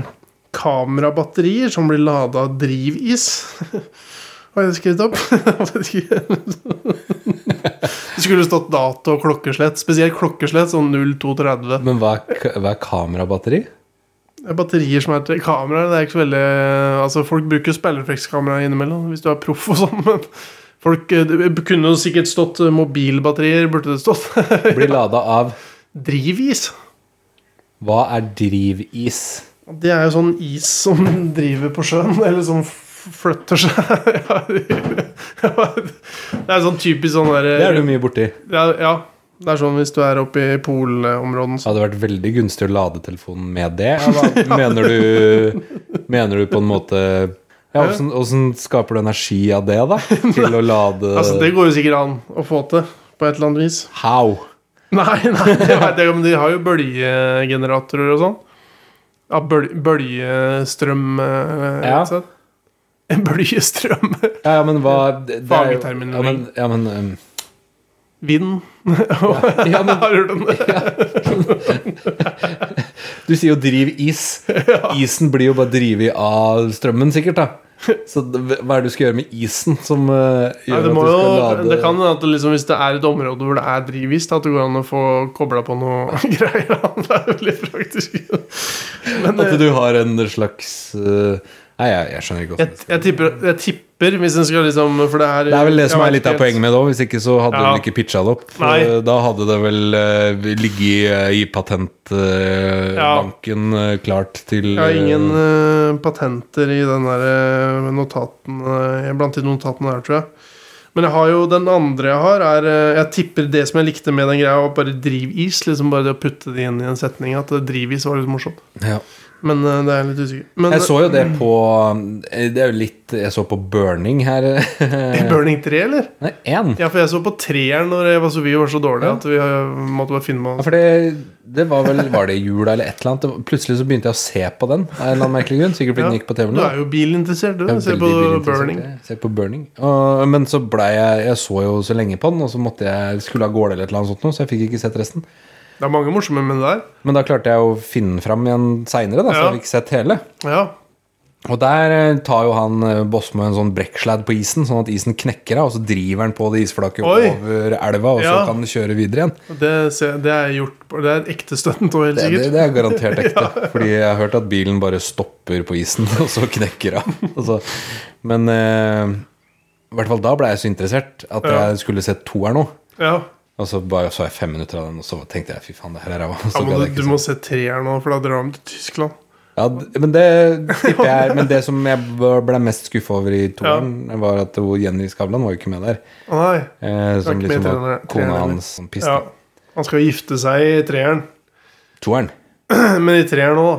C: Kamerabatterier som blir lada av drivis. [laughs] Har jeg skrevet opp? [laughs] Jeg vet ikke. [laughs] Det skulle stått dato og klokkeslett. Spesielt klokkeslett, sånn 0230.
A: Men hva er, ka- hva er kamerabatteri?
C: Det er Batterier som er til kameraer. Det er ikke så veldig Altså, folk bruker speilerflekskamera innimellom hvis du er proff og sånn, [laughs] men folk eh, Det kunne jo sikkert stått eh, mobilbatterier, burde det stått. [laughs]
A: Blir lada av
C: Drivis.
A: Hva er drivis?
C: Det er jo sånn is som [laughs] driver på sjøen, eller som f- flytter seg. [laughs] Ja, det er sånn typisk sånn der
A: Det er du mye borti.
C: Ja, ja. Det er sånn hvis du er oppe i polområdene.
A: Det hadde vært veldig gunstig å lade telefonen med det. Eller hva? [laughs] Mener du, mener du på en måte ja, Åssen åssen skaper du energi av det, da? Til å lade
C: [laughs] Altså, det går jo sikkert an å få til på et eller annet vis.
A: How?
C: Nei, nei det vet jeg, ikke, men de har jo bølgegeneratorer og sånn. Ja, bøl bølgestrøm eh,
A: Ja.
C: rett og slett. En bølgestrøm.
A: Ja, ja, men hva det, det er jo- ja, men,
C: Fagterminologi.
A: ja, men, um,
C: Vind.
A: ja, men
C: Har du hørt om det?
A: Du sier jo 'driv
C: [laughs]
A: is'. Isen blir jo bare drevet av strømmen, sikkert. da Så det- hva er det du skal gjøre med isen som eh,
C: Nei,
A: gjør
C: det, må
A: at du
C: jo,
A: skal lade
C: det kan hende at det liksom, hvis det er et område hvor det er drivvis, da, at det går an å få kobla på noe [laughs] greier. Det er veldig praktisk. Men,
A: [laughs]
C: eh,
A: At du har en slags eh, Nei, jeg, jeg skjønner ikke
C: jeg,
A: åssen
C: jeg, tipper, jeg tipper, hvis en skal liksom For det er
A: det er vel det
C: jeg
A: som er
C: vet
A: litt av
C: ikke helt.
A: poenget med det òg. Hvis ikke så hadde
C: Ja.
A: hun ikke pitcha det opp. For
C: Nei.
A: Da hadde det vel eh, ligget eh, i patentbanken
C: Ja.
A: banken eh, klart til
C: Jeg har ingen
A: eh,
C: eh, patenter i den der eh, notaten eh, Blant de notatene her, tror jeg. Men jeg har jo den andre jeg har, er eh, Jeg tipper det som jeg likte med den greia, var bare drivis. Liksom bare det å putte det inn i en setning. At det drivis var litt morsomt.
A: ja.
C: Men eh, det er jeg litt usikker. Men
A: Jeg så jo det på eh, Det er jo litt Jeg så på burning her. [laughs]
C: eh,
A: Nei,
C: Burning 3, eller?
A: én.
C: Ja, for jeg så på treeren når jeg var så, vi var så dårlige at vi eh, måtte bare finne
A: Ja,
C: med
A: for det, det var vel Var det i jula eller et eller annet? Det var- Plutselig så begynte jeg å se på den. Av en eller annen merkelig grunn Sikkert fordi den
C: Ja,
A: gikk på TV.
C: Du er jo bilinteressert, du. Se på Burning.
A: Se på burning. Og, men så ble jeg Jeg så jo så lenge på den, og så måtte jeg skulle av gårde eller et eller annet sånt, noe, så jeg fikk ikke sett resten.
C: Det er mange morsomme menn der.
A: Men da klarte jeg å finne den fram igjen seinere, så
C: Ja.
A: jeg fikk sett hele.
C: Ja.
A: Og der eh, tar jo han eh, Bosmo en sånn brekksladd på isen, sånn at isen knekker av, og så driver han på det isflaket
C: Oi.
A: over elva, og så
C: Ja.
A: kan den kjøre videre igjen.
C: Det, ser- det er gjort på- Det er et ekte stunt òg, helt
A: Det,
C: sikkert.
A: det, det er garantert
C: [laughs]
A: ekte. Fordi jeg har hørt at bilen bare stopper på isen, [laughs] og så knekker av. Og så- Men eh, i hvert fall da ble jeg så interessert at
C: Ja.
A: jeg skulle se toeren nå.
C: Ja,
A: Og så bare så jeg fem minutter av den, og så tenkte jeg fy faen, det her er ræva. Og
C: ja
A: så gadd
C: men du,
A: jeg
C: du
A: ikke
C: må se treer nå, for da drar de til Tyskland.
A: se. ja, d- men det tipper jeg Men det som jeg b- ble mest skuffa over i toeren, var at hun Jenny Skavlan var jo ikke med der.
C: Å nei,
A: Eh, som
C: ikke med i
A: liksom var
C: treeren, treeren,
A: kona
C: eller?
A: hans som
C: ja.
A: piste.
C: Han skal jo gifte seg i treeren. [clears throat]
A: Toeren.
C: Men i treeren nå, da.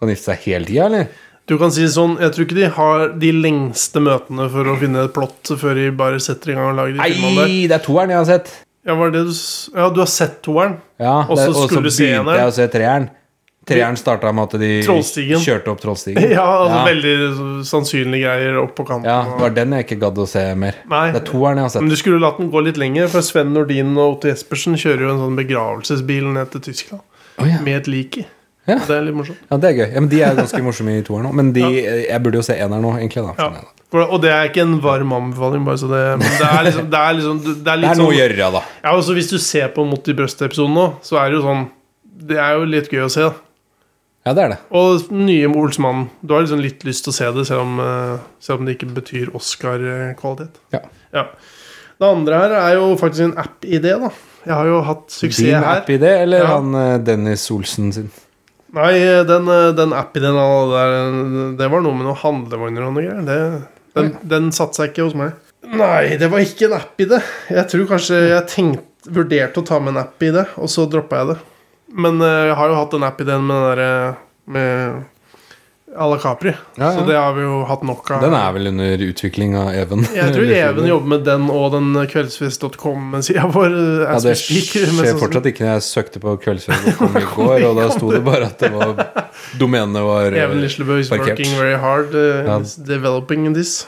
A: Kan gifte seg hele tida, eller?
C: Du kan si sånn, Jeg tror ikke de har de lengste møtene for å finne et plott før de bare setter i gang og lager de filmene der.
A: Nei, det er toeren jeg har sett.
C: Ja, var det det du, s- ja, du har sett toeren?
A: Ja,
C: Og så
A: det- og så
C: skulle du se
A: begynte
C: eneren. [laughs]
A: jeg å se treeren. Treeren starta med at de
C: Trollstigen.
A: kjørte opp Trollstigen.
C: [laughs] Ja, altså
A: ja.
C: veldig sannsynlige greier opp på kanten.
A: Ja, det
C: og-
A: var den jeg ikke gadd å se mer.
C: Nei.
A: Det er toeren jeg har
C: Men
A: sett.
C: du skulle latt den gå litt lenger, for Sven Nordin og Otto Jespersen kjører jo en sånn begravelsesbil ned til Tyskland
A: Å, ja.
C: med et lik i.
A: Ja.
C: Det er litt morsomt.
A: ja, det er gøy. Ja, men de er
C: [laughs]
A: ganske morsomme i toeren òg. Men de, jeg burde jo se eneren nå, egentlig. Da.
C: Ja.
A: Sånn er det.
C: For- Og det er ikke en varm anbefaling, bare så det Men det er liksom Det er, liksom, det er
A: Det
C: litt
A: er
C: sånn
A: noe å gjøre, da.
C: Ja, og så Hvis du ser på Mot i brøstet-episoden nå, så er det jo sånn Det er jo litt gøy å se. da.
A: Ja, det er det.
C: Og den nye med Olsmannen. Du har liksom litt lyst til å se det, selv om, eh, selv om det ikke betyr Oscar-kvalitet.
A: Ja.
C: Ja. Det andre her er jo faktisk en app-idé, da. Jeg har jo hatt suksess
A: Din
C: her.
A: app-idé, eller
C: Ja.
A: han eh, Dennis Olsen sin?
C: Nei, den, eh, den app-ideen han hadde der, det var noe med noen handlevogner og noe greier. Det, den, den satte seg ikke hos meg. Nei, det var ikke en app-idé. Jeg tror kanskje jeg tenkte, vurderte å ta med en app-idé, og så droppa jeg det. Men eh, jeg har jo hatt den app-ideen med den derre med à la Capri.
A: Ja, ja.
C: Så det har vi jo hatt nok av.
A: Den er vel under utvikling av Even?
C: jeg tror
A: [laughs] Eller-
C: Even jobber med den og den kveldsfest.com-sida vår. eh,
A: Ja,
C: as
A: det
C: we speak, mens
A: skjer
C: han-
A: fortsatt ikke når jeg søkte
C: [laughs]
A: på Kveldsfjorden i går, og da sto det bare at det var domenet var eh,
C: Even Lislebø is
A: Parkert.
C: working very hard eh,
A: Ja.
C: in this- developing this.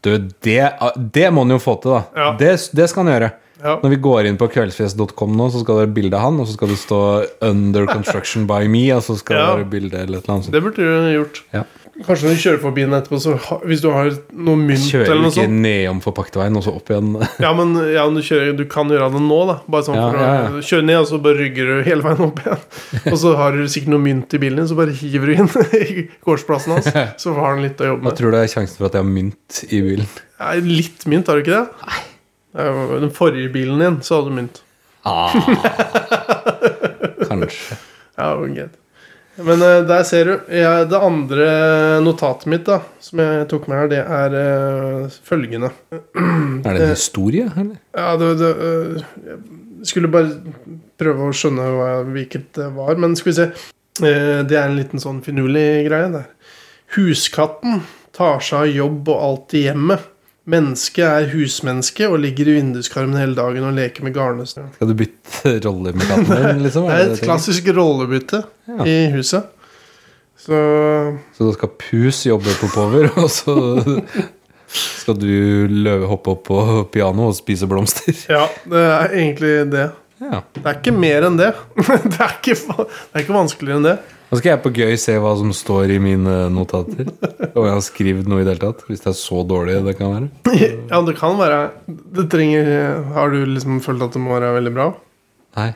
A: Du, det, det må han jo få til, da.
C: Ja.
A: Det, det skal han gjøre.
C: Ja.
A: Når vi går inn på kveldsfjes.com nå, så skal det være bilde av han, og så skal det stå 'Under construction by me', og så skal
C: Ja.
A: det være bilde eller et eller annet. sånt.
C: Det burde du gjort.
A: Ja.
C: Kanskje når du kjører forbi den etterpå, så ha, hvis du har noe mynt
A: Kjører
C: eller noe
A: ikke
C: sånt
A: nedom forpakteveien og så opp igjen.
C: Ja, men ja, men du, kjører, du kan gjøre det nå, da. Bare sånn
A: Ja,
C: for
A: ja,
C: å kjøre ned, og så bare rygger du hele veien opp igjen.
A: [laughs]
C: Og så har du sikkert noe mynt i bilen din, så bare hiver du inn [laughs] i
A: [laughs]
C: gårdsplassen hans. Så har han litt å jobbe
A: Hva
C: med.
A: tror du er sjansen for at jeg har mynt i bilen?
C: Nei, litt mynt, har du ikke det? Nei. Den forrige bilen din, så hadde du mynt.
A: Ah. Kanskje.
C: Ja, det var greit. Men eh, der ser du. Ja, det andre notatet mitt da, som jeg tok med her, det er eh, følgende.
A: Er det en historie, eller?
C: Ja, det, det øh, Jeg skulle bare prøve å skjønne hva, hvilket det var, men skal vi se. Eh, Det er en liten sånn finurlig greie der. Huskatten tar seg av jobb og alt i hjemmet. Mennesket er husmenneske og ligger i vinduskarmen hele dagen og leker med garnnøster.
A: Skal du bytte rolle med katten
C: [laughs]
A: din, liksom?
C: Det
A: Er
C: er
A: det
C: et
A: det
C: klassisk rollebytte
A: Ja.
C: i huset. Så
A: du tenker? Så da skal Pus jobbe oppover, og
C: [laughs]
A: så skal du løve hoppe opp på pianoet og spise blomster?
C: ja, det er egentlig det.
A: Ja.
C: Det er ikke mer enn det. [laughs] Det er ikke, va- det er ikke vanskeligere enn det.
A: Nå skal jeg på gøy se hva som står i mine eh, notater. Om jeg har skrevet noe i det hele tatt. Hvis det er så dårlig det kan være.
C: [laughs] Ja, det kan være det trenger, Har du liksom følt at det må være veldig bra? [laughs]
A: Nei.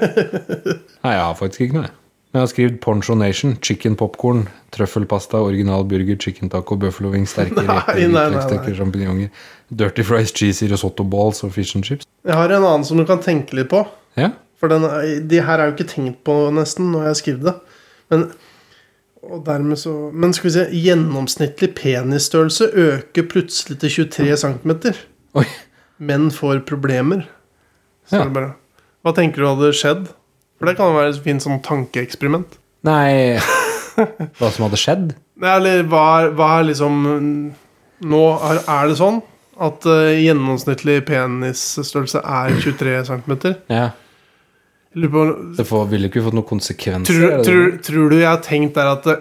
A: Nei, jeg har faktisk ikke noe. jeg. Men jeg har skrevet Poncho Nation, chicken popcorn, trøffelpasta, original burger, chicken taco, buffalo wings, sterke reker,
C: nei, nei,
A: hvitløksstykker, sjampinjonger, dirty fries, cheesy, risotto balls og fish and chips.
C: Jeg har en annen som du kan tenke litt på.
A: Ja,
C: For den, er- de her er jo ikke tenkt på nesten når jeg skrev det. Men, og dermed så, men skal vi se Gjennomsnittlig penisstørrelse øker plutselig til 23 cm.
A: Oi.
C: Menn får problemer. Så
A: Ja.
C: er det bare Hva tenker du hadde skjedd? For det kan være et fint sånn tankeeksperiment.
A: Nei [laughs] Hva som hadde skjedd?
C: Nei, eller hva er, hva er liksom Nå er, er det sånn at eh, gjennomsnittlig penisstørrelse er 23 cm.
A: Ja.
C: Lurer på
A: Det får, ville ikke fått noen konsekvenser.
C: tror,
A: er det det?
C: tror, tror du jeg har tenkt der at eh,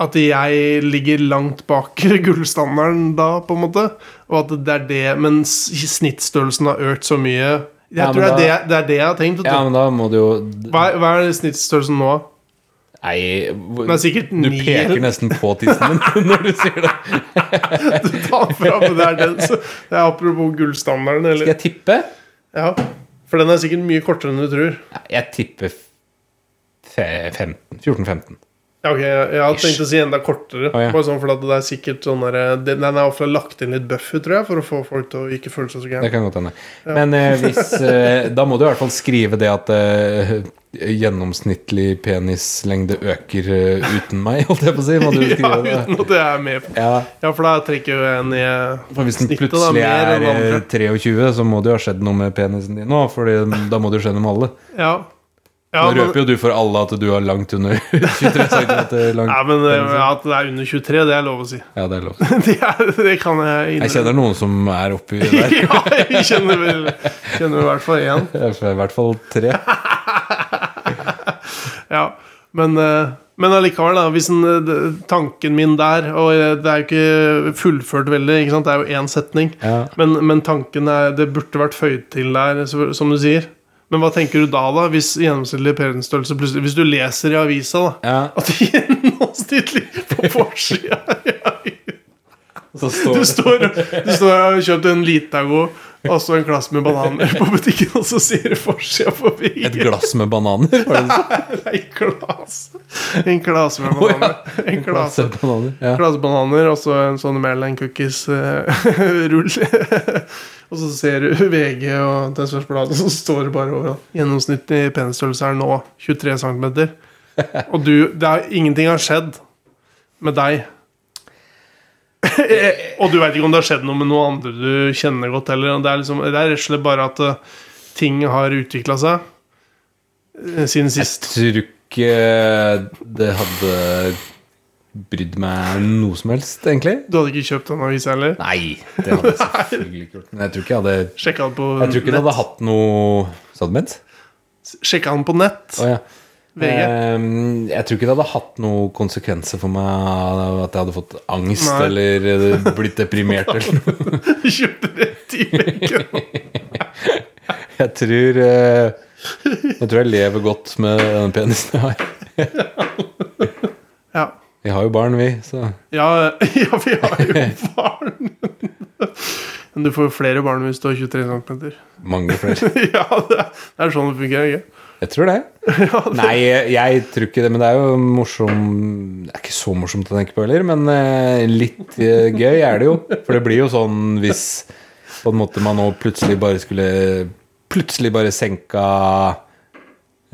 C: at jeg ligger langt bak [laughs] gullstandarden da, på en måte? Og at det er det Mens snittstørrelsen har økt så mye Jeg
A: Ja,
C: tror det
A: men
C: er det, det er det jeg har tenkt. vet du.
A: Ja, men da må du jo
C: hva, er- hva er snittstørrelsen nå?
A: Nei
C: Den
A: hvor-
C: er sikkert
A: Du
C: ni.
A: peker
C: [laughs]
A: nesten på tissen din [laughs] når du sier det.
C: Ta fra, men det er den. Så, det er apropos gullstandarden. Eller?
A: Skal jeg tippe?
C: Ja, for den er sikkert mye kortere enn du tror.
A: Nei, Jeg tipper f- fe- 15 14-15.
C: Ja, ok, jeg, jeg hadde tenkt å si enda kortere.
A: Å, ja.
C: Bare sånn fordi at det er sikkert sånn der, den, den er ofte lagt inn litt buffer, tror jeg, for å få folk til å ikke føle seg så
A: Det
C: gærne.
A: kan godt hende. Men eh, hvis eh, Da må du i hvert fall skrive det at eh, gjennomsnittlig penislengde øker eh, uten meg, holdt jeg på å si. Må du
C: [laughs] Ja,
A: skrive det?
C: uten at jeg er med på
A: Ja,
C: Ja, for da trekker jo jeg ned
A: For hvis den
C: Snittet, da,
A: plutselig
C: mer
A: er
C: enn andre.
A: eh, 23, så må det jo ha skjedd noe med penisen din nå, for da må det jo skje noe med alle.
C: Ja. Ja,
A: Nå
C: men,
A: røper jo du for alle at du er langt under [laughs] 23 cm lang.
C: ja, men eh, at det er under 23, det er lov å si. [laughs]
A: Ja, det er lov.
C: Det, er, det kan jeg
A: Jeg kjenner noen som er oppi [laughs] der.
C: [laughs] ja, jeg kjenner vel Kjenner i hvert fall én.
A: I hvert fall tre.
C: Ja, men, eh, men allikevel, da. Hvis en, eh, d- tanken min der Og eh, det er jo ikke fullført veldig, ikke sant? det er jo én setning.
A: Ja.
C: Men, men tanken er Det burde vært føyd til der, så- som du sier. Men hva tenker du da, da? Hvis gjennomsnittlig parentstørrelse plutselig Hvis du leser i avisa, da.
A: Ja.
C: At det [laughs] gjennomsnittlig på forsida
A: Så står
C: Du står du står og har kjøpt en Litago og så en klasse med bananer på butikken, og så sier det forsida på
A: et
C: [laughs] veggen.
A: glass med bananer. Var det
C: Nei, klasse. En klasse med
A: Å, ja.
C: bananer. En klasse.
A: med bananer? Ja.
C: klasse bananer, og så en sånn Maryland [laughs] Cookies-rull. og så ser du VG og Tønsbergs Blad, og så står det bare over at gjennomsnittlig penisstørrelse er nå 23 cm. Og du det er, Ingenting har skjedd med deg. [laughs] og du veit ikke om det har skjedd noe med noen andre du kjenner godt heller. og Det er, liksom, det er rett og slett bare at eh, ting har utvikla seg eh, siden sist.
A: Tror ikke det hadde brydd meg noe som helst, egentlig.
C: Du hadde ikke kjøpt den avisa heller?
A: Nei, det hadde jeg selvfølgelig ikke gjort. Men jeg tror ikke jeg hadde
C: Sjekka den på
A: Jeg tror ikke det
C: nett?
A: hadde hatt noe Sa du ment?
C: Sjekka den på nett?
A: Å, ja.
C: VG.
A: Ehm, Jeg tror ikke det hadde hatt noen konsekvenser for meg at jeg hadde fått angst
C: Nei.
A: eller blitt [laughs] deprimert eller noe.
C: Kjøpte rett i benken.
A: Jeg tror eh, Jeg tror jeg lever godt med den penisen jeg har.
C: Ja.
A: Vi har jo barn, vi, så
C: Ja, [laughs] ja, vi har jo barn. Men du får jo flere barn hvis du har 23 cm.
A: mange flere.
C: [laughs] Ja, det er, det er sånn det fungerer. ikke?
A: Jeg tror det. Nei, jeg tror ikke det, men det er jo morsom Det er ikke så morsomt å tenke på heller, men eh, litt eh, gøy er det jo. For det blir jo sånn hvis på en måte man nå plutselig bare skulle Plutselig bare senka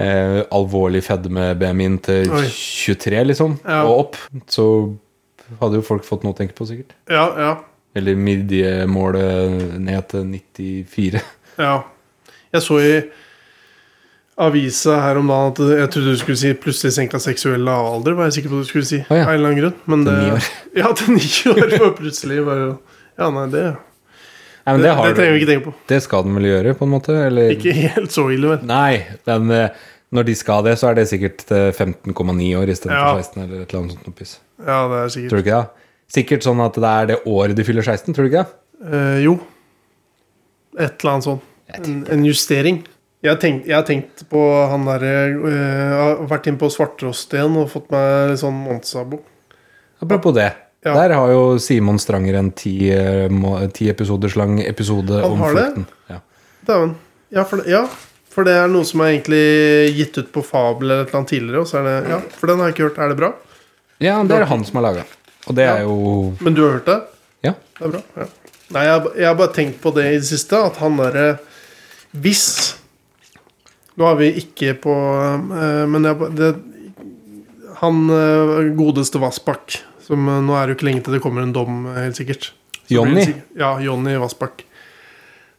A: eh, alvorlig fedme BMI-en til
C: Oi.
A: 23, liksom,
C: Ja.
A: og opp, så hadde jo folk fått noe å tenke på, sikkert.
C: Ja, ja,
A: Eller midjemålet ned til 94.
C: ja. Jeg så i avisa her om dagen at jeg trodde du skulle si 'plutselig senka seksuell alder'. var jeg sikker på at du skulle si.
A: Å ja.
C: Av en eller annen grunn. Men
A: Til
C: det,
A: ni år.
C: [laughs] Ja, til ni år. For plutselig bare Ja, nei, det,
A: Nei, men det,
C: det, det
A: har
C: trenger vi
A: du.
C: ikke tenke på.
A: Det skal den vel gjøre, på en måte? Eller?
C: Ikke helt så ille, men.
A: Nei, den, eh, når de skal det, så er det sikkert eh, 15,9 år
C: Ja.
A: istedenfor 16 eller et eller annet sånt noe piss.
C: Ja, det er sikkert
A: Tror du ikke det? Sikkert sånn at det er det året de fyller 16, tror du ikke det?
C: Eh, jo. Et eller annet sånn. En, en justering. Jeg har, tenkt, jeg har tenkt på han derre eh, Jeg har vært inn på Svarttrost igjen og fått meg litt sånn Montsabo.
A: Apropos det.
C: Ja.
A: Der har jo Simon Stranger en ti, eh, må- ti episoders lang episode
C: Han
A: om
C: har det?
A: flukten. Ja.
C: Dæven. Ja, for det- ja, for det er noe som er egentlig gitt ut på Fabel eller et eller annet tidligere. Og så er det, ja, for den har jeg ikke hørt. Er det bra?
A: ja, det er han som har laga. Og det
C: Ja.
A: er jo
C: Men du har hørt det?
A: Ja.
C: Det er bra. Ja. Nei, jeg, har- jeg har bare tenkt på det i det siste, at han derre Hvis Nå har vi ikke på eh, Men jeg, bare- det, han eh, godeste Vassbakk som eh, Nå er det jo ikke lenge til det kommer en dom, eh, helt sikkert. Så blir
A: Johnny.
C: det sikk- Ja, Jonny Vassbakk.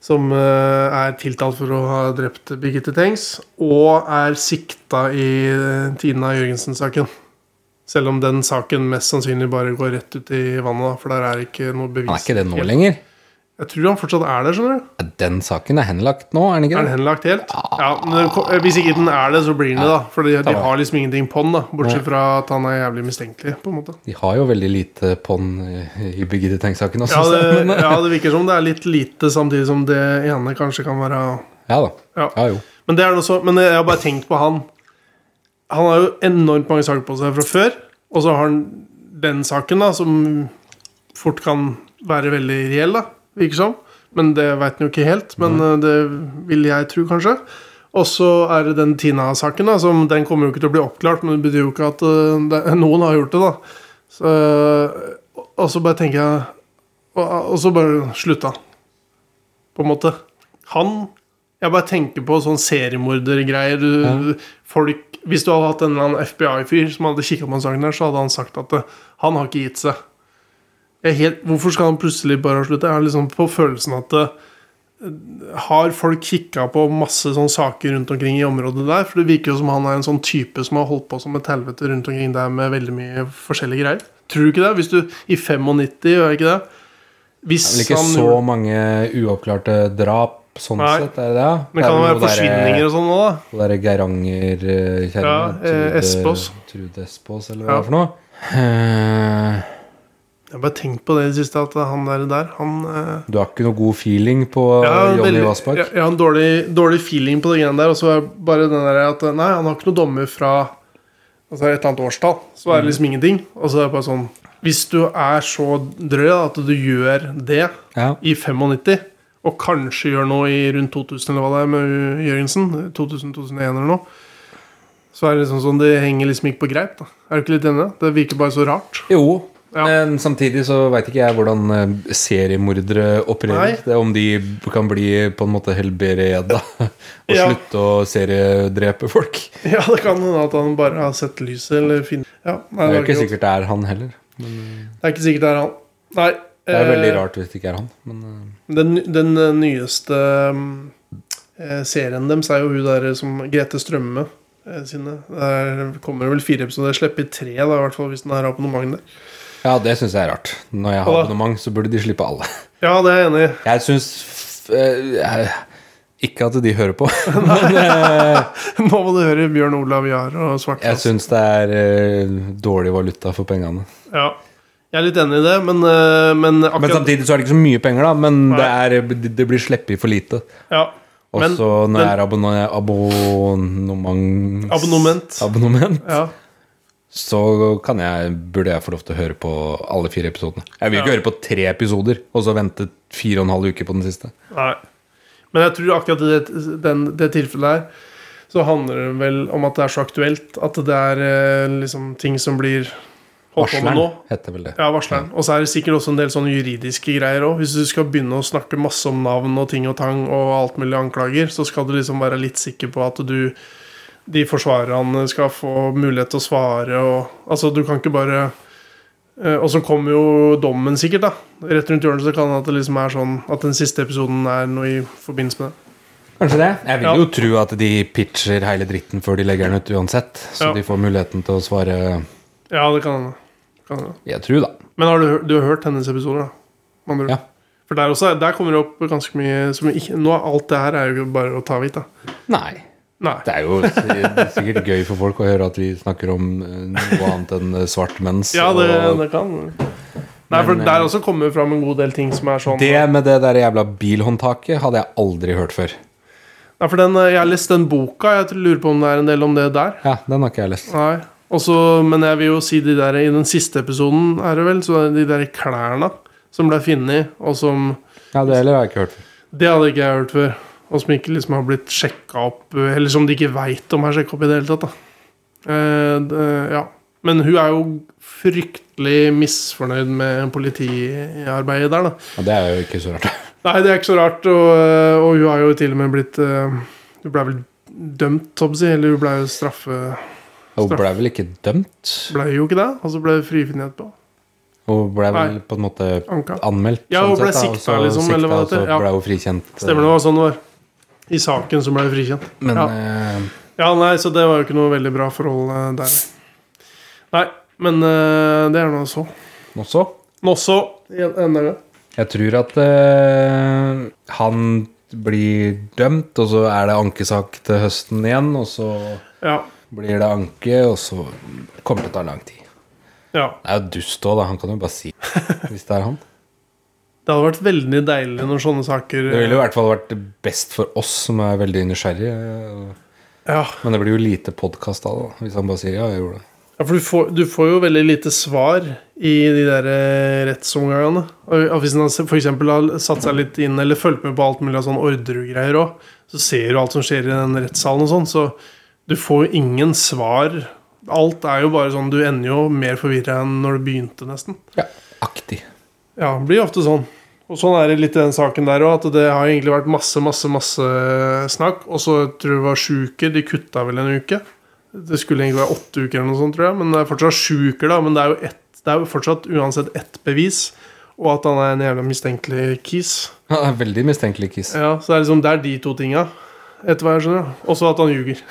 C: Som eh, er tiltalt for å ha drept Birgitte Tengs. Og er sikta i eh, Tina Jørgensen-saken. Selv om den saken mest sannsynlig bare går rett ut i vannet. da, For der er ikke noe bevis.
A: Han er ikke det nå
C: helt.
A: lenger.
C: Jeg tror han fortsatt er der, skjønner du.
A: Ja, Den saken er henlagt nå, er den ikke
C: Er den
A: det?
C: henlagt helt? Ja, men den ko- eh, Hvis ikke den er det, så blir den det, da. For de, de har liksom ingenting på den, da. Bortsett fra at han er jævlig mistenkelig, på en måte.
A: [laughs] De har jo veldig lite på'n i Birgitte Tengs-saken også.
C: Ja det,
A: men, eh,
C: ja, det virker som det er litt lite, samtidig som det ene kanskje kan være
A: [laughs] ja da.
C: Ja.
A: Ja jo.
C: Men det er noe så Men jeg har bare tenkt på han. Han har jo enormt mange saker på seg fra før, og så har han den saken, da, som fort kan være veldig reell, da, virker som. Men det veit han jo ikke helt, men eh, det vil jeg tro, kanskje. Og så er det den Tina-saken, da, som den kommer jo ikke til å bli oppklart, men det betyr jo ikke at eh, det, [laughs] noen har gjort det, da. Så, eh, og så bare tenker jeg Og, og så bare slutta han, på en måte. Han jeg bare tenker på sånn seriemordergreier. Du- Folk Hvis du hadde hatt en eller annen FBI-fyr som hadde kikka på den saken der, så hadde han sagt at eh, han har ikke gitt seg. Jeg er helt, hvorfor skal han plutselig bare slutte? Jeg har liksom på følelsen at eh, har folk kikka på masse sånne saker rundt omkring i området der? For det virker jo som han er en sånn type som har holdt på som et helvete rundt omkring der med veldig mye forskjellige greier. Tror du ikke det? Hvis du I 95, gjør jeg ikke det? Hvis
A: Det er vel ikke
C: han
A: så
C: gjorde-
A: mange uoppklarte drap, sånn
C: Nei.
A: sett, er eh, det det?
C: Men kan det være forsvinninger og sånn nå, da?
A: Og der Geiranger-kjerringa.
C: Ja, eh,
A: Trude-
C: Espås.
A: Trude Espås, eller hva
C: Ja.
A: det er for noe. Eh,
C: Jeg har bare tenkt på det i det siste, at han der, der han eh,
A: Du har ikke noe god feeling på
C: Jeg har en
A: Johnny
C: veldig-
A: Vassbakk?
C: Jeg, jeg har en dårlig, dårlig feeling på det greiene der. Og så er det bare den der at Nei, han har ikke noen dommer fra altså et eller annet årstall. Så
A: Mm.
C: er det liksom ingenting. Og så er det bare sånn Hvis du er så drøy da, at du gjør det
A: Ja.
C: i 95, og kanskje gjør noe i rundt 2000 eller hva det er med Jørgensen, 2000-2001 eller noe, så er det liksom sånn Det henger liksom ikke på greip. da Er du ikke litt enig? i det? Det virker bare så rart.
A: Jo,
C: Ja.
A: men samtidig så veit ikke jeg hvordan eh, seriemordere opererer.
C: Nei.
A: Det er om de kan bli på en måte
C: [laughs]
A: helbereda og
C: Ja.
A: slutte å seriedrepe folk.
C: [laughs] Ja, det kan hende at han bare har sett lyset eller finner ja, nei,
A: Det er
C: det
A: jo ikke
C: godt.
A: sikkert det er han heller.
C: Det er ikke sikkert det er han. Nei.
A: Det er veldig
C: eh,
A: rart hvis det ikke er han. Men eh,
C: Den, den eh, nyeste mm, eh, serien deres er jo hun der eh, som Grete Strømme eh, sine. Der kommer det vel fire episoder. Jeg slipper tre, da, i hvert fall hvis den her har abonnement der.
A: ja, det syns jeg er rart. Når jeg har
C: Hva da?
A: abonnement, så burde de slippe alle. [laughs]
C: Ja, det er jeg enig i. [laughs]
A: Jeg syns ikke at de hører på,
C: [laughs]
A: men eh,
C: Nå må du høre Bjørn Olav Jahr og
A: jeg
C: Svartfoss.
A: syns det er eh, dårlig valuta for pengene.
C: Ja. Jeg er litt enig i det, men, eh, men
A: Men
C: akkurat
A: samtidig så er det ikke så mye penger, da. Men det, er, det blir sleppet for lite.
C: ja.
A: Og
C: Men-
A: så når
C: men-
A: jeg er abonne, abonnement
C: Abonnement.
A: abonnement,
C: ja.
A: så kan jeg, burde jeg få lov til å høre på alle fire episodene. Jeg vil ikke
C: Ja.
A: høre på tre episoder og så vente fire og en halv uke på den siste.
C: Nei. Men jeg tror akkurat i det, den, det tilfellet her så handler det vel om at det er så aktuelt at det er eh, liksom ting som blir holdt på med nå.
A: Varsleren heter vel det.
C: Ja, varsleren. Og så er det sikkert også en del sånne juridiske greier òg. Hvis du skal begynne å snakke masse om navn og ting og tang og alt mulig anklager, så skal du liksom være litt sikker på at du de forsvarerne skal få mulighet til å svare og Altså, du kan ikke bare eh, Og så kommer jo dommen, sikkert, da. Rett rundt hjørnet så kan det at det liksom er sånn at den siste episoden er noe i forbindelse med det.
A: Kanskje det. Jeg vil
C: Ja.
A: jo tro at de pitcher hele dritten før de legger den ut uansett. Så
C: Ja.
A: de får muligheten til å svare
C: Ja, det kan hende. Kan hende.
A: Jeg tror, da.
C: Men har du, hørt- du har hørt hennes episoder, da? Med andre ord.
A: Ja.
C: For der, også, der kommer det opp ganske mye som ikke, Nå er alt det her er jo bare å ta hvitt, da.
A: Nei.
C: Nei.
A: Det er jo s- sikkert gøy for folk å høre at vi snakker om eh, noe annet enn eh, svartmens.
C: Ja, det,
A: og-
C: det kan Nei, for
A: Men,
C: der
A: eh,
C: også kommer det fram en god del ting som er sånn
A: Det med det der jævla bilhåndtaket hadde jeg aldri hørt før.
C: Nei, for den, eh, Jeg har lest den boka, jeg tror- lurer på om det er en del om det der.
A: Ja, den har ikke jeg lest.
C: Nei. Også, men jeg vil jo si de der i den siste episoden, er det vel, så er det de der klærne som ble funnet, og som
A: Ja, Det heller har jeg ikke hørt før.
C: Det hadde ikke jeg hørt før. Og som ikke liksom har blitt sjekka opp, eh, eller som de ikke veit om er sjekka opp i det hele tatt. da eh, det, Ja. Men hun er jo fryktelig misfornøyd med politiarbeidet der, da.
A: Ja, det er jo ikke så rart.
C: Nei, det er ikke så rart. Og, eh, og hun har jo til og med blitt eh, Hun ble vel dømt, Tobsy? Eller hun ble jo straffe...
A: Hun blei vel ikke dømt?
C: Ble jo ikke det? Og så ble hun frifunnet etterpå.
A: Hun blei vel
C: Nei.
A: på en måte
C: Anka.
A: anmeldt? sånn
C: Ja, hun ble
A: sett, da, og
C: sikta,
A: så
C: liksom,
A: sikta,
C: eller hva det
A: og så
C: heter. Ja.
A: ble hun frikjent. eh,
C: Stemmer det var sånn det var. I saken så ble hun frikjent.
A: Men
C: ja.
A: eh,
C: ja, nei, så det var jo ikke noe veldig bra forhold eh, der. Nei, men eh, det er nå så.
A: nå så.
C: Nå så. en- Enda en gang.
A: Jeg tror at eh, han blir dømt, og så er det ankesak til høsten igjen, og så
C: Ja.
A: blir det anke, og så kommer det til å ta lang tid.
C: ja.
A: Det er jo dust òg, da. Han kan jo bare si hvis det er han.
C: Det hadde vært veldig deilig når sånne saker
A: Det ville i hvert fall vært best for oss som er veldig nysgjerrige.
C: eh, Ja.
A: Men det blir jo lite podkast av det, da, hvis han bare sier ja, jeg gjorde det.
C: Ja, for du får, du får jo veldig lite svar i de der eh, rettsomgangene. Og og Hvis en f.eks. har satt seg litt inn eller fulgt med på alt mulig av sånn ordregreier òg, så ser du alt som skjer i den rettssalen og sånn, så du får jo ingen svar. Alt er jo bare sånn Du ender jo mer forvirra enn når du begynte, nesten.
A: Ja, aktig. [laughs]
C: Ja, det blir ofte sånn. Og sånn er det litt i den saken der òg, at det har egentlig vært masse, masse, masse snakk. Og så tror jeg det var sju uker. De kutta vel en uke. Det skulle egentlig være åtte uker eller noe sånt, tror jeg. Men det er fortsatt sju uker, da. Men det er jo, ett, det er jo fortsatt uansett ett bevis. Og at han er en jævla mistenkelig kis.
A: Han er veldig mistenkelig Kiss.
C: Ja, så det er liksom det er de to tinga, etter hva jeg skjønner. Også at han ljuger.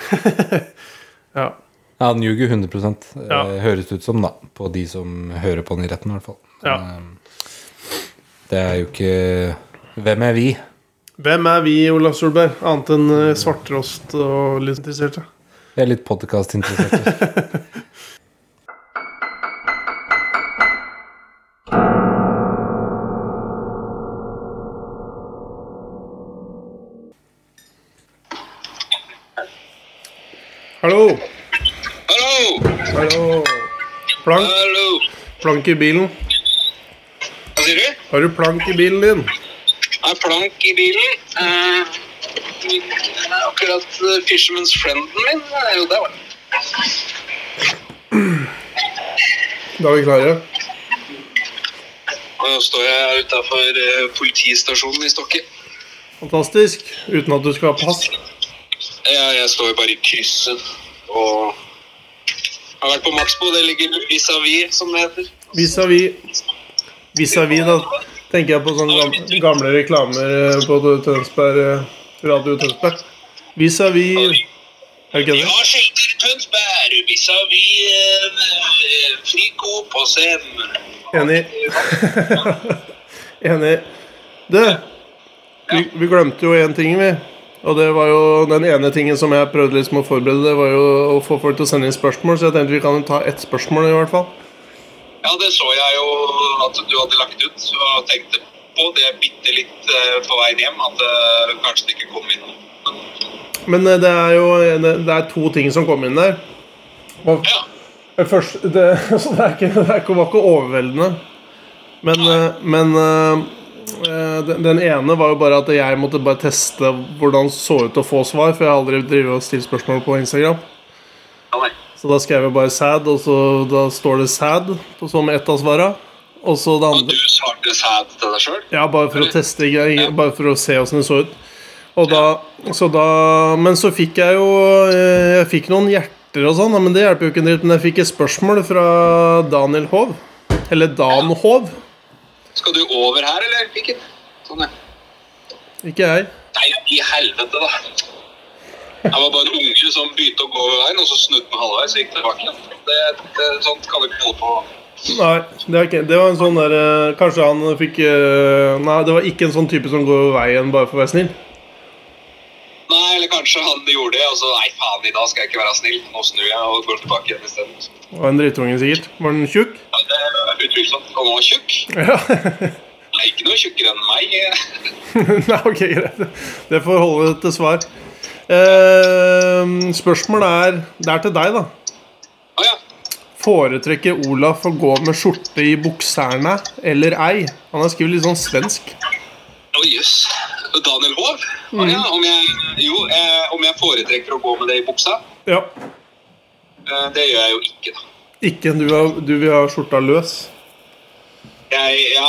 C: ja.
A: Ja, han ljuger 100 eh,
C: Ja.
A: høres ut som, da. På de som hører på den i retten, i hvert fall. Men,
C: Ja.
A: eh, Det er jo ikke Hvem er vi?
C: Hvem er vi, Olav Solberg, annet enn eh, svarttrost og litt interesserte?
A: Vi er litt
C: [laughs]
A: podkastinteresserte.
C: Hallo!
D: Hallo!
C: Hallo! Plank,
D: Hallo!
C: plank i bilen.
D: Hva sier du?
C: Har du plank i bilen din?
D: Er plank i bilen? Eh, min- eh, akkurat eh, Fisherman's Frienden min er jo der. vel.
C: Da er vi klare.
D: Og Nå står jeg utafor politistasjonen i Stokke.
C: Fantastisk. Uten at du skal ha pass.
D: Jeg, jeg står jo bare i krysset og har vært på Maxbo. Det ligger vis-à-vis, som det heter.
C: Vis-à-vis Vis-à-vis, da tenker jeg på sånne gam- gamle reklamer eh, på Tønsberg eh, Radio Tønsberg. Vis-à-vis Er det ikke
D: Vi
C: det?
D: har skilter i Tønsberg vis-à-vis eh, Frico på scenen.
C: Enig. [laughs] Enig. Du, vi, vi glemte jo én ting, vi. Og det var jo den ene tingen som jeg prøvde liksom å forberede, det var jo å få folk til å sende inn spørsmål, så jeg tenkte vi kan jo ta ett spørsmål i hvert fall.
D: Ja, det så jeg jo at du hadde lagt ut, så jeg tenkte på det bitte litt eh, på veien hjem, at eh, kanskje det ikke kom inn.
C: Men eh, det er jo det det er to ting som kom inn der. Og
D: Ja,
C: Det Først, [laughs] det, så det, er ikke, det er ikke, var ikke overveldende. Men, eh, men eh, eh, den, den ene var jo bare at jeg måtte bare teste hvordan det så ut å få svar, for jeg har aldri drevet og stilt spørsmål på Instagram.
D: ja nei.
C: Så da skrev jeg bare 'sad', og så da står det 'sad' på som ett av svara. Og så det
D: Og
C: andre
D: du svarte sæd til deg sjøl?
C: Ja, bare for å teste greier, bare for å se åssen det så ut. Og da, så da, men så fikk jeg jo eh, Jeg fikk noen hjerter og sånn, da, men det hjelper jo ikke en dritt. Men jeg fikk et spørsmål fra Daniel Hov. Eller Dan Hov.
D: Skal du over her, eller? Ikke? Sånn, ja.
C: Ikke jeg.
D: Nei, i helvete, da. Jeg var bare en unge som begynte å gå over veien, og så snudde den halvveis og gikk tilbake igjen. Det, det, sånt kan du ikke holde på.
C: Nei, det, er ikke, det var en sånn der eh, Kanskje han fikk eh, Nei, det var ikke en sånn type som går over veien bare for å være snill.
D: Nei, eller kanskje han gjorde det, og så nei, faen, i dag skal jeg ikke være snill. Nå snur jeg og går tilbake igjen isteden.
C: Det var en drittunge, sikkert. Var han tjukk? [laughs]
D: Ja, det er Utvilsomt. Og nå er tjukk.
C: Ja.
D: Nei, ikke noe tjukkere enn meg. Eh,
C: Nei, ok, greit. Det får holde til svar. Eh, spørsmålet er Det er til deg, da.
D: Å ja.
C: Foretrekker Olaf å gå med skjorte i bukserne eller ei? Han har skrevet litt sånn svensk.
D: Å jøss. Daniel Hov? Å Ja, om jeg, jo, eh, om jeg foretrekker å gå med det i buksa?
C: Ja.
D: Eh, det gjør jeg jo ikke, da.
C: Ikke du, har, du vil ha skjorta løs?
D: Jeg, ja,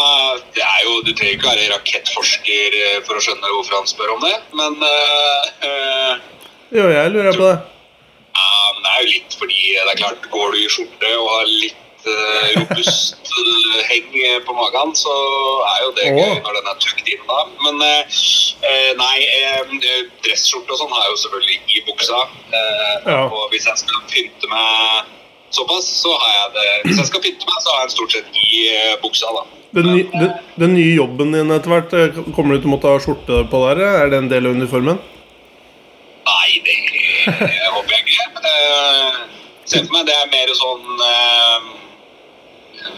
D: det er jo, du trenger ikke være rakettforsker eh, for å skjønne hvorfor han spør om det, men eh, eh,
C: Det gjør jeg, lurer jeg på det.
D: ja, men det er jo litt fordi eh, det er klart, går du i skjorte og har litt eh, robust eh, heng eh, på magen, så er jo det
C: Åh.
D: gøy når den er tøkt inn da. Men eh, eh, nei, eh, dressskjorte og sånn har jeg jo selvfølgelig i buksa. Eh,
C: Ja.
D: Og hvis jeg skal pynte meg såpass, så har jeg det. Hvis jeg skal pynte meg, så har jeg den stort sett i eh, buksa da.
C: Den, ny- den, den nye jobben din etter hvert, eh, kommer du til å måtte ha skjorte på der? eller Er det en del av uniformen?
D: Nei, det jeg håper jeg ikke. Eh, Se for meg det er mer sånn eh,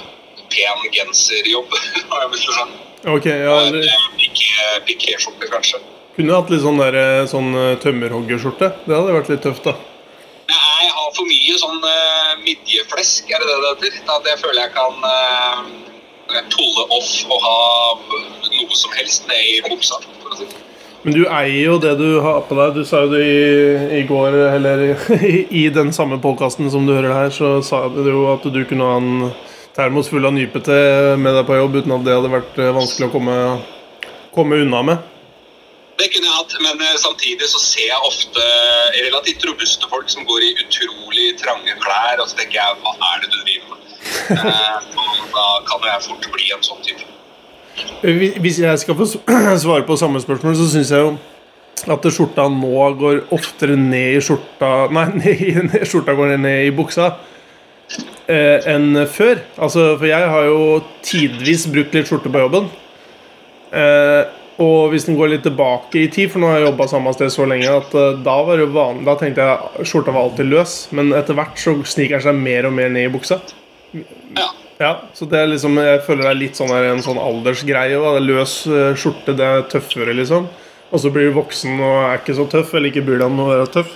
D: pen genserjobb, [laughs] har jeg lyst til å si.
C: Ok, ja,
D: Og en
C: eller,
D: eh, piké- pikéskjorte, kanskje.
C: Kunne hatt litt sånn, der, eh, sånn eh, tømmerhoggerskjorte. Det hadde vært litt tøft, da.
D: Nei, jeg har for mye sånn eh, midjeflesk, er det det det heter? At jeg føler jeg kan eh, pulle off og ha noe som helst ned i buksa. for å si det.
C: Men du eier jo det du har på deg. Du sa jo det i, i går, eller [laughs] i, i den samme podkasten som du hører her, så sa du jo at du kunne ha en termos full av nypete med deg på jobb uten at det hadde vært eh, vanskelig å komme, komme unna med.
D: Det kunne jeg hatt, men eh, samtidig så ser jeg ofte relativt robuste folk som går i utrolig trange klær, og så
C: [laughs]
D: tenker jeg hva er det du driver med? Eh, og da kan jo jeg fort bli en sånn type.
C: Hvi- Hvis jeg skal få s- [clears throat] svare på samme spørsmål, så syns jeg jo at skjorta nå går oftere ned i skjorta [laughs] Nei, ned, i- ned, skjorta går ned i buksa eh, enn før. Altså, for jeg har jo tidvis brukt litt skjorte på jobben. Eh, og hvis den går litt tilbake i tid, for nå har jeg jobba samme sted så lenge, at eh, da var det vanlig, da tenkte jeg skjorta var alltid løs, men etter hvert så sniker den seg mer og mer ned i buksa.
D: Ja.
C: Ja, så det er liksom, Jeg føler det er litt sånn her, en sånn aldersgreie. Da. Det er Løs eh, skjorte, det er tøffere, liksom. Og så blir du voksen og er ikke så tøff, eller ikke bryr deg om å være tøff.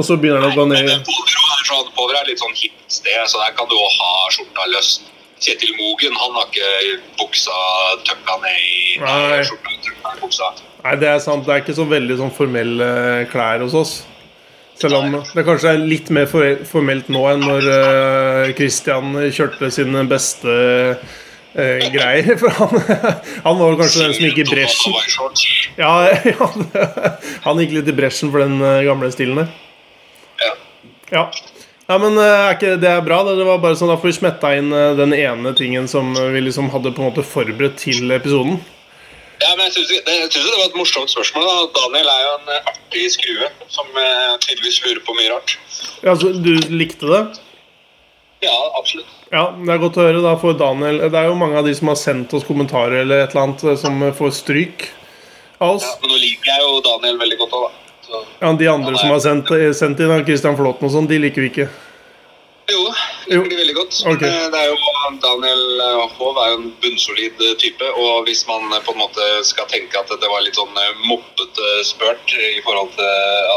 C: Og så begynner det å gå ned
D: Men eh, Povero er, sånn, Povero er litt sånn hipt sted, så der kan du også ha skjorta løs. Kjetil Mogen han har ikke buksa tøkka ned i
C: Nei. Altså,
D: skjorta. tøkka i buksa.
C: Nei, det er sant. Det er ikke så veldig sånn formelle klær hos oss. Selv om det kanskje er litt mer for- formelt nå enn når eh, Christian kjørte sine beste eh, greier. [laughs] For han, han var kanskje den som gikk i bresjen.
D: bresjen.
C: Ja, [laughs] ja, han gikk litt i bresjen for den eh, gamle stilen der.
D: Ja.
C: Ja. Nei, men eh, er ikke, Det er bra. Det, det var bare sånn Da får vi smetta inn eh, den ene tingen som eh, vi liksom hadde på en måte forberedt til episoden.
D: Ja, men jeg synes, det, jeg synes det var et morsomt spørsmål. da. Daniel er jo en eh, artig skrue som eh, tydeligvis lurer på mye rart.
C: Altså, du likte det?
D: Ja, absolutt.
C: Ja, det er godt å høre. da for Daniel eh, Det er jo mange av de som har sendt oss kommentarer eller et eller annet, eh, som får stryk av oss.
D: Ja, men nå liker jeg jo Daniel veldig godt òg, da. Så,
C: Ja, De andre som har sendt, eh, sendt inn, av Christian Flåten og sånn, de liker vi ikke.
D: jo,
C: Jo.
D: det blir veldig godt.
C: Ok.
D: Eh, Det er jo, Daniel eh, Hov er jo en bunnsolid eh, type, og hvis man eh, på en måte skal tenke at det var litt sånn eh, moppete spørt eh, i forhold til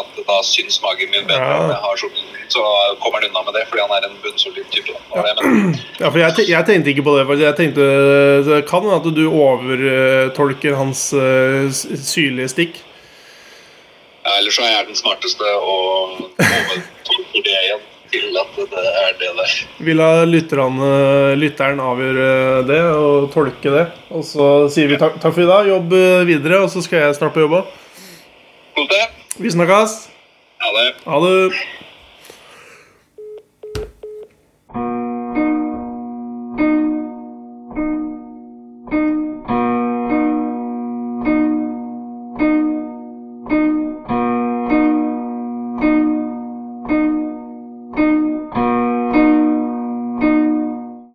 D: at da syns magen min bedre
C: Ja.
D: enn jeg har skjorten, så kommer han unna med det, fordi han er en bunnsolid type. da. Det var det jeg mente.
C: Ja, for jeg, te- jeg tenkte ikke på det. faktisk. Jeg tenkte eh, Det kan hende at du overtolker hans eh, s- syrlige stikk.
D: Ja, ellers så er jeg den smarteste og overtolker det igjen til at det er det der.
C: Vi lar lytterne, lytteren avgjøre det og tolke det. Og så sier vi takk, takk for i dag. Jobb eh, videre, og så skal jeg snart på jobb òg.
D: Godt det.
C: Vi snakkes.
D: Ha det.
C: Ha det.